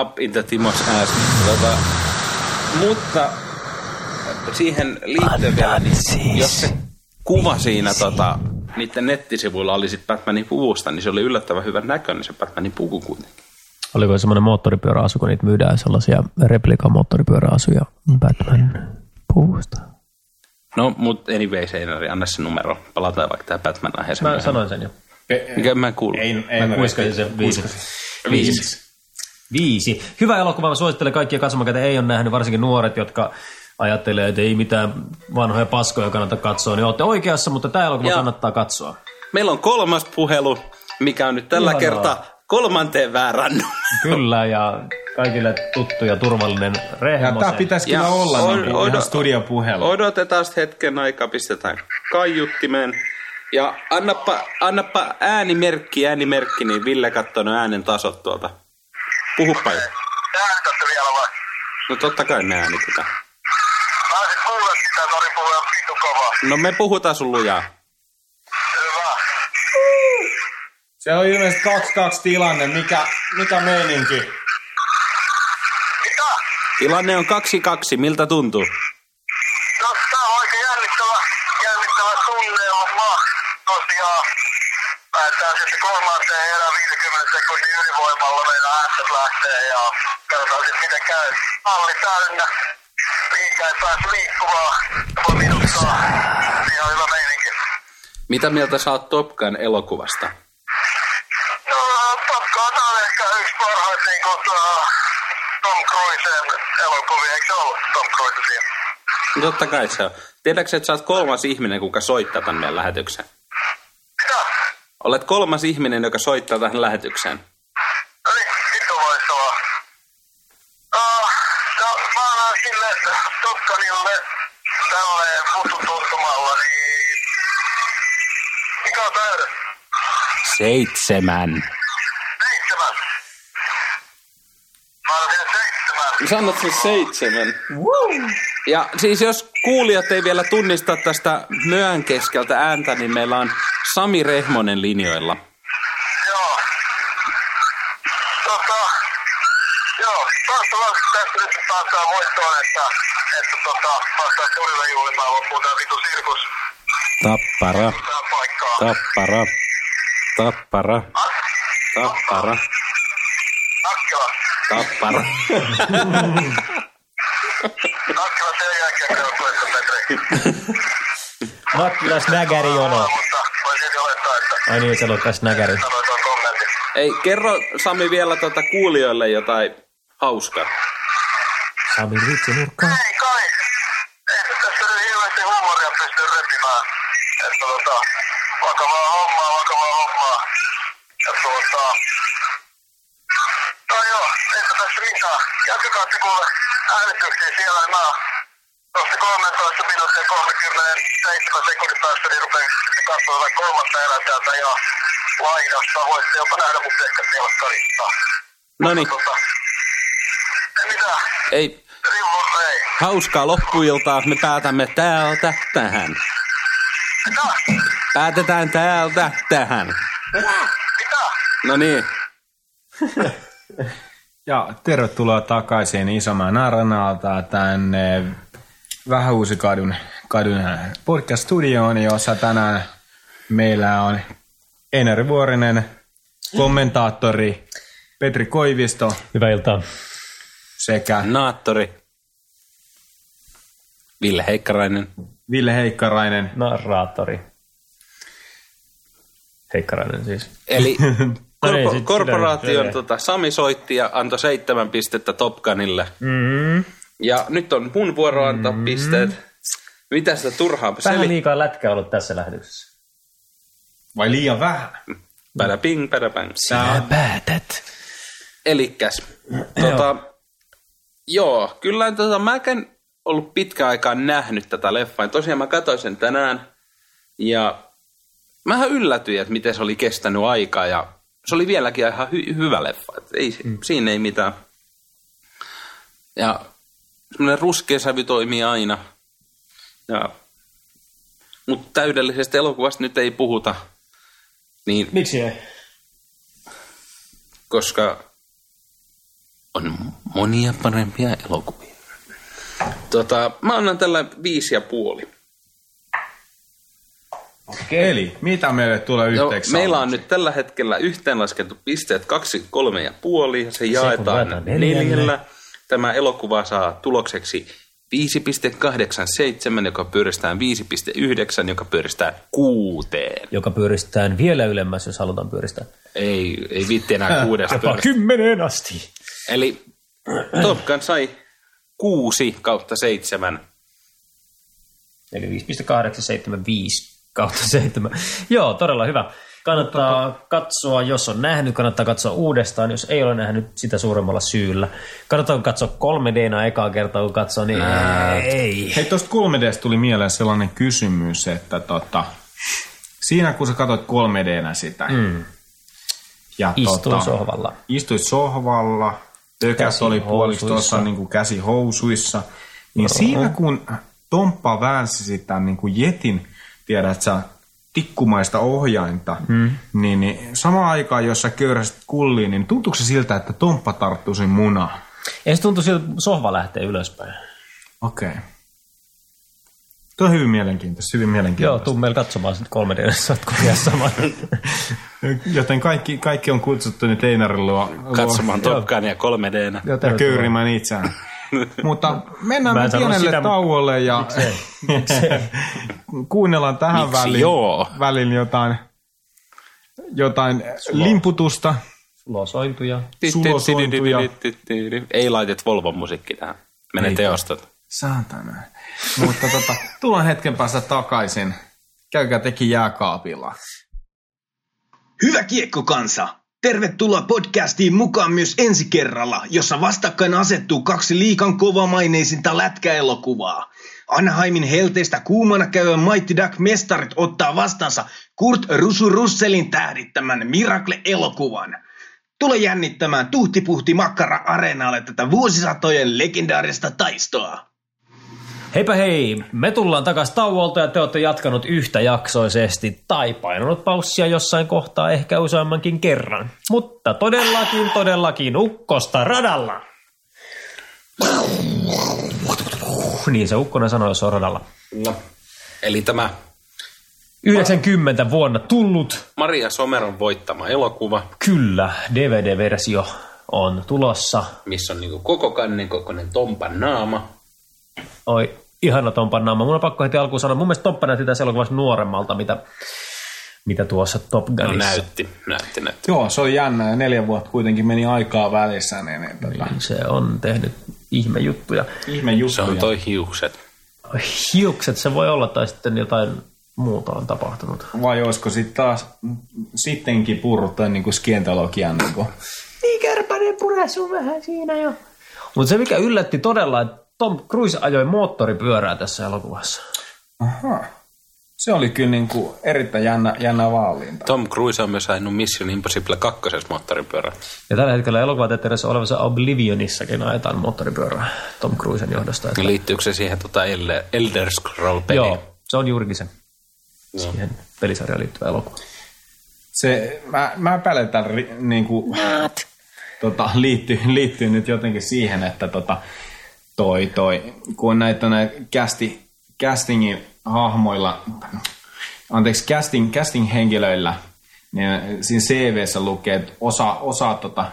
Speaker 1: up in the Timos ass. Tota, mutta siihen liittyen vielä, niin, jos se kuva siinä tota, niiden nettisivuilla oli sit Batmanin puvusta, niin se oli yllättävän hyvän näköinen se Batmanin puku kuitenkin.
Speaker 4: Oliko semmoinen moottoripyöräasu, kun niitä myydään sellaisia replikamoottoripyöräasuja Batman puvusta?
Speaker 1: No, mutta anyway, Seinari, anna se numero. Palataan vaikka tämä Batman-aiheeseen.
Speaker 4: Mä
Speaker 1: myöhemmin.
Speaker 4: sanoin sen jo.
Speaker 1: Mikä mä en kuullut.
Speaker 3: Ei, ei mä
Speaker 4: kuiskasin sen viisi.
Speaker 1: Viisi.
Speaker 4: Viisi. Hyvä elokuva, mä suosittelen kaikkia katsomaan, ketä ei ole nähnyt, varsinkin nuoret, jotka ajattelee, että ei mitään vanhoja paskoja kannata katsoa, niin olette oikeassa, mutta tämä elokuva
Speaker 1: Joo.
Speaker 4: kannattaa katsoa.
Speaker 1: Meillä on kolmas puhelu, mikä on nyt tällä
Speaker 4: Ihanaa.
Speaker 1: kertaa kolmanteen väärän numero.
Speaker 4: Kyllä, ja kaikille tuttu ja turvallinen
Speaker 3: Ja tää
Speaker 4: rehmosen.
Speaker 3: pitäisi kyllä
Speaker 1: Ja
Speaker 3: olla
Speaker 1: on-
Speaker 3: niinku
Speaker 1: on-
Speaker 3: ihan studiopuhelu.
Speaker 1: Odotetaan sit hetken aikaa, pistetään kaiuttimeen. Ja annappa, annappa äänimerkki, äänimerkki, niin Ville katsonut äänen tasot tuolta. Puhuppa jo.
Speaker 8: Tähän tässä vielä vai?
Speaker 1: No totta kai ne äänitetään.
Speaker 8: Mä en siis kuule sitä, Sari puhuu ihan vitu kovaa.
Speaker 1: No me puhutaan sun lujaa.
Speaker 8: Hyvä.
Speaker 3: Se on ilmeisesti 2-2 tilanne. Mikä, mikä meininki?
Speaker 1: Tilanne on 2-2. Miltä tuntuu?
Speaker 8: No, tää on oikein jännittävä, jännittävä tunnelma. Tosiaan päästään sitten kolmanteen erään 50 sekunnin ylivoimalla meillä ässät lähtee ja katsotaan sitten miten käy. Halli täynnä, liikaa ei pääse liikkumaan, voi minuuttaa. Ihan hyvä meininki.
Speaker 1: Mitä mieltä sä oot Top Gun elokuvasta?
Speaker 8: No, pakkaa tää on ehkä yksi parhaita niin kuin, tuo Tom Cruisen elokuvia, eikö se ollut Tom Cruise siinä?
Speaker 1: Totta kai se on. Tiedätkö, että sä oot kolmas ihminen, kuka soittaa tämän meidän lähetykseen?
Speaker 8: Mitä?
Speaker 1: Olet kolmas ihminen, joka soittaa tähän lähetykseen.
Speaker 8: No niin, vittu loistavaa. Uh, no, mä annan sille Tukkanille tälleen mututuntumalla, niin... Mikä on täydä?
Speaker 1: Seitsemän.
Speaker 8: Seitsemän. Mä annan sille seitsemän.
Speaker 1: Sanot siis seitsemän. Ja siis jos kuulijat ei vielä tunnista tästä myöän keskeltä ääntä, niin meillä on Sami Rehmonen linjoilla.
Speaker 8: Joo. Tota, joo, toivottavasti tästä nyt päästään voittoon, että, että tota, päästään torille juhlimaan loppuun tää vitu sirkus
Speaker 1: Tappara,
Speaker 8: tää paikkaa.
Speaker 1: tappara, tappara, tappara,
Speaker 8: Nakkila,
Speaker 1: tappara.
Speaker 8: Nakkila sen jälkeen se on toista Petri.
Speaker 4: Mattila Snägäri jono.
Speaker 8: Mutta voi silti olettaa, että
Speaker 4: Ai niin, se on tässä Snägäri.
Speaker 8: sanoit on kommentin.
Speaker 1: Ei, kerro Sami vielä tuota kuulijoille jotain hauskaa.
Speaker 5: Sami Litsi nurkkaan.
Speaker 8: Ei kai, ei se tässä nyt hirveästi huumoria pysty repimään. Että tota, vakavaa hommaa, vakavaa hommaa. Ja tuota, no joo, eipä tässä mitään. Jatkakaa te kuule äänestyksiä siellä, niin mä tuosta 13 minuuttia 37 sekunnin päästä, niin rupean sitten katsomaan jotain kolmatta erää täältä ja laidasta. Voitte jopa nähdä mut ehkä telkkarista.
Speaker 1: No niin,
Speaker 8: Tota, ei mitään,
Speaker 1: ei,
Speaker 8: rimmun ei.
Speaker 1: hauskaa loppuiltaa. Me päätämme täältä tähän.
Speaker 8: Mitä?
Speaker 1: Päätetään täältä tähän.
Speaker 8: Mitä?
Speaker 1: No niin,
Speaker 3: Ja tervetuloa takaisin Isomäen Arenaalta tänne Vähäuusikadun kadun podcast-studioon, jossa tänään meillä on Einar Vuorinen, kommentaattori Petri Koivisto
Speaker 4: Hyvää iltaa.
Speaker 3: sekä
Speaker 1: naattori. Ville Heikkarainen.
Speaker 3: Ville Heikkarainen.
Speaker 4: Narraattori. Heikkarainen siis.
Speaker 1: Eli
Speaker 4: No ei,
Speaker 1: korpo-
Speaker 4: sit-
Speaker 1: korporaation
Speaker 4: sitä-
Speaker 1: tota, Sami soitti ja antoi seitsemän pistettä Topkanille. Mm-hmm. Ja nyt on mun vuoro antaa mm-hmm. pisteet. Mitä sitä turhaa
Speaker 4: Vähän niin-
Speaker 1: selittää?
Speaker 4: liikaa lätkää ollut tässä lähetyksessä.
Speaker 3: Vai liian vähän?
Speaker 1: Pärä ping, pärä bang.
Speaker 3: Tää on
Speaker 5: Päätät.
Speaker 1: Elikäs, tota, joo, kyllä tota, mä en ollut pitkään aikaan nähnyt tätä leffaa. Ja Tosiaan mä katsoin sen tänään ja mähän yllätyin, että miten se oli kestänyt aikaa ja se oli vieläkin ihan hy- hyvä leffa. Et ei, mm. Siinä ei mitään. Ja semmoinen ruskea sävy toimii aina. Ja, mutta täydellisestä elokuvasta nyt ei puhuta. Niin
Speaker 4: Miksi ei?
Speaker 1: koska on monia parempia elokuvia. Tota, mä annan tällä viisi ja puoli.
Speaker 3: Eli mitä meille tulee
Speaker 1: No,
Speaker 3: yhteeksi?
Speaker 1: meillä on nyt tällä hetkellä yhteenlaskettu pisteet kaksi, kolme ja puoli, ja se jaetaan
Speaker 5: jaetaan neljälle.
Speaker 1: neljällä. Tämä elokuva saa tulokseksi 5,87, joka pyöristää 5,9, joka pyöristää kuuteen.
Speaker 4: Joka pyöristään vielä ylemmäs, jos halutaan pyöristää.
Speaker 1: Ei, ei viitti enää kuudesta. pyöristää.
Speaker 4: kymmeneen asti.
Speaker 1: Eli Top Gun sai kuusi kautta seitsemän
Speaker 4: Eli 5.875 kautta 7. Joo, todella hyvä. Kannattaa katsoa, jos on nähnyt, kannattaa katsoa uudestaan, jos ei ole nähnyt sitä suuremmalla syyllä. Kannattaa katsoa 3Dnä ekaa kertaa, kun katsoo, niin ei.
Speaker 3: Hei, tuosta 3Dstä tuli mieleen sellainen kysymys, että tota, siinä kun sä katsoit 3Dnä sitä, mm. ja tota,
Speaker 4: Istuu sohvalla.
Speaker 3: istuit sohvalla, tökäs oli puoliksi tuossa
Speaker 4: Käsihousuissa.
Speaker 3: niin kuin käsihousuissa, niin siinä kun Tomppa väänsi sitä niin kuin jetin, tiedät sä, tikkumaista ohjainta, mm. niin, niin samaan aikaan, jos sä köyräsit kulliin, niin tuntuuko se siltä, että Tomppa tarttui sun munaan?
Speaker 4: Ei se tuntu siltä, että sohva lähtee ylöspäin.
Speaker 3: Okei. Okay. Tuo on hyvin mielenkiintoista, hyvin
Speaker 4: Joo,
Speaker 3: mielenkiintoista.
Speaker 4: tuu meillä katsomaan sitten 3 d satkuvia saman.
Speaker 3: Joten kaikki, kaikki on kutsuttu nyt Einarin luo, luo
Speaker 1: Katsomaan Top Gunia 3Dnä.
Speaker 3: ja köyrimään itseään. Mutta mennään
Speaker 4: Mä en
Speaker 3: nyt
Speaker 4: sano
Speaker 3: pienelle
Speaker 4: sitä, mutta-
Speaker 3: tauolle ja kuunnellaan tähän
Speaker 1: Miksi
Speaker 3: väliin,
Speaker 1: joo?
Speaker 3: väliin jotain, jotain limputusta.
Speaker 4: Losointuja.
Speaker 3: Sulosointuja.
Speaker 1: Ei laitet Volvon musiikki tähän. Mene teostot.
Speaker 3: Saatana. Mutta tota, tullaan hetken päästä takaisin. Käykää teki jääkaapilla.
Speaker 10: Hyvä kiekkokansa! Tervetuloa podcastiin mukaan myös ensi kerralla, jossa vastakkain asettuu kaksi liikan kovamaineisinta lätkäelokuvaa. Anaheimin helteistä kuumana käyvä Mighty Duck mestarit ottaa vastansa Kurt Rusu Russelin tähdittämän Miracle-elokuvan. Tule jännittämään tuhtipuhti makkara areenalle tätä vuosisatojen legendaarista taistoa.
Speaker 4: Heipä hei, me tullaan takaisin tauolta ja te olette jatkanut yhtäjaksoisesti tai painanut paussia jossain kohtaa ehkä useammankin kerran. Mutta todellakin, todellakin ukkosta radalla. Niin se ukkonen sanoi, jos on radalla.
Speaker 1: No. Eli tämä
Speaker 4: 90 vuonna tullut,
Speaker 1: Maria Someron voittama elokuva,
Speaker 4: kyllä, DVD-versio on tulossa.
Speaker 1: missä on niinku koko kannen kokoinen Tompan naama.
Speaker 4: Oi, ihana Tompan naama. Mun on pakko heti alkuun sanoa, mun mielestä Tomppa näytti tässä elokuvassa nuoremmalta, mitä, mitä tuossa Top
Speaker 1: No,
Speaker 4: Gunissa.
Speaker 1: näytti, näytti, näytti.
Speaker 3: Joo, se on jännä ja neljä vuotta kuitenkin meni aikaa välissä. Niin, niin, tota,
Speaker 4: se on tehnyt ihmejuttuja.
Speaker 3: ihme
Speaker 1: Se
Speaker 3: juttuja.
Speaker 1: on toi hiukset.
Speaker 4: Hiukset se voi olla, tai sitten jotain muuta on tapahtunut.
Speaker 3: Vai olisiko sitten taas sittenkin purrut tämän niin skientologian niin kuin,
Speaker 4: Niin kärpänen puresu vähän siinä jo. Mutta se mikä yllätti todella, että Tom Cruise ajoi moottoripyörää tässä elokuvassa.
Speaker 3: Aha. Se oli kyllä niin kuin erittäin jännä, jännä vaalinta.
Speaker 1: Tom Cruise on myös ajanut Mission Impossible 2. moottoripyörän.
Speaker 4: Ja tällä hetkellä elokuvateatterissa olevassa Oblivionissakin ajetaan moottoripyörää Tom Cruisen johdosta. Että,
Speaker 1: Liittyykö se siihen tota Elle- Elder Scroll-peliin?
Speaker 4: joo, se on juurikin se siihen pelisarjaan liittyvä elokuva.
Speaker 3: Se, mä, mä epäilen, että ri- niin kuin, tota, liittyy, liittyy nyt jotenkin siihen, että tota, toi, toi, kun näitä näitä kästi, castingin hahmoilla, anteeksi, casting, casting henkilöillä, niin siinä CVssä lukee, että osa, osa tota,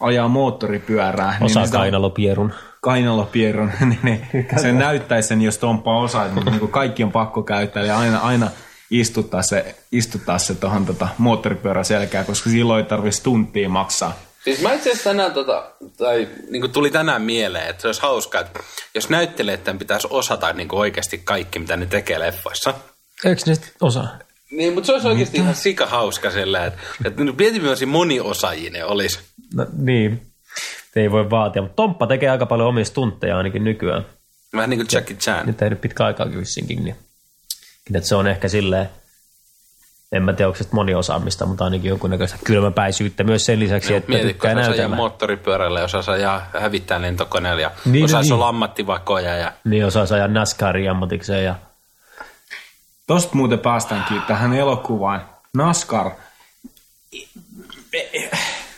Speaker 3: ajaa moottoripyörää.
Speaker 4: Osa
Speaker 3: niin sitä-
Speaker 4: kainalopierun.
Speaker 3: kainalopierron, niin se näyttäisi sen, jos Tomppa osaa, mutta niin kaikki on pakko käyttää, ja aina, aina istuttaa se, istuttaa se tuohon tota, moottoripyörän selkään, koska silloin ei tarvitsisi tuntia maksaa.
Speaker 1: Siis mä itse asiassa tänään, tota, tai niin kuin tuli tänään mieleen, että se olisi hauskaa, että jos näyttelijöiden pitäisi osata niin kuin oikeasti kaikki, mitä ne tekee leffoissa.
Speaker 4: Eikö ne osaa?
Speaker 1: Niin, mutta se olisi oikeasti ihan sika hauska sillä, että, että nyt mietimme, jos moniosaajinen olisi.
Speaker 4: No, niin, ei voi vaatia. Mutta Tomppa tekee aika paljon omia stuntteja ainakin nykyään.
Speaker 1: Vähän niin kuin Jackie Chan.
Speaker 4: Nyt tehnyt pitkä aikaa vissinkin, niin että se on ehkä silleen, en mä tiedä, onko se sitten moniosaamista, mutta ainakin jonkunnäköistä kylmäpäisyyttä myös sen lisäksi, että
Speaker 1: Mietitkö,
Speaker 4: tykkää
Speaker 1: kun osaa ajaa
Speaker 4: näytellä.
Speaker 1: moottoripyörällä, jos osaa ajaa hävittää lentokoneella ja
Speaker 4: Niin,
Speaker 1: niin, osaa
Speaker 4: niin.
Speaker 1: niin. olla ammattivakoja. Ja...
Speaker 4: niin osaa ajaa NASCARin ammatikseen ja
Speaker 3: Tosta muuten päästäänkin tähän elokuvaan. NASCAR.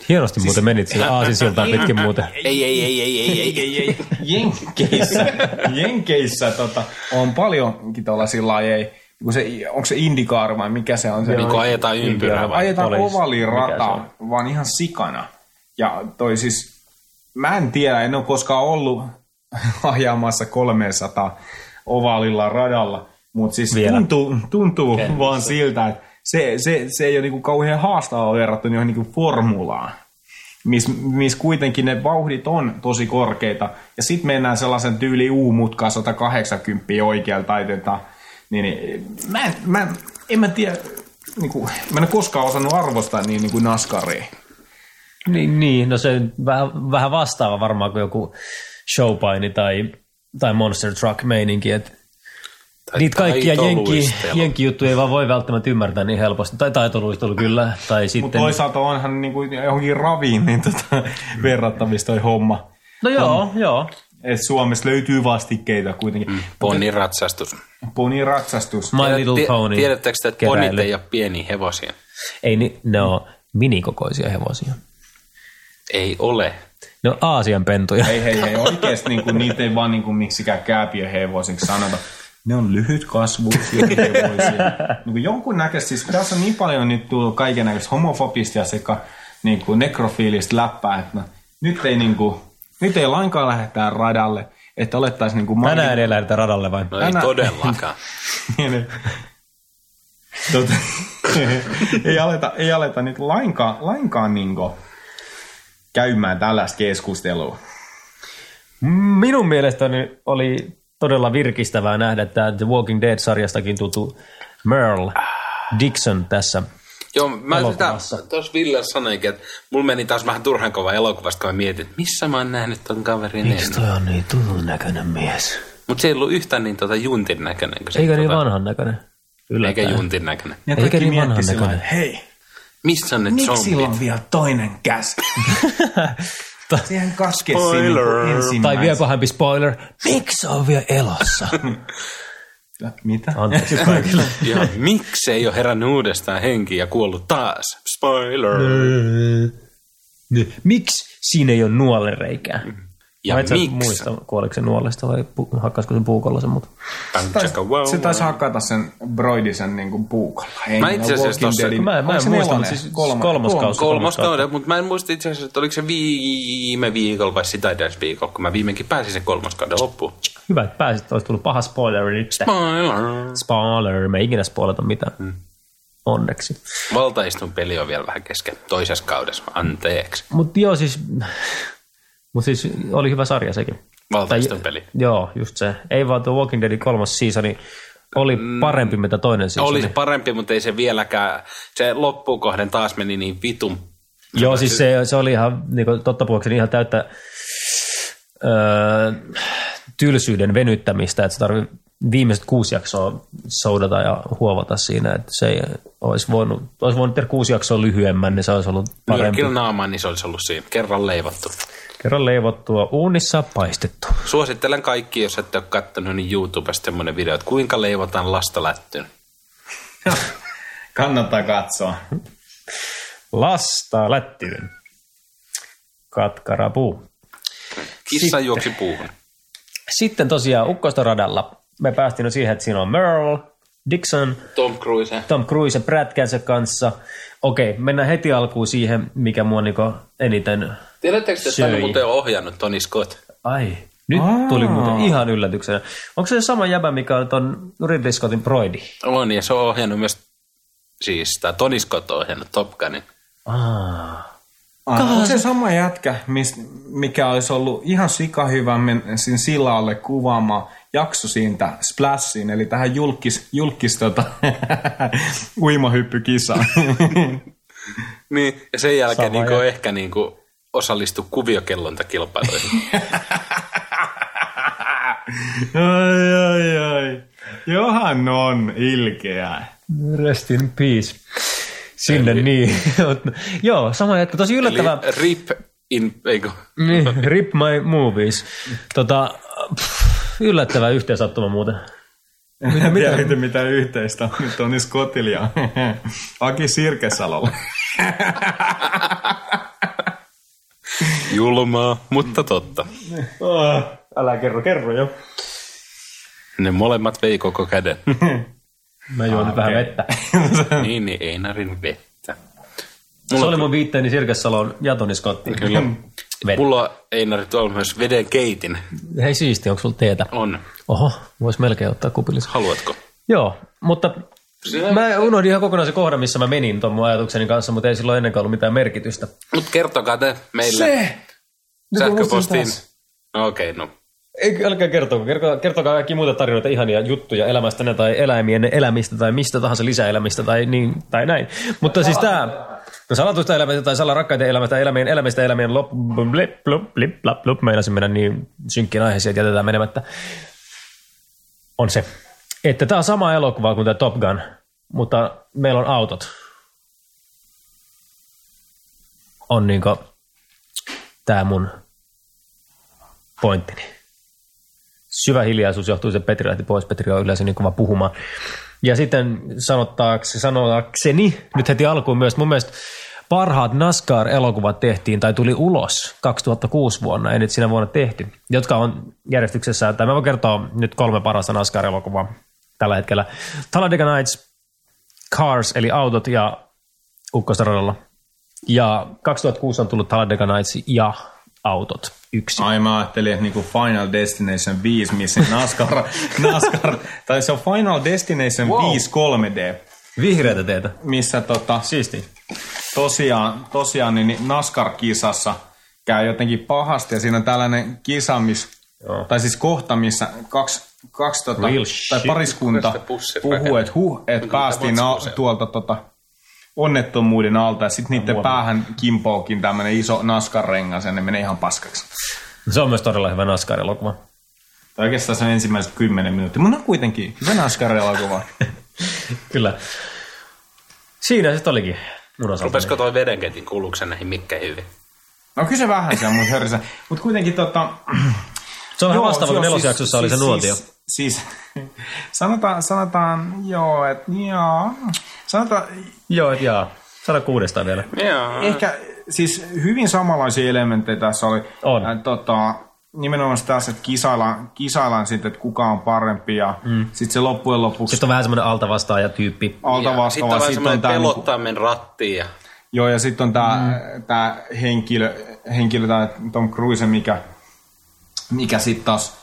Speaker 4: hienosti
Speaker 1: Siis-
Speaker 4: muuten menit sillä aasinsiltaan
Speaker 1: Niin.
Speaker 4: pitkin muuten.
Speaker 1: Ei, ei, ei, ei, ei, ei, ei, ei.
Speaker 3: Jenkeissä, Jenkeissä tota, on paljonkin tuollaisia lajeja. Kun se, onko se indikaari vai mikä se on? Se,
Speaker 1: Niin kuin ajetaan ympyrää vai?
Speaker 3: Ajetaan
Speaker 4: poliisi, mikä se
Speaker 3: ovalirata,
Speaker 4: on?
Speaker 3: vaan ihan sikana. Ja toi siis, mä en tiedä, en ole koskaan ollut ajamassa 300 ovalilla radalla, mutta siis
Speaker 4: Vielä.
Speaker 3: tuntuu, tuntuu vaan siltä, että se, se, se ei ole niinku kauhean haastavaa verrattuna johon niinku formulaan, missä mis kuitenkin ne vauhdit on tosi korkeita. Ja sitten mennään sellaisen tyyli U-mutkaan 180 oikealla taitetaan. Niin, niin, mä, en- mä, en- en mä tiedä, niinku, mä en ole koskaan osannut arvostaa niin, niinku naskaria.
Speaker 4: Niin, niin, no se vähän, vähän vastaava varmaan kuin joku showpaini tai, tai monster truck meininki, että
Speaker 1: Tai
Speaker 4: Niitä kaikkia jenki,
Speaker 1: taitoluistelu.
Speaker 4: jenki-juttuja ei vaan voi välttämättä ymmärtää niin helposti. Tai taitoluistelu kyllä, tai
Speaker 3: Mutta
Speaker 4: sitten...
Speaker 3: toisaalta onhan niinku johonkin raviin niin tota, verrattavissa toi homma.
Speaker 4: No joo, joo.
Speaker 3: Et Suomessa löytyy vastikkeita kuitenkin. Mm.
Speaker 1: Ponin ratsastus.
Speaker 3: Poni ratsastus.
Speaker 4: My Little
Speaker 1: Tie-
Speaker 4: Pony.
Speaker 1: Tiedättekö te, että
Speaker 4: keräily.
Speaker 1: ponit ei ole pieniä hevosia?
Speaker 4: Ei, ni- ne on minikokoisia hevosia.
Speaker 1: Ei ole.
Speaker 4: Ne on Aasian pentuja.
Speaker 3: Ei, hei, hei, oikeesti niinku, niitä ei vaan niinku, miksikään kääpiöhevosiksi sanota. Ne on lyhyt kasvu hevosia. niinku, jonkun näköistä, siis tässä on niin paljon nyt tullut kaiken näköistä homofobista ja sekä niinku, nekrofiilistä läppää, että no, nyt ei niinku, nyt ei lainkaan lähetää radalle, että olettaisiin niinku
Speaker 4: Tänään ei lähdetä radalle vai?
Speaker 1: No ei
Speaker 3: Tänä-
Speaker 1: todellakaan.
Speaker 3: niin, tota, ei, aleta, ei aleta nyt lainkaan, lainkaan niinku käymään tällaista keskustelua.
Speaker 4: Minun mielestäni oli todella virkistävää nähdä tämä The Walking Dead-sarjastakin tuttu Merle Dixon
Speaker 3: Niin.
Speaker 4: tässä.
Speaker 1: Joo, mä sitä
Speaker 4: Elokuvassa.
Speaker 1: tuossa Ville sanoinkin, että mulla meni taas vähän turhan kova elokuvasta, kun mä mietin, että missä mä oon nähnyt ton kaverin ennen.
Speaker 4: on niin tutun näköinen mies?
Speaker 1: Mut se ei ollut yhtään niin tota juntin näköinen. Kuin se,
Speaker 4: Eikö niin
Speaker 1: tota,
Speaker 4: vanhan näköinen?
Speaker 1: Eikä juntin näköinen.
Speaker 3: Ja
Speaker 4: Eikä
Speaker 3: kaikki
Speaker 4: niin
Speaker 3: miettii
Speaker 4: vanhan
Speaker 3: sillä lailla,
Speaker 4: näköinen.
Speaker 3: että hei,
Speaker 1: Missä on ne
Speaker 3: miksi sillä
Speaker 1: zombit?
Speaker 3: on vielä toinen käsi? Siihen niinku kaskesi
Speaker 1: Spoiler.
Speaker 3: ensimmäisen.
Speaker 4: Tai vielä pahempi spoiler, miksi on vielä elossa?
Speaker 3: Mitä?
Speaker 4: Anteeksi kaikille.
Speaker 1: Ja miksi ei ole herännyt uudestaan henki ja kuollut taas? Spoiler!
Speaker 4: Niin. miksi siinä ei ole nuolereikää?
Speaker 1: Ja
Speaker 4: Mä en No sä
Speaker 1: miksi?
Speaker 4: muista, kuoliko se nuolesta vai pu- hakkasko se puukolla sen, mutta...
Speaker 1: Bang,
Speaker 3: Taisi-
Speaker 1: chaka, wow,
Speaker 3: Se taisi
Speaker 1: wow.
Speaker 3: hakata sen broidisen niin kuin puukolla. Ei,
Speaker 1: Mä itse asiassa
Speaker 3: Walking
Speaker 1: tossa-
Speaker 3: Deadin-
Speaker 4: Mä en- mä en
Speaker 3: Onko se
Speaker 4: muista,
Speaker 3: nelonen?
Speaker 4: mutta siis
Speaker 3: Kolmas-
Speaker 4: kolmas kausi.
Speaker 1: Kolmas kauden, mutta mä en muista itse asiassa, että oliko se viime viikolla vai sitä edes viikolla, kun mä viimeinkin pääsin sen kolmas kauden loppuun.
Speaker 4: Hyvä, että pääsit, olisi tullut paha spoileri nyt.
Speaker 1: Spoiler!
Speaker 4: Spoiler, me ei ikinä spoilata mitään.
Speaker 1: Mm.
Speaker 4: Onneksi.
Speaker 1: Valtaistun peli on vielä vähän kesken toisessa kaudessa, anteeksi.
Speaker 4: Mutta joo, siis, mut siis oli hyvä sarja sekin.
Speaker 1: Valtaistun peli.
Speaker 4: Joo, just se. Ei vaan tuo Walking Deadin kolmas seasoni oli
Speaker 1: Mm.
Speaker 4: parempi, mitä toinen seasoni.
Speaker 1: Olisi parempi, mutta ei se vieläkään, se loppukohden taas meni niin vitun.
Speaker 4: Joo, siis se, se oli ihan, niin kuin, totta puhuakseni, ihan täyttä öö, tylsyyden venyttämistä, että se tarvii viimeiset kuusi jaksoa soudata ja huovata siinä, että se ei olisi voinut, olisi voinut tehdä kuusi jaksoa lyhyemmän, niin se olisi ollut parempi.
Speaker 1: Nyrkillä naamaan, niin se olisi ollut siinä. Kerran leivottu.
Speaker 4: Kerran leivottua uunissa, paistettu.
Speaker 1: Suosittelen kaikki, jos ette ole kattonut, niin YouTubesta semmoinen video, että kuinka leivotaan lasta lättyyn.
Speaker 3: Kannattaa katsoa.
Speaker 4: Lasta lättyyn. Katkarapuu.
Speaker 1: Kissa juoksi puuhun.
Speaker 4: Sitten tosiaan Ukkostoradalla me päästiin jo siihen, että siinä on Merle, Dixon,
Speaker 1: Tom Cruise.
Speaker 4: Tom Cruise prätkänsä kanssa. Okei, mennään heti alkuun siihen, mikä mua niinku eniten...
Speaker 1: Tiedättekö, että tämä
Speaker 4: Söi.
Speaker 1: muuten on ohjannut Tony Scott?
Speaker 4: Ai, nyt Aa. tuli muuten ihan yllätyksenä. Onko se sama jäbä, mikä on ton Ridley Scottin broidi?
Speaker 1: On, ja se on ohjannut myös, siis tämä Tony Scott on ohjannut Top Gunin.
Speaker 4: Aa.
Speaker 3: Ah, Onko se sama jätkä, mis, mikä olisi ollut ihan sikahyvä men- sin sillalle kuvaama jakso siitä Splashiin, eli tähän julkis, julkis tota, uimahyppykisaan.
Speaker 1: Niin, ja sen jälkeen
Speaker 4: Sama
Speaker 1: niinku ehkä niinku osallistu kuviokellontakilpailuihin.
Speaker 3: ai, ai, ai. Johan on ilkeä.
Speaker 4: Rest in peace. Sinne Eli... niin. Joo, sama jätkä. Tosi
Speaker 1: Eli
Speaker 4: yllättävää.
Speaker 1: rip in, eikö?
Speaker 4: Niin, rip my movies. Tota, pff, yllättävä yhteensattuma muuten.
Speaker 3: Mitä, mitä? Tiedätkö, mitä yhteistä on nyt Toni Scottilla ja Aki Sirkesalolla?
Speaker 1: Julmaa, mutta totta.
Speaker 4: Älä kerro, kerro jo.
Speaker 1: Ne molemmat vei koko käden.
Speaker 4: Mä juon nyt vähän
Speaker 3: okei.
Speaker 4: vettä.
Speaker 1: niin, niin Einarin vettä.
Speaker 4: Se oli mun viitteeni Sirkessalon ja Toni Scottiin.
Speaker 1: Kyllä.
Speaker 4: Vettä.
Speaker 1: Mulla on Einari tuolla myös veden keitin.
Speaker 4: Hei siisti, onko sulla teetä?
Speaker 1: On.
Speaker 4: Oho, vois melkein ottaa kupillisen.
Speaker 1: Haluatko?
Speaker 4: Joo, mutta mä unohdin ihan kokonaan se kohdan, missä mä menin tuon mun ajatukseni kanssa, mutta ei silloin ennenkään ollut mitään merkitystä.
Speaker 1: Mut kertokaa te meille se. sähköpostiin. No okei, okay, no.
Speaker 4: Ei, älkää kertoa, kertokaa, kertokaa kaikki muita tarinoita, ihania juttuja elämästänne tai eläimien elämistä tai mistä tahansa lisäelämistä tai, niin, tai näin. Mutta siis tämä, no salatusta elämästä tai salarakkaiden elämästä, elämien elämästä, elämien lop, blip, blop, blip, blop, blop, meinasin mennä niin synkkiin aiheisiin, että jätetään menemättä. On se, että tämä on sama elokuva kuin tämä Top Gun, mutta meillä on autot. On niinkö tämä mun pointtini. Syvä hiljaisuus johtuu, se Petri lähti pois. Petri on yleensä niin kova puhumaan. Ja sitten sanottaakseni, sanotakseni nyt heti alkuun myös, mun mielestä
Speaker 7: parhaat NASCAR-elokuvat tehtiin tai tuli ulos 2006 vuonna, ei nyt siinä vuonna tehty, jotka on järjestyksessä, tai mä voin kertoa nyt kolme parasta NASCAR-elokuvaa tällä hetkellä. Talladega Nights, Cars eli autot ja Ukkosradalla. Ja 2006 on tullut Talladega Nights ja autot yksi.
Speaker 3: Ai mä ajattelin, että niinku Final Destination 5, missä NASCAR, NASCAR tai se on Final Destination wow. 5 3D,
Speaker 7: Vihreätä teetä.
Speaker 3: missä tota,
Speaker 7: Siisti.
Speaker 3: tosiaan, tosiaan niin NASCAR-kisassa käy jotenkin pahasti ja siinä on tällainen kisa, miss,
Speaker 7: Joo.
Speaker 3: tai siis kohta, missä kaksi, kaksi tota,
Speaker 7: Real
Speaker 3: tai
Speaker 7: shit.
Speaker 3: pariskunta
Speaker 1: Tästä pussit
Speaker 3: puhuu,
Speaker 1: rakennetaan.
Speaker 3: että huh, että
Speaker 1: Kuinka
Speaker 3: päästiin
Speaker 1: monta
Speaker 3: a,
Speaker 1: vuosia?
Speaker 3: tuolta tota, onnettomuuden alta ja sitten niiden
Speaker 7: huomannut.
Speaker 3: päähän kimpoakin tämmöinen iso NASCAR-rengas ja ne menee ihan paskaksi.
Speaker 7: Se on myös todella hyvä NASCAR-elokuva.
Speaker 3: Tai oikeastaan se on ensimmäiset kymmenen minuuttia, mutta ne on kuitenkin hyvä NASCAR-elokuva.
Speaker 7: Kyllä. Siinä se olikin mun osalta.
Speaker 1: Rupesko toi vedenketin kuulukseen näihin mikkeihin hyvin?
Speaker 3: No kyllä se vähän se on, mutta hörsä. Mutta kuitenkin tota,
Speaker 7: Se on vähän
Speaker 3: Joo,
Speaker 7: vastaava, kun
Speaker 3: joo,
Speaker 7: nelosjaksossa oli se nuotio.
Speaker 3: Siis, siis sanotaan, sanotaan, joo, että joo, sanotaan,
Speaker 7: Joo, et jaa. Sano kuudestaan vielä.
Speaker 1: Joo.
Speaker 3: ehkä siis hyvin samanlaisia elementtejä tässä oli.
Speaker 7: On.
Speaker 3: Äh, tota, nimenomaan tässä, että kisaillaan, kisaillaan sitten, että kuka on parempi ja mm. sitten se loppujen lopuksi
Speaker 7: Sitten on vähän semmoinen altavastaaja tyyppi.
Speaker 3: alta vastaava.
Speaker 1: Sitten on vähän
Speaker 3: sitten on
Speaker 1: semmoinen
Speaker 3: tää niinku-
Speaker 1: pelottaminen rattiin ja
Speaker 3: Joo, ja sitten on tämä mm. tää henkilö, henkilö tämä Tom Cruise, mikä, mikä sitten taas,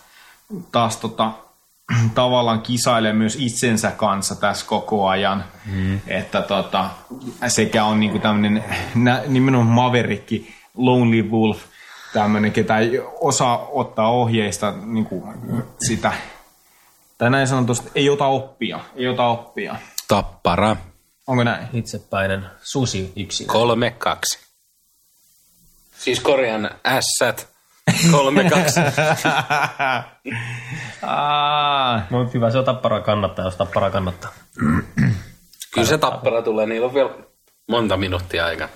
Speaker 3: taas tota, tavallaan kisailee myös itsensä kanssa tässä koko ajan. Mm. Että tota, sekä on niinku tämmöinen nimenomaan maverikki, Lonely Wolf, tämmöinen, ketä ei osaa ottaa ohjeista niinku, sitä, tai näin sanotusti, ei ota oppia, ei ota oppia.
Speaker 1: tappara.
Speaker 3: Onko näin?
Speaker 7: Itsepäinen susi yksi.
Speaker 1: Kolme, kaksi. Siis korjan ässät. Kolme, kaksi.
Speaker 3: Aa,
Speaker 7: No mutta hyvä, se on tappara kannattaa, jos tappara kannattaa.
Speaker 1: Kyllä se tappara tulee, niillä on vielä monta minuuttia aika.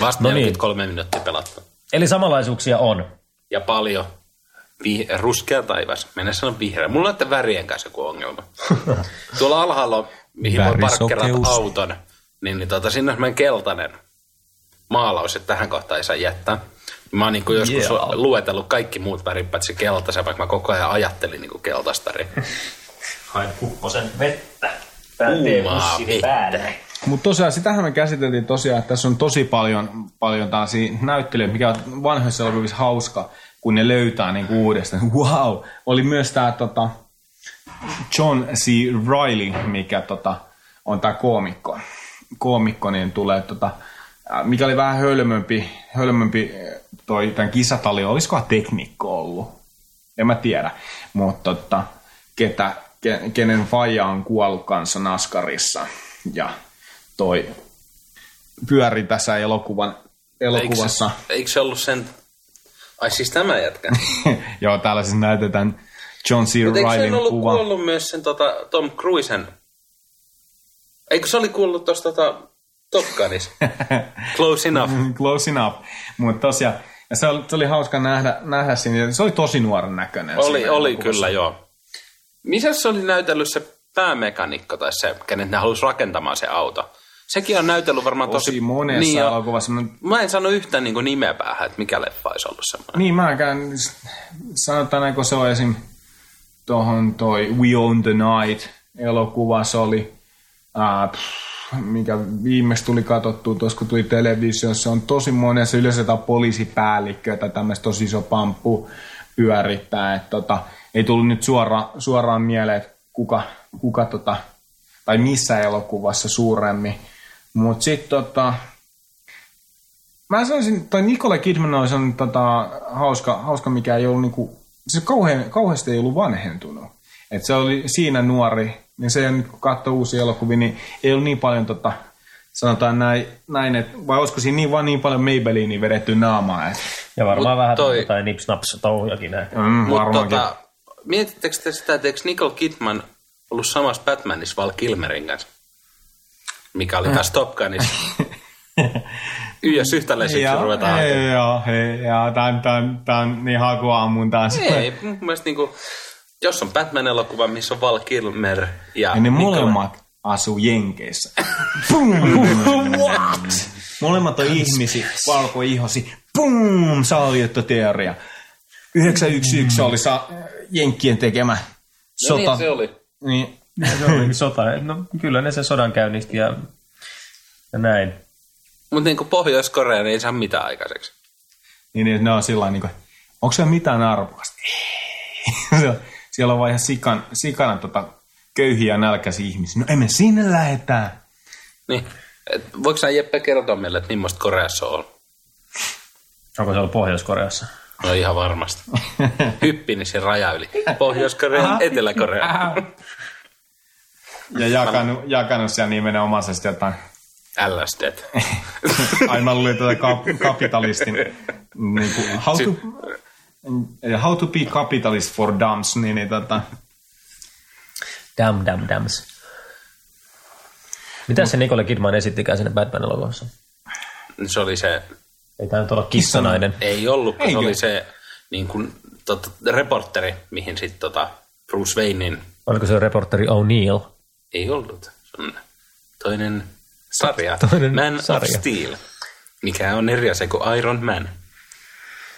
Speaker 1: Vasta
Speaker 7: No
Speaker 1: no
Speaker 7: niin.
Speaker 1: 43 minuuttia pelattu.
Speaker 7: Eli samanlaisuuksia on.
Speaker 1: Ja paljon. Vi- ruskea taivas. Mennä sanon vihreä. Mulla on näiden värien kanssa joku ongelma. Tuolla alhaalla, on, mihin voi parkkerata
Speaker 3: Värisokeus.
Speaker 1: auton, niin, niin tota, sinne on semmoinen keltainen maalaus, että tähän kohtaan ei saa jättää. Mä oon niin joskus yeah. luetellut kaikki muut värit, paitsi keltaisen, vaikka mä koko ajan ajattelin niin keltaista. riviä.
Speaker 7: Hain kupposen vettä.
Speaker 1: Kuumaa vettä.
Speaker 3: Mutta tosiaan, sitähän me käsiteltiin tosiaan, että tässä on tosi paljon, paljon tällaisia näyttelijöitä, mikä on vanhoissa elokuvissa hauska, kun ne löytää niin uudestaan. Wow! Oli myös tämä tota, John C. Riley, mikä tota, on tämä koomikko. Koomikko, niin tulee, tota, äh, mikä oli vähän hölmömpi, hölmömpi äh, toi, tämän kisatali, olisikohan teknikko ollut? En mä tiedä, mutta tota, ketä, ke- kenen faija on kuollut kanssa Naskarissa ja toi pyöri tässä elokuvan, elokuvassa.
Speaker 1: Eikö, se- eikö se ollut sen... Ai siis tämä jätkä.
Speaker 3: Joo, täällä siis näytetään John C.
Speaker 1: Mutta eikö se
Speaker 3: Rileyn
Speaker 1: ollut
Speaker 3: kuva.
Speaker 1: kuollut myös sen tota, Tom Cruisen? Eikö se oli kuollut tuossa tota, Top Gunissa? Close enough.
Speaker 3: Close enough. Mutta tosiaan, ja se oli, se oli hauska nähdä, nähdä siinä. Se oli tosi nuoren näköinen.
Speaker 1: Oli,
Speaker 3: siinä
Speaker 1: oli
Speaker 3: elokuvassa.
Speaker 1: kyllä, joo. Missä se oli näytellyt se päämekanikko tai se, kenet ne halusi rakentamaan se auto? Sekin on näytellyt varmaan tosi...
Speaker 3: Tosi monessa
Speaker 1: niin,
Speaker 3: niin
Speaker 1: ja-
Speaker 3: elokuvassa. Mä-
Speaker 1: Mä en sano yhtään niin nimeä päähän, että mikä leffa olisi ollut semmoinen.
Speaker 3: Niin, mä käyn, sanotaan näin, kun se on esim. tuohon toi We Own the Night elokuva, se oli, ää, pff, mikä viimeksi tuli katsottua tuossa, kun tuli televisiossa, se on tosi monessa yleensä jotain poliisipäällikköä tai tämmöistä tosi iso pamppu pyörittää, että tota, ei tullut nyt suora, suoraan mieleen, että kuka, kuka tota, tai missä elokuvassa suuremmin, mutta sitten tota, Mä sanoisin, tai Nicole Kidman on sellainen tota, hauska, hauska, mikä ei ollut niinku, se kauhean, kauheasti ei ollut vanhentunut. Et se oli siinä nuori, niin se nyt kun katsoo uusia elokuvia, niin ei ollut niin paljon tota, sanotaan näin, näin et, vai olisiko siinä niin, vaan niin paljon Maybelliniin vedetty naamaa, et,
Speaker 7: Ja varmaan
Speaker 1: Mut
Speaker 7: vähän
Speaker 1: toi-
Speaker 7: jotain nips-naps touhujakin näin.
Speaker 4: No,
Speaker 3: mm,
Speaker 1: Mutta
Speaker 3: varmaankin.
Speaker 1: tota, mietittekö te sitä, että eikö Nicole Kidman ollut samassa Batmanissa Val Kilmerin kanssa? Mikä oli taas Top Gunissa. Yhdessä yhtäläiseksi
Speaker 3: Joo,
Speaker 1: ruvetaan hakemaan.
Speaker 3: ei, Joo, ei, joo, tää on- tää on- tää on niin hakuaamun taas.
Speaker 1: Ei, mun mielestä niinku, jos on Batman-elokuva, missä on Val Kilmer ja,
Speaker 3: Ja Niin ne
Speaker 1: Nicolas-
Speaker 3: molemmat asuu Jenkeissä. Niin, Boom! What? niin, Molemmat on ihmisi, valkoihosi. Boom! Salaliittoteoria. 911 oli sa- Jenkkien tekemä sota.
Speaker 1: No niin, se oli.
Speaker 3: Niin,
Speaker 4: Se oli sota. No, kyllä ne se sodan käynnisti ja, ja näin.
Speaker 1: Mutta niin kuin Pohjois-Korea niin ei saa mitään aikaiseksi.
Speaker 3: niin, niin ne on sillä niin kuin, onko se mitään arvokasta? Ei. Se on- Siellä on vaan ihan sikan, sikana tota, köyhiä ja nälkäisiä ihmisiä. No emme sinne lähetään.
Speaker 1: Niin. Et voiko sä Jeppe kertoa meille, että millaista Koreassa on ollut?
Speaker 4: Onko se ollut Pohjois-Koreassa?
Speaker 1: No ihan varmasti. Hyppini sen raja yli. Pohjois-Korea, Etelä-Korea.
Speaker 3: Ja jakanut, jakanut siellä nimenomaan se sitten jotain
Speaker 1: LSD.
Speaker 3: Aina luulen tätä kap- kapitalistin, niin kuin, how, to, eh, how to be capitalist for dumps, niin, niin tota,
Speaker 4: Damn, damn, dams. Mitä se Nicole Kidman esittikään siinä Batman-elokuvassa?
Speaker 1: Se oli se,
Speaker 4: Ei tämä nyt olla kissanainen.
Speaker 1: ei ollut, kun se
Speaker 3: Eikö?
Speaker 1: oli se niin kuin, tota, reporteri, mihin sitten tota, Bruce Waynein
Speaker 4: Oliko se reporteri O'Neill?
Speaker 1: ei ollut. Se on toinen sarja,
Speaker 4: Toinen
Speaker 1: Man
Speaker 4: sarja.
Speaker 1: of Steel, mikä on eri asia kuin Iron Man.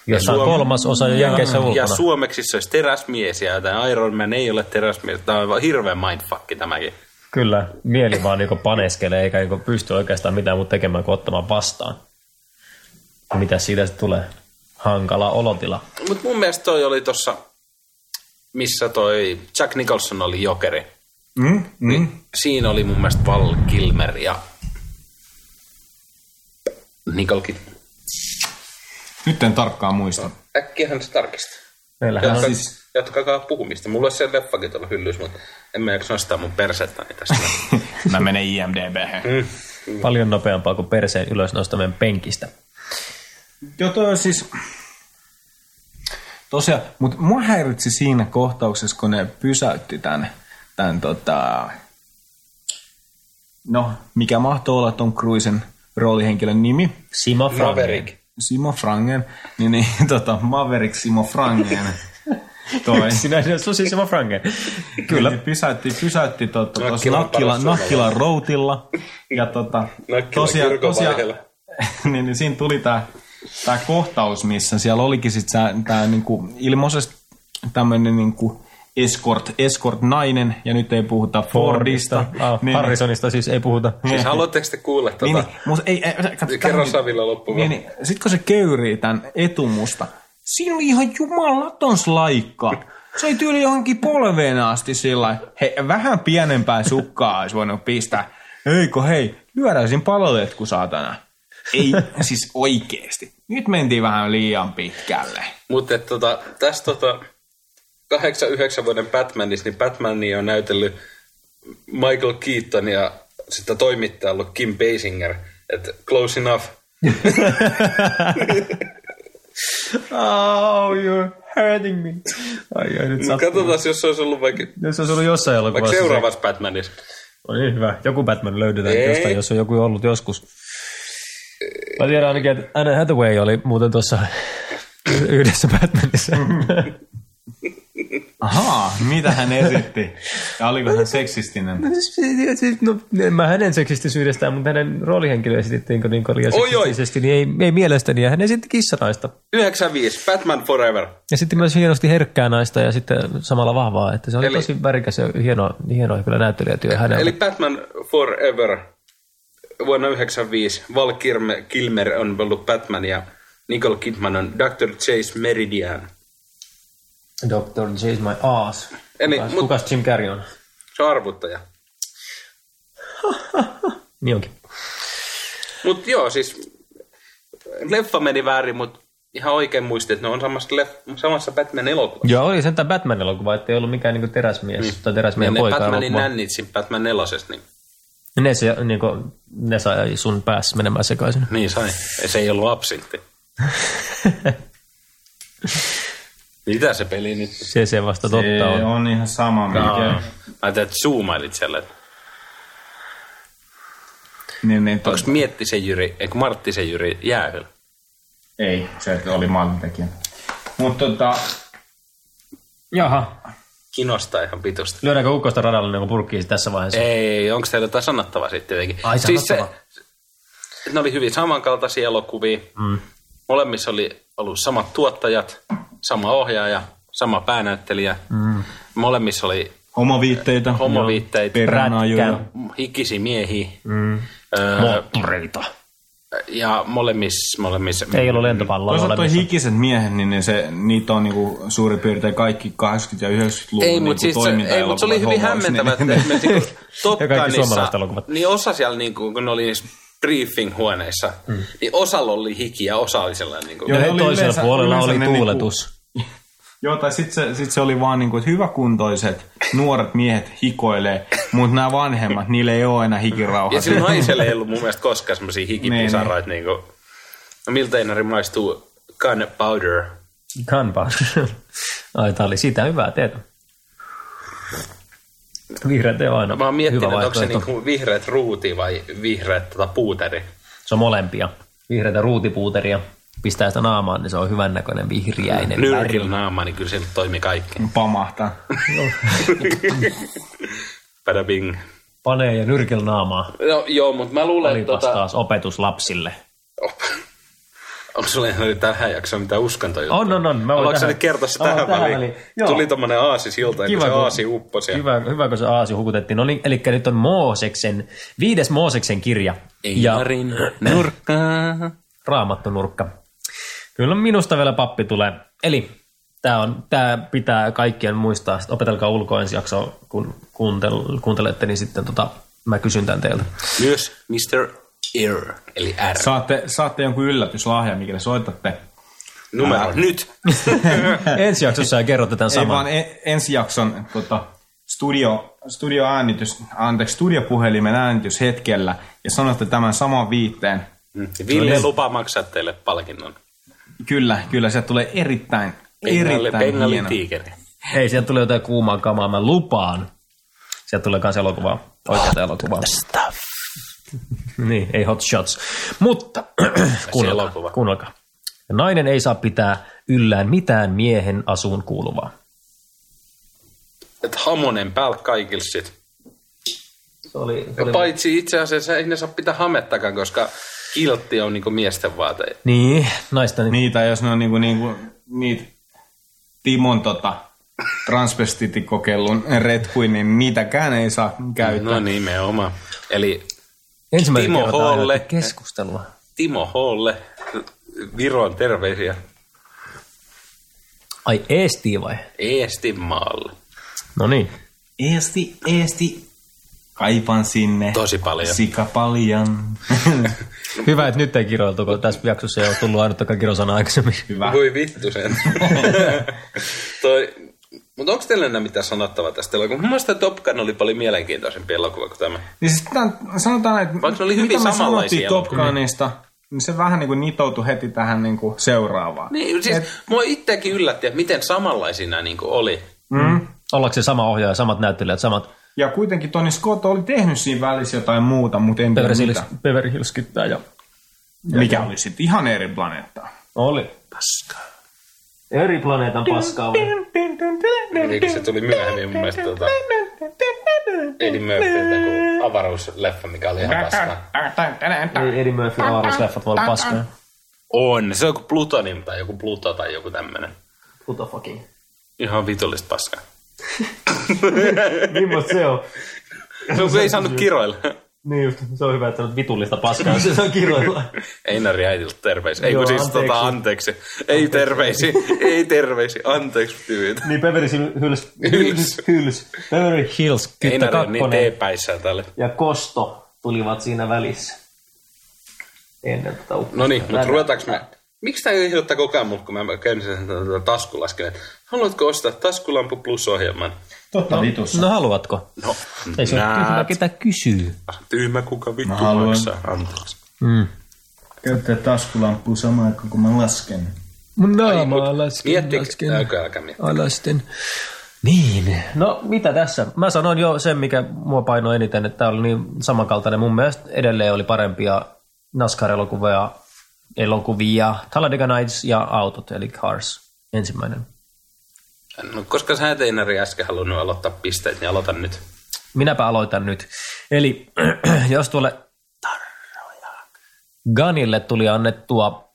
Speaker 4: Jossa on
Speaker 1: Suomi-
Speaker 4: kolmas osa jo jänkeissä
Speaker 1: Ja
Speaker 4: ulkona.
Speaker 1: suomeksi se olisi teräsmies, ja tämä Iron Man ei ole teräsmies. Tämä on aivan hirveä mindfuck tämäkin.
Speaker 4: Kyllä, mieli vaan niinku paneskelee, eikä niinku pysty oikeastaan mitään muuta tekemään kuin ottamaan vastaan. Mitä siitä sitten tulee? Hankala olotila.
Speaker 1: Mutta mun mielestä toi oli tossa, missä toi Jack Nicholson oli jokeri. Niin
Speaker 3: mm, mm.
Speaker 1: Siinä oli mun mielestä Val Kilmer ja Nicole Kidman.
Speaker 3: nyt en tarkkaan muista.
Speaker 1: Äkkiähän se tarkistaa.
Speaker 4: Meillähän
Speaker 1: Jatka,
Speaker 4: on
Speaker 1: siis... Jatkakaa puhumista. Mulla olisi se leffakin tuolla hyllyssä, mutta en mä jaksa nostaa mun persettäni tästä.
Speaker 3: Mä menen IMDb.
Speaker 4: paljon nopeampaa kuin perseen ylös nostaminen penkistä.
Speaker 3: Joo, toi on siis... Tosiaan, mutta mua häiritsi siinä kohtauksessa, kun ne pysäytti tämän, tämän tota... No, mikä mahtoi olla Tom Cruisen roolihenkilön nimi?
Speaker 4: Simo Frangen.
Speaker 3: Simo Frangen. Niin, niin tota, Maverick Simo Frangen. Toi.
Speaker 4: Sinä sinä susi Simo siis Frangen.
Speaker 3: Kyllä. Niin, Pysäytti, pysäytti totta, tuossa
Speaker 1: Nakkila on paras
Speaker 3: Nakkilan,
Speaker 1: suomalainen.
Speaker 3: Nakkilan routilla. Ja tota,
Speaker 1: Nakkila kirkon vaiheella.
Speaker 3: niin, niin, siinä tuli tämä tää kohtaus, missä siellä olikin sitten tämä niinku, ilmoisesti tämmöinen niinku, escort, escort nainen, ja nyt ei puhuta Fordista.
Speaker 4: Ah,
Speaker 3: Niin,
Speaker 4: Harrisonista siis ei puhuta.
Speaker 1: Siis haluatteko te kuulla
Speaker 3: Niin,
Speaker 1: tuota?
Speaker 3: niin, mut ei, ei, katso,
Speaker 1: Kerro
Speaker 3: tämäkin-
Speaker 1: Savilla loppuun.
Speaker 3: niin, niin. Sitten kun se köyrii tämän etumusta, siinä oli ihan jumalaton slaikka. Se oli tyyli johonkin polveen asti sillä hei, vähän pienempää sukkaa olisi voinut pistää. Eikö hei, lyödäisin paloletku saatana. Ei, siis oikeesti. Nyt mentiin vähän liian pitkälle.
Speaker 1: Mutta tota, tässä tota, 8-9 vuoden Batmanissa, niin Batmania on näytellyt Michael Keaton ja sitä toimittaja ollut Kim Basinger. Että close enough.
Speaker 4: Oh, you're hurting me. Ai, ai nyt
Speaker 1: Mut
Speaker 4: sattuu.
Speaker 1: Katsotaan, jos se olisi ollut vaikka,
Speaker 4: Jos se olisi ollut jossain
Speaker 1: vaikka
Speaker 4: elokuvassa. se-
Speaker 1: seuraavassa Batmanissa.
Speaker 4: No niin, hyvä. Joku Batman löydetään
Speaker 1: Ei.
Speaker 4: ei. jostain, jos on joku ollut joskus. Mä tiedän ainakin, että Anna Hathaway oli muuten tuossa yhdessä Batmanissa.
Speaker 1: Mm-hmm.
Speaker 3: Ahaa, mitä hän esitti? Ja oliko hän seksistinen?
Speaker 4: siis, no, mä hänen seksistisyydestään, mutta hänen roolihenkilö esitettiin niin liian
Speaker 1: Oi, oi.
Speaker 4: seksistisesti, niin ei, ei mielestäni. Ja hän esitti kissanaista.
Speaker 1: 95, Batman Forever.
Speaker 4: Ja sitten myös hienosti herkkää naista ja sitten samalla vahvaa. Että se oli
Speaker 1: Eli-
Speaker 4: Eli... tosi värikäs ja hieno, hieno kyllä näyttelijätyö
Speaker 1: Eli
Speaker 4: hänellä. Eli...
Speaker 1: Batman Forever vuonna 95. Val Kilmer- Kilmer on ollut Batman ja Nicole Kidman on Dr. Chase Meridian.
Speaker 4: Dr. Chase My Ass.
Speaker 1: Eli-
Speaker 4: kukas,
Speaker 1: mut-
Speaker 4: kukas Jim Carrey on?
Speaker 1: Se on arvuttaja.
Speaker 4: Niin onkin.
Speaker 1: Mutta joo, siis leffa meni väärin, mutta ihan oikein muistin, että ne on samassa, leff- samassa Batman-elokuvassa.
Speaker 4: Joo, oli sentään Batman-elokuva, ettei ollut mikään niinku teräsmies mm. tai
Speaker 1: Ja
Speaker 4: teräsmiehen
Speaker 1: ne
Speaker 4: poika
Speaker 1: Batmanin
Speaker 4: elokuva.
Speaker 1: nännit siinä Batman nelosessa, niin,
Speaker 4: Ne, se, niinku, ne sai sun päässä menemään sekaisin.
Speaker 1: niin sai. Se ei ollut absintti. Mitä se peli nyt?
Speaker 4: Se, se vasta totta on.
Speaker 3: on ihan sama,
Speaker 1: Mä
Speaker 3: mikä.
Speaker 1: ajattelin, että zoomailit siellä, että
Speaker 3: Niin, niin,
Speaker 1: Onko Mietti se Jyri, eikö Martti se Jyri jäähyllä?
Speaker 3: Ei, se oli maalintekijä. Mutta tota,
Speaker 4: Jaha.
Speaker 1: kinostaa ihan pitusti.
Speaker 4: Lyödäänkö ukkosta radalle niin purkkiin tässä vaiheessa?
Speaker 1: Ei, onko teillä jotain sanottavaa sitten jotenkin?
Speaker 4: Ai, sanottavaa.
Speaker 1: se, ne oli hyvin samankaltaisia elokuvia. Mm. Molemmissa oli ollut samat tuottajat, sama ohjaaja, sama päänäyttelijä. Mm. Molemmissa oli
Speaker 3: Homoviitteitä.
Speaker 1: Homoviitteitä.
Speaker 3: Peränajuja.
Speaker 4: Rätkän.
Speaker 1: hikisi miehiä. Mm. Öö,
Speaker 4: Moottoreita.
Speaker 1: ja molemmissa, molemmissa...
Speaker 4: Ei ollut lentopalloa
Speaker 3: Toisaalta toi
Speaker 4: olemassa.
Speaker 3: hikiset miehet, niin ne se, niitä on niinku suurin piirtein kaikki 80- ja 90-luvun
Speaker 1: Ei,
Speaker 3: niinku
Speaker 1: mutta siis se, ei, mut se oli hyvin
Speaker 3: toimintaelokuvat niin-
Speaker 1: hämmentävä,
Speaker 3: homoiksi,
Speaker 1: että esimerkiksi niinku Topkanissa,
Speaker 4: suomalaiset elokuvat.
Speaker 1: niin osa siellä, niinku, kun ne oli niissä briefing-huoneissa, mm. niin osalla oli hiki ja osa oli sellainen... Niinku,
Speaker 3: Joo,
Speaker 4: Ja
Speaker 3: ne oli
Speaker 4: toisella
Speaker 3: yleensä-
Speaker 4: puolella
Speaker 3: yleensä
Speaker 4: oli
Speaker 3: ne niinku-
Speaker 4: tuuletus.
Speaker 3: Joo, tai sitten se, sit se oli vaan niinku, että hyväkuntoiset nuoret miehet hikoilee, mutta nämä vanhemmat, niille ei ole enää
Speaker 1: ja
Speaker 3: hikirauhaa.
Speaker 1: sillä naisella ei ollut mun mielestä koskaan semmoisia
Speaker 4: Niin,
Speaker 1: hikipisaroita, niinku, no miltä Einari maistuu gunpowder.
Speaker 4: Gunpowder. Ai, tää oli sitä hyvää teetä. Vihreät ei ole aina
Speaker 1: Mä oon miettinyt,
Speaker 4: hyvä
Speaker 1: että onko se
Speaker 4: vaihtoehto.
Speaker 1: niinku vihreät ruuti vai vihreät tota, puuteri.
Speaker 4: Se on molempia. Vihreitä ruutipuuteria. Pistää sitä naamaan, niin se on hyvän näköinen vihriäinen. väri.
Speaker 1: Nyrkillä naamaa, niin kyllä sillä toimii kaikki.
Speaker 3: Pamahtaa.
Speaker 1: Bada bing.
Speaker 4: Panee ja nyrkillä naamaa.
Speaker 1: No, joo, mutta mä luulen, että
Speaker 4: Olipas
Speaker 1: tota,
Speaker 4: taas opetus lapsille.
Speaker 1: Onko sulla ihan nyt tähän jaksoon mitään uskontojuttuja?
Speaker 4: On, on, on. Mä voin
Speaker 1: Haluatko sä
Speaker 4: tähän-
Speaker 1: nyt kertoa se
Speaker 4: Mä voin
Speaker 1: tähän
Speaker 4: tähän
Speaker 1: väliin?
Speaker 4: väliin. Joo.
Speaker 1: Tuli tommonen aasisilta, kun
Speaker 4: Kiva,
Speaker 1: se
Speaker 4: kun-
Speaker 1: aasi upposi. ja-
Speaker 4: Hyvä, hyvä, kun se aasi hukutettiin. No niin, eli nyt on Mooseksen, viides Mooseksen kirja. ja
Speaker 1: nurkkaa.
Speaker 4: raamattu nurkka. Kyllä minusta vielä pappi tulee. Eli tämä on, tää pitää kaikkien muistaa. Sitten opetelkaa ulkoa ensi jaksoa, kun kuuntel, kuuntelette, niin sitten tota, mä kysyn tämän teiltä.
Speaker 1: Myös Mr. Ear, eli R.
Speaker 3: Saatte, saatte jonkun yllätyslahjan, mikä soitatte.
Speaker 1: Numero nyt.
Speaker 4: ensi jaksossa ja kerrotte tämän
Speaker 3: Ei
Speaker 4: saman.
Speaker 3: vaan e- ensi jakson tota, studio, studioäänitys, anteeksi, studiopuhelimen äänityshetkellä ja sanotte tämän saman viitteen.
Speaker 1: Ville lupaa maksaa teille palkinnon.
Speaker 3: Kyllä, kyllä, sieltä tulee erittäin,
Speaker 1: Bengali,
Speaker 3: erittäin
Speaker 1: Bengali
Speaker 3: hieno.
Speaker 1: tiikeri.
Speaker 4: Hei, sieltä tulee jotain kuumaa kamaa, mä lupaan. Sieltä tulee kans elokuvaa, oikeata elokuvaa. niin, ei hot shots. Mutta
Speaker 1: elokuva.
Speaker 4: kuunnelkaa, kuunnelkaa. Nainen ei saa pitää yllään mitään miehen asuun kuuluvaa.
Speaker 1: Et hamonen päällä kaikille sit.
Speaker 4: Se oli,
Speaker 1: Ja paitsi itse asiassa ei ne saa pitää hamettakaan, koska kiltti on niinku miesten vaate.
Speaker 4: Niin, naista. Niin.
Speaker 3: Niitä, jos ne on niinku, niinku, niitä Timon tota, transvestitikokeilun retkuin, niin niitäkään ei saa käyttää.
Speaker 1: No nimenomaan. Eli
Speaker 4: Ensimmäinen
Speaker 1: Timo
Speaker 4: kerta aina
Speaker 1: Holle.
Speaker 4: keskustelua.
Speaker 1: Timo Holle, Viron terveisiä
Speaker 4: Ai, Eesti vai?
Speaker 1: Eestinmaalle.
Speaker 4: No niin.
Speaker 3: Eesti, Eesti, kaipaan sinne.
Speaker 1: Tosi paljon.
Speaker 3: Sika paljon.
Speaker 4: Hyvä, että nyt ei kiroiltu, kun tässä jaksossa ei ole tullut ainuttakaan kirosana aikaisemmin.
Speaker 3: Hyvä.
Speaker 1: Voi vittu sen. Toi, mutta onko teillä enää mitään sanottavaa tästä elokuvasta? Mun mielestä Top Gun oli paljon mielenkiintoisempi elokuva kuin tämä.
Speaker 3: Niin siis tämän, sanotaan, että
Speaker 1: Vaikka ne oli hyvin
Speaker 3: mitä me
Speaker 1: samanlaisia
Speaker 3: sanottiin Top
Speaker 1: elokuvia.
Speaker 3: Gunista, niin se vähän niin kuin nitoutui heti tähän niin kuin seuraavaan.
Speaker 1: Niin, siis Et... mua itseäkin yllätti, että miten samanlaisia nämä niinku oli.
Speaker 3: Mm.
Speaker 4: Ollaanko se sama ohjaaja, samat näyttelijät, samat
Speaker 3: Ja kuitenkin Tony Scott oli tehnyt siinä välissä jotain muuta, mutta en tiedä
Speaker 4: Beverly Hills,
Speaker 3: mitä.
Speaker 4: Beverly Hills kyttää ja...
Speaker 3: Mikä oli sitten ihan eri planeettaa.
Speaker 4: Oli. Paskaa. Eri planeetan paskaa. vai?
Speaker 1: Eikö se tuli myöhemmin mun mielestä tota... Eli Murphyltä kuin avaruusleffa, mikä oli ihan paskaa.
Speaker 4: Ei Eddie Murphy avaruusleffat voi olla paskaa.
Speaker 1: On, se on joku Plutonin tai joku Pluto tai joku tämmönen.
Speaker 4: Puto fucking.
Speaker 1: Ihan vitollista paskaa.
Speaker 4: Mimmosta se on?
Speaker 1: No kun ei saanut kiroilla.
Speaker 4: Niin just, se on hyvä, että sanot vitullista paskaa, se on kirjoilla.
Speaker 1: Einari äitiltä terveisiä. Ei
Speaker 4: Joo,
Speaker 1: kun siis anteeksi.
Speaker 4: anteeksi.
Speaker 1: tota anteeksi. Ei terveisiä. Ei terveisiä. Anteeksi tyynyt.
Speaker 4: Niin Beverly Hills,
Speaker 1: Hills-
Speaker 4: Hills, Beverly Hills, kyttä
Speaker 1: Einari on niin
Speaker 4: kakkonen
Speaker 1: teepäissään tälle.
Speaker 4: ja Kosto tulivat siinä välissä. Ennen tätä uppoa.
Speaker 1: No niin, mutta ruvetaanko me... Miksi tämä ehdottaa koko ajan mun, kun mä käyn sen tota taskulasken, että haluatko ostaa taskulampu plus-ohjelman?
Speaker 3: Totta vitus.
Speaker 4: No haluatko?
Speaker 1: No,
Speaker 4: Ei se ole tyhmä, ketä kysyy.
Speaker 1: tyhmä kuka vittu
Speaker 3: haluan.
Speaker 1: maksaa. Anteeksi.
Speaker 4: Mm.
Speaker 3: Käyttää taskulamppua samaan aikaan, kun mä lasken.
Speaker 4: Mun naama alaskin,
Speaker 1: Miettikö? Älkää, älkää miettikö.
Speaker 4: alasten. Niin. No mitä tässä? Mä sanoin jo sen, mikä mua painoi eniten, että tämä oli niin samankaltainen. Mun mielestä edelleen oli parempia NASCAR-elokuvia, elokuvia, Talladega Nights ja Autot, eli Cars, ensimmäinen.
Speaker 1: No, koska sä et Einari äsken halunnut aloittaa pisteet, niin aloitan nyt.
Speaker 4: Minäpä aloitan nyt. Eli jos tuolle Ganille tuli annettua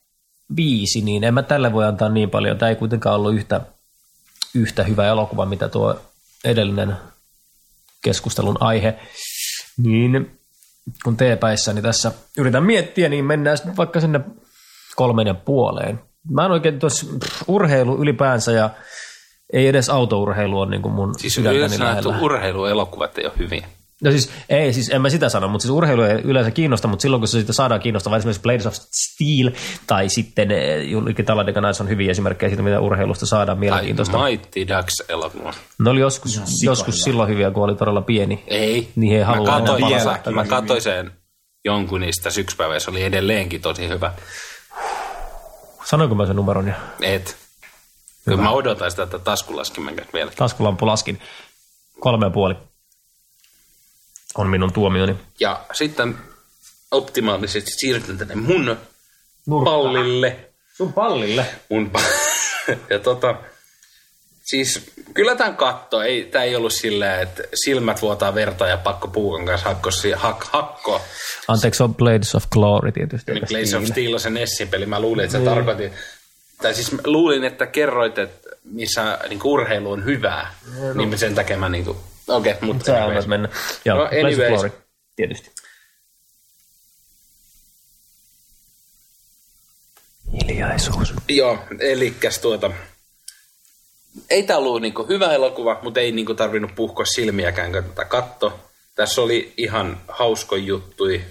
Speaker 4: viisi, niin en mä tälle voi antaa niin paljon. Tämä ei kuitenkaan ollut yhtä, yhtä hyvä elokuva, mitä tuo edellinen keskustelun aihe. Niin kun teepäissäni tässä yritän miettiä, niin mennään sitten vaikka sinne kolmen ja puoleen. Mä en oikein tuossa pff, urheilu ylipäänsä ja ei edes autourheilu on niin kuin mun
Speaker 1: Siis
Speaker 4: sydäntäni
Speaker 1: yleensä sanottu
Speaker 4: lähellä.
Speaker 1: urheiluelokuvat ei ole hyviä.
Speaker 4: No siis, ei, siis en mä sitä sano, mutta siis urheilu ei yleensä kiinnosta, mutta silloin kun se sitä saadaan kiinnostavaa, esimerkiksi Blades of Steel tai sitten eh, Julkki Taladeka on hyviä esimerkkejä siitä, mitä urheilusta saadaan
Speaker 1: Tai
Speaker 4: mielenkiintoista.
Speaker 1: Mighty Ducks-elokuva.
Speaker 4: Ne oli joskus, joskus silloin hyviä, kun oli todella pieni.
Speaker 1: Ei.
Speaker 4: Niin ei halua
Speaker 1: Mä katoin,
Speaker 4: enää
Speaker 1: vielä,
Speaker 4: palata.
Speaker 1: mä katoin sen jonkun niistä sykspäivä, ja se oli edelleenkin tosi hyvä.
Speaker 4: Sanoinko mä sen numeron ja
Speaker 1: Et. Kyllä mä odotan sitä, että taskulaskin vielä.
Speaker 4: taskulampu laskin. Kolme ja puoli on minun tuomioni.
Speaker 1: Ja sitten optimaalisesti siirrytään tänne mun pallille.
Speaker 4: Sun pallille?
Speaker 1: Mun pa- ja tota, siis kyllä tämän katto, ei, tämä ei ollut silleen, että silmät vuotaa verta ja pakko puukan kanssa hakko, si- hak, hakko.
Speaker 4: Anteeksi, se on Blades of Glory tietysti. eikä
Speaker 1: Blaze of
Speaker 4: Steel.
Speaker 1: Steel on se Nessi-peli, mä luulin,
Speaker 4: Niin.
Speaker 1: että sä tarkoitit, tai siis mä luulin, että kerroit, että missä niin urheilu on hyvää, niin sen takia mä niin kuin, okei, okay, mutta
Speaker 4: No. Sä
Speaker 1: anyways.
Speaker 4: annat mennä. Joo,
Speaker 1: No,
Speaker 4: no, Blaze of
Speaker 1: anyways.
Speaker 4: Glory, tietysti. Hiljaisuus.
Speaker 1: Joo, elikkäs tuota... Ei tää ollut niinku hyvä elokuva, mutta ei niinku tarvinnut puhkoa silmiäkään, kun tätä katto. Tässä oli ihan hausko juttui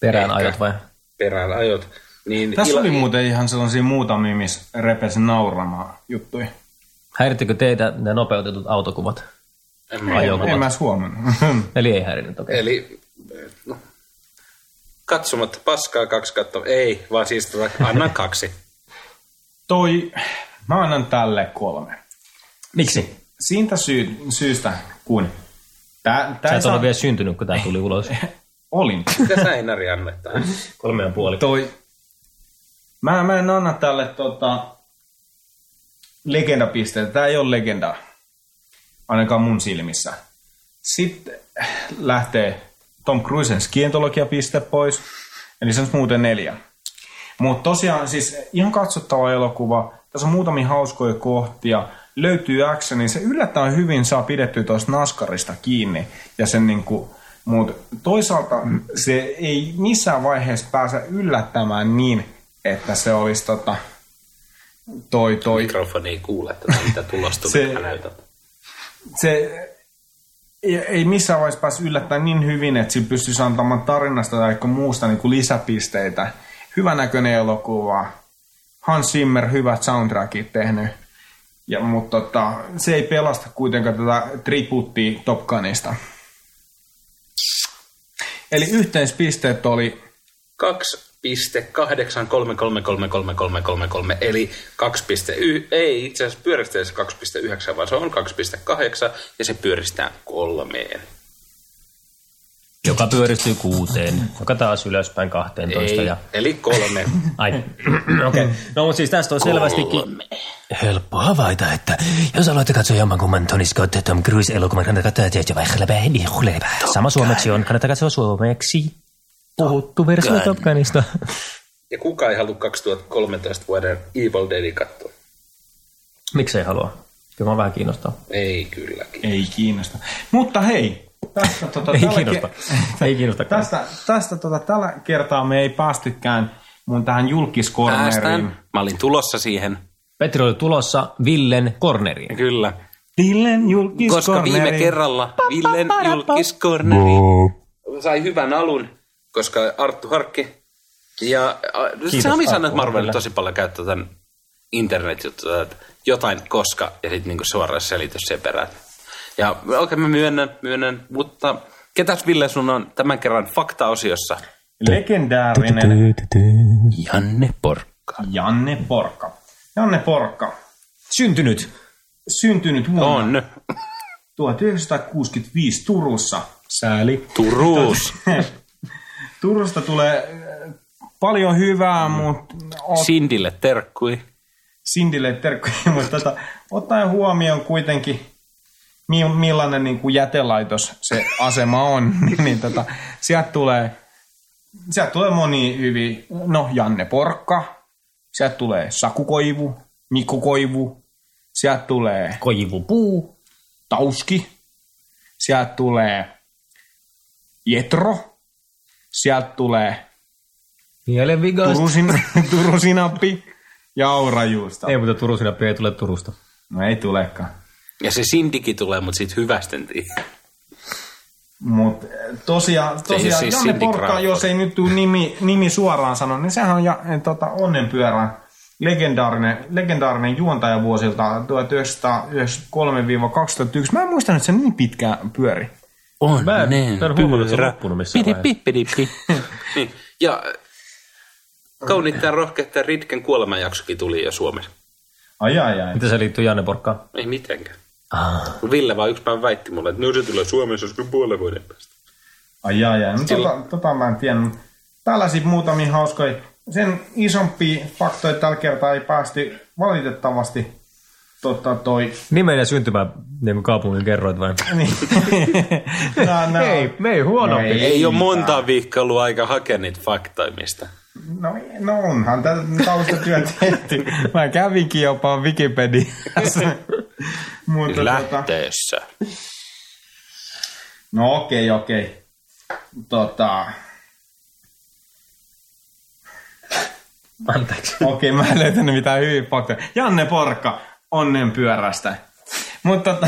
Speaker 4: Perään
Speaker 1: Ehkä.
Speaker 4: ajat vai?
Speaker 1: perään ajot. Niin
Speaker 3: Tässä
Speaker 1: ilo-
Speaker 3: oli muuten ihan sellaisia muutamia, missä repesi nauramaan juttuja.
Speaker 4: Häirittikö teitä nämä nopeutetut autokuvat?
Speaker 1: en mä-
Speaker 4: ajokuvat.
Speaker 3: En mä edes huomannut.
Speaker 4: Eli ei häirinnyt, okei.
Speaker 1: Eli no, katsomatta paskaa kaksi katto. Ei, vaan siis tota, annan kaksi.
Speaker 3: Toi, mä annan tälle kolme.
Speaker 4: Miksi?
Speaker 3: Siitä syy, syystä, kun... Tää, tää
Speaker 4: Sä
Speaker 3: ei
Speaker 4: et
Speaker 3: saa-
Speaker 4: ollut vielä syntynyt, kun tää tuli ulos.
Speaker 3: Olin.
Speaker 1: Mitä sä Einari annetaan?
Speaker 4: Kolme ja puoli.
Speaker 3: Toi... Mä, mä en anna tälle tota, legendapisteitä. Tää ei ole legenda. Ainakaan mun silmissä. Sitten lähtee Tom Cruisen skientologiapiste pois. Eli se on muuten neljä. Mutta tosiaan siis ihan katsottava elokuva. Tässä on muutamia hauskoja kohtia. Löytyy actioni. Se yllättäen hyvin saa pidettyä tuosta naskarista kiinni. Ja sen niinku, mutta toisaalta se ei missään vaiheessa pääse yllättämään niin, että se olisi tota, toi, toi,
Speaker 1: Mikrofoni ei kuule tätä, mitä tulosta
Speaker 3: Se-
Speaker 1: tuli häneltä.
Speaker 3: se ei, ei missään vaiheessa pääsi yllättämään niin hyvin, että sillä pystyisi antamaan tarinasta tai muusta niin kuin lisäpisteitä. Hyvänäköinen elokuva. Hans Zimmer hyvät soundtrackit tehnyt. Ja, mutta tota, se ei pelasta kuitenkaan tätä tributtia Top Gunista. Eli yhteispisteet oli
Speaker 1: 2.833333333, eli 2.1, ei itse asiassa pyöristää se 2.9, vaan se on 2.8 ja se pyöristää kolmeen.
Speaker 4: Joka pyöristyy kuuteen, joka taas ylöspäin kahteentoista
Speaker 1: Ei,
Speaker 4: ja...
Speaker 1: eli kolme.
Speaker 4: Ai, okei. Okay. No mutta siis tästä on selvästikin...
Speaker 11: Helppo havaita, että jos haluatte katsoa jommankumman Tony Scott ja Tom Cruise-elokuvan, kannattaa katsoa tietysti vaihdelpäin ja hulepää. niin Sama suomeksi on, kannattaa katsoa suomeksi. Puhuttu versio Top Gunista.
Speaker 1: Ja kuka ei halua 2013 vuoden Evil Dead katsoa?
Speaker 4: Miksei halua? Kyllä mä vähän kiinnostaa.
Speaker 1: Ei kylläkin.
Speaker 3: ei kiinnosta. Mutta hei, tästä, tota,
Speaker 4: Ei
Speaker 3: tällä
Speaker 4: kiinnosta.
Speaker 3: ke-
Speaker 4: Ei kiinnosta.
Speaker 3: Tästä, tästä tota, tällä kertaa me ei päästykään mun tähän julkiskorneriin.
Speaker 1: Päästään. Mä olin tulossa siihen.
Speaker 4: Petri oli tulossa Villen corneriin.
Speaker 1: Kyllä.
Speaker 3: Dillen julkiskorneri.
Speaker 1: Koska viime kerralla Villen julkiskorneri sai hyvän alun, koska Arttu Harkki ja äh, Kiitos, Sami sanoi, että Marvel tosi paljon käyttää tämän internetjuttuja, että jotain koska ja sitten niinku suora selitys sen perään. Ja okei, okay, mä myönnän, myönnän, mutta ketäs Ville sun on tämän kerran faktaosiossa?
Speaker 3: Legendaarinen
Speaker 1: Janne Porkka.
Speaker 3: Janne Porkka. Janne Porkka.
Speaker 4: Syntynyt.
Speaker 3: Syntynyt vuonna
Speaker 1: On.
Speaker 3: 1965 Turussa. Sääli.
Speaker 1: Turuus.
Speaker 3: Turusta tulee äh, paljon hyvää, mutta
Speaker 1: Sindille terkkui.
Speaker 3: Sindille terkkuja, mutta tota, ottaen huomioon kuitenkin, mi- millainen niin kuin jätelaitos se asema on, niin, niin tota, sieltä tulee, sieltä tulee moni hyvin, no Janne Porkka, sieltä tulee Saku Koivu, Mikko Koivu, sieltä tulee
Speaker 4: Koivupuu.
Speaker 3: Tauski, sieltä tulee Jetro, sieltä tulee
Speaker 4: Mielen vikaista.
Speaker 3: Turusin, Turusinappi ja Aurajuusta.
Speaker 4: Ei, mutta Turusinappi ei tule Turusta.
Speaker 3: No ei tulekaan.
Speaker 1: Ja se sindikin tulee, mutta siitä hyvästentiin.
Speaker 3: Mutta tosiaan,
Speaker 1: ei
Speaker 3: tosiaan
Speaker 1: ole siis
Speaker 3: siis Janne
Speaker 1: Cindy
Speaker 3: Porkka,
Speaker 1: Crawford.
Speaker 3: jos ei nyt tuu nimi, nimi suoraan sano, niin sehän on ja, tota, onnenpyörän legendaarinen, legendaarinen juontaja vuosilta 1993-2001. Mä en muista, että se niin pitkään pyöri.
Speaker 1: On
Speaker 4: Mä en-
Speaker 11: Mm,
Speaker 4: mä en huomannut, että se on loppunut missään vaiheessa.
Speaker 1: niin. Ja kauniit ja rohkeat ja Ritken kuolemanjaksokin tuli jo Suomessa.
Speaker 3: Ai ai ai.
Speaker 4: Mitä se liittyy Janne Porkkaan?
Speaker 1: Ei mitenkään. Ah. Ville vaan yksi päivä väitti mulle, että no se tulee Suomessa joskus puolen vuoden päästä.
Speaker 3: Ai ai ai. No,
Speaker 1: Siis
Speaker 3: tota, tota mä en tiedä. mut Tällaisia muutamia hauskoja. Sen isompia faktoja tällä kertaa ei päästy valitettavasti. Tota toi.
Speaker 4: Nimen ja syntymä niin kuin kaupungin kerroit vai?
Speaker 3: Niin. no, no.
Speaker 4: Ei, me ei huonompi.
Speaker 3: No
Speaker 1: Ei, ei ole monta viikkoa ollut aika hakea niitä faktaimista.
Speaker 3: No, no onhan tätä taustatyöt tehty. Mä kävinkin jopa Wikipediassa. Mutta tota,
Speaker 1: Lähteessä.
Speaker 3: no okei, okei. Tota,
Speaker 4: Anteeksi.
Speaker 3: okei, mä en löytänyt mitään hyviä faktoja. Janne Porkka, onnen pyörästä. Mutta tota,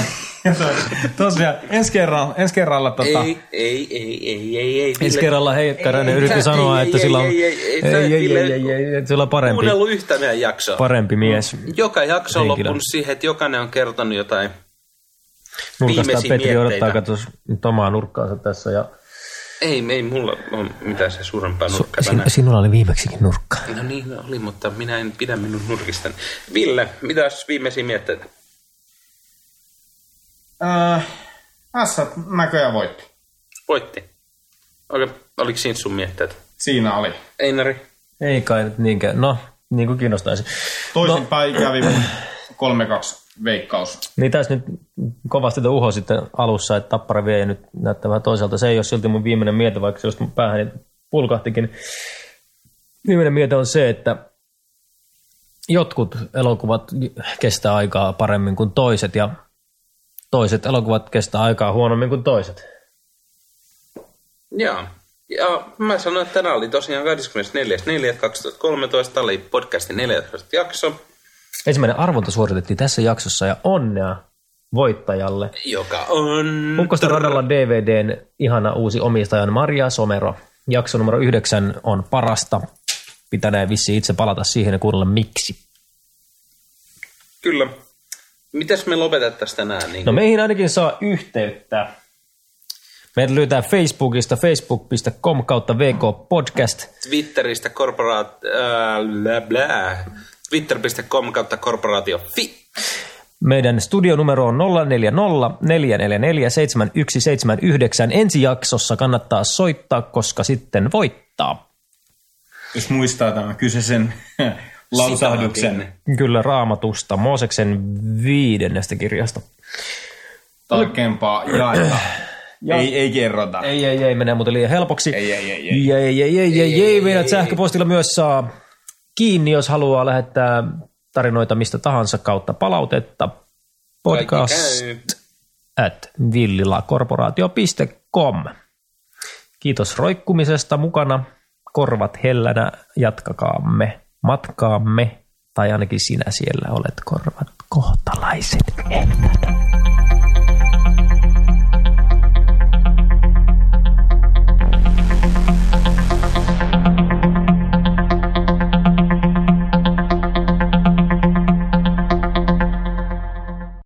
Speaker 3: tosiaan, ensi kerralla, ensi kerralla tota,
Speaker 1: Ei, ei, ei, ei, ei, ei.
Speaker 4: Ensi
Speaker 1: Ville-
Speaker 4: kerralla heittäräinen
Speaker 1: Ei,
Speaker 4: yritti
Speaker 1: ei,
Speaker 4: sanoa,
Speaker 1: ei,
Speaker 4: että
Speaker 1: ei,
Speaker 4: sillä on,
Speaker 1: ei, ei, ei,
Speaker 4: ei,
Speaker 1: sä,
Speaker 4: ei, ei,
Speaker 1: Ville,
Speaker 4: ei, ei, että sillä on parempi,
Speaker 1: kuunnellut Mm. yhtä meidän jaksoa.
Speaker 4: parempi mies.
Speaker 1: Joka jakso on
Speaker 4: Henkilö.
Speaker 1: loppunut siihen, että jokainen on kertonut jotain
Speaker 4: Nurkasta
Speaker 1: viimeisiä
Speaker 4: Petri odottaa,
Speaker 1: mietteitä.
Speaker 4: katsos nyt omaa nurkkaansa tässä. Ja...
Speaker 1: Ei, ei mulla on mitään se suurempaa nurkkaa
Speaker 12: Sin,
Speaker 1: tänään.
Speaker 12: sinulla oli viimeksikin nurkka.
Speaker 1: No niin oli, mutta minä en pidä minun nurkistani. Ville, mitäs viimeisiä mietteitä?
Speaker 3: äh, ässät näköjään voitti.
Speaker 1: Voitti. Oliko, oliko siinä sun mietteet?
Speaker 3: Siinä oli.
Speaker 1: Einari?
Speaker 4: Ei kai nyt niinkään, no niin kuin kiinnostaisi.
Speaker 3: Toisinpäin no. kävi 3-2 veikkaus.
Speaker 4: Niin tässä nyt kovasti tätä uho sitten alussa, että tappara vie ja nyt näyttää vähän toiselta. Se ei ole silti mun viimeinen miete, vaikka se just mun päähän niin pulkahtikin. Viimeinen miete on se, että jotkut elokuvat kestää aikaa paremmin kuin toiset ja toiset elokuvat kestää aikaa huonommin kuin toiset.
Speaker 1: Joo. Ja mä sanoin, että tänään oli tosiaan 24.4.2013, oli podcastin 14. jakso,
Speaker 4: Ensimmäinen arvonta suoritettiin tässä jaksossa ja onnea voittajalle.
Speaker 1: joka on...
Speaker 4: Ukkosta radalla DVDn ihana uusi omistaja on Maria Somero. Jakso numero yhdeksän on parasta. Pitänee vissi itse palata siihen ja kuunnella miksi.
Speaker 1: Kyllä. Mitäs me lopetettaisiin tänään? Niin
Speaker 4: No meihin ainakin saa yhteyttä. Meidät löytää Facebookista, facebook.com kautta VK Podcast.
Speaker 1: Twitteristä korporaat... Äh, blä, blä. Twitter.com kautta korporaatio fi.
Speaker 4: Meidän studionumero on 040 444 7179. Ensi jaksossa kannattaa soittaa, koska sitten voittaa.
Speaker 3: jos muistaa tämän kyseisen lausahduksen
Speaker 4: Kyllä raamatusta, Mooseksen viidennestä kirjasta.
Speaker 3: tarkempaa jaetta. Ei, ei kerrota.
Speaker 4: Ei, ei, ei, menee muuten liian helpoksi.
Speaker 3: Ei, ei, ei,
Speaker 4: ei, ei, ei, ei, ei, ei, meidät sähköpostilla myös saa kiinni, jos haluaa lähettää tarinoita mistä tahansa kautta palautetta. Podcast
Speaker 1: Kaikki käy.
Speaker 4: at villilakorporaatio.com. Kiitos roikkumisesta mukana. Korvat hellänä jatkakaamme matkaamme, tai ainakin sinä siellä olet korvat kohtalaiset hellänä.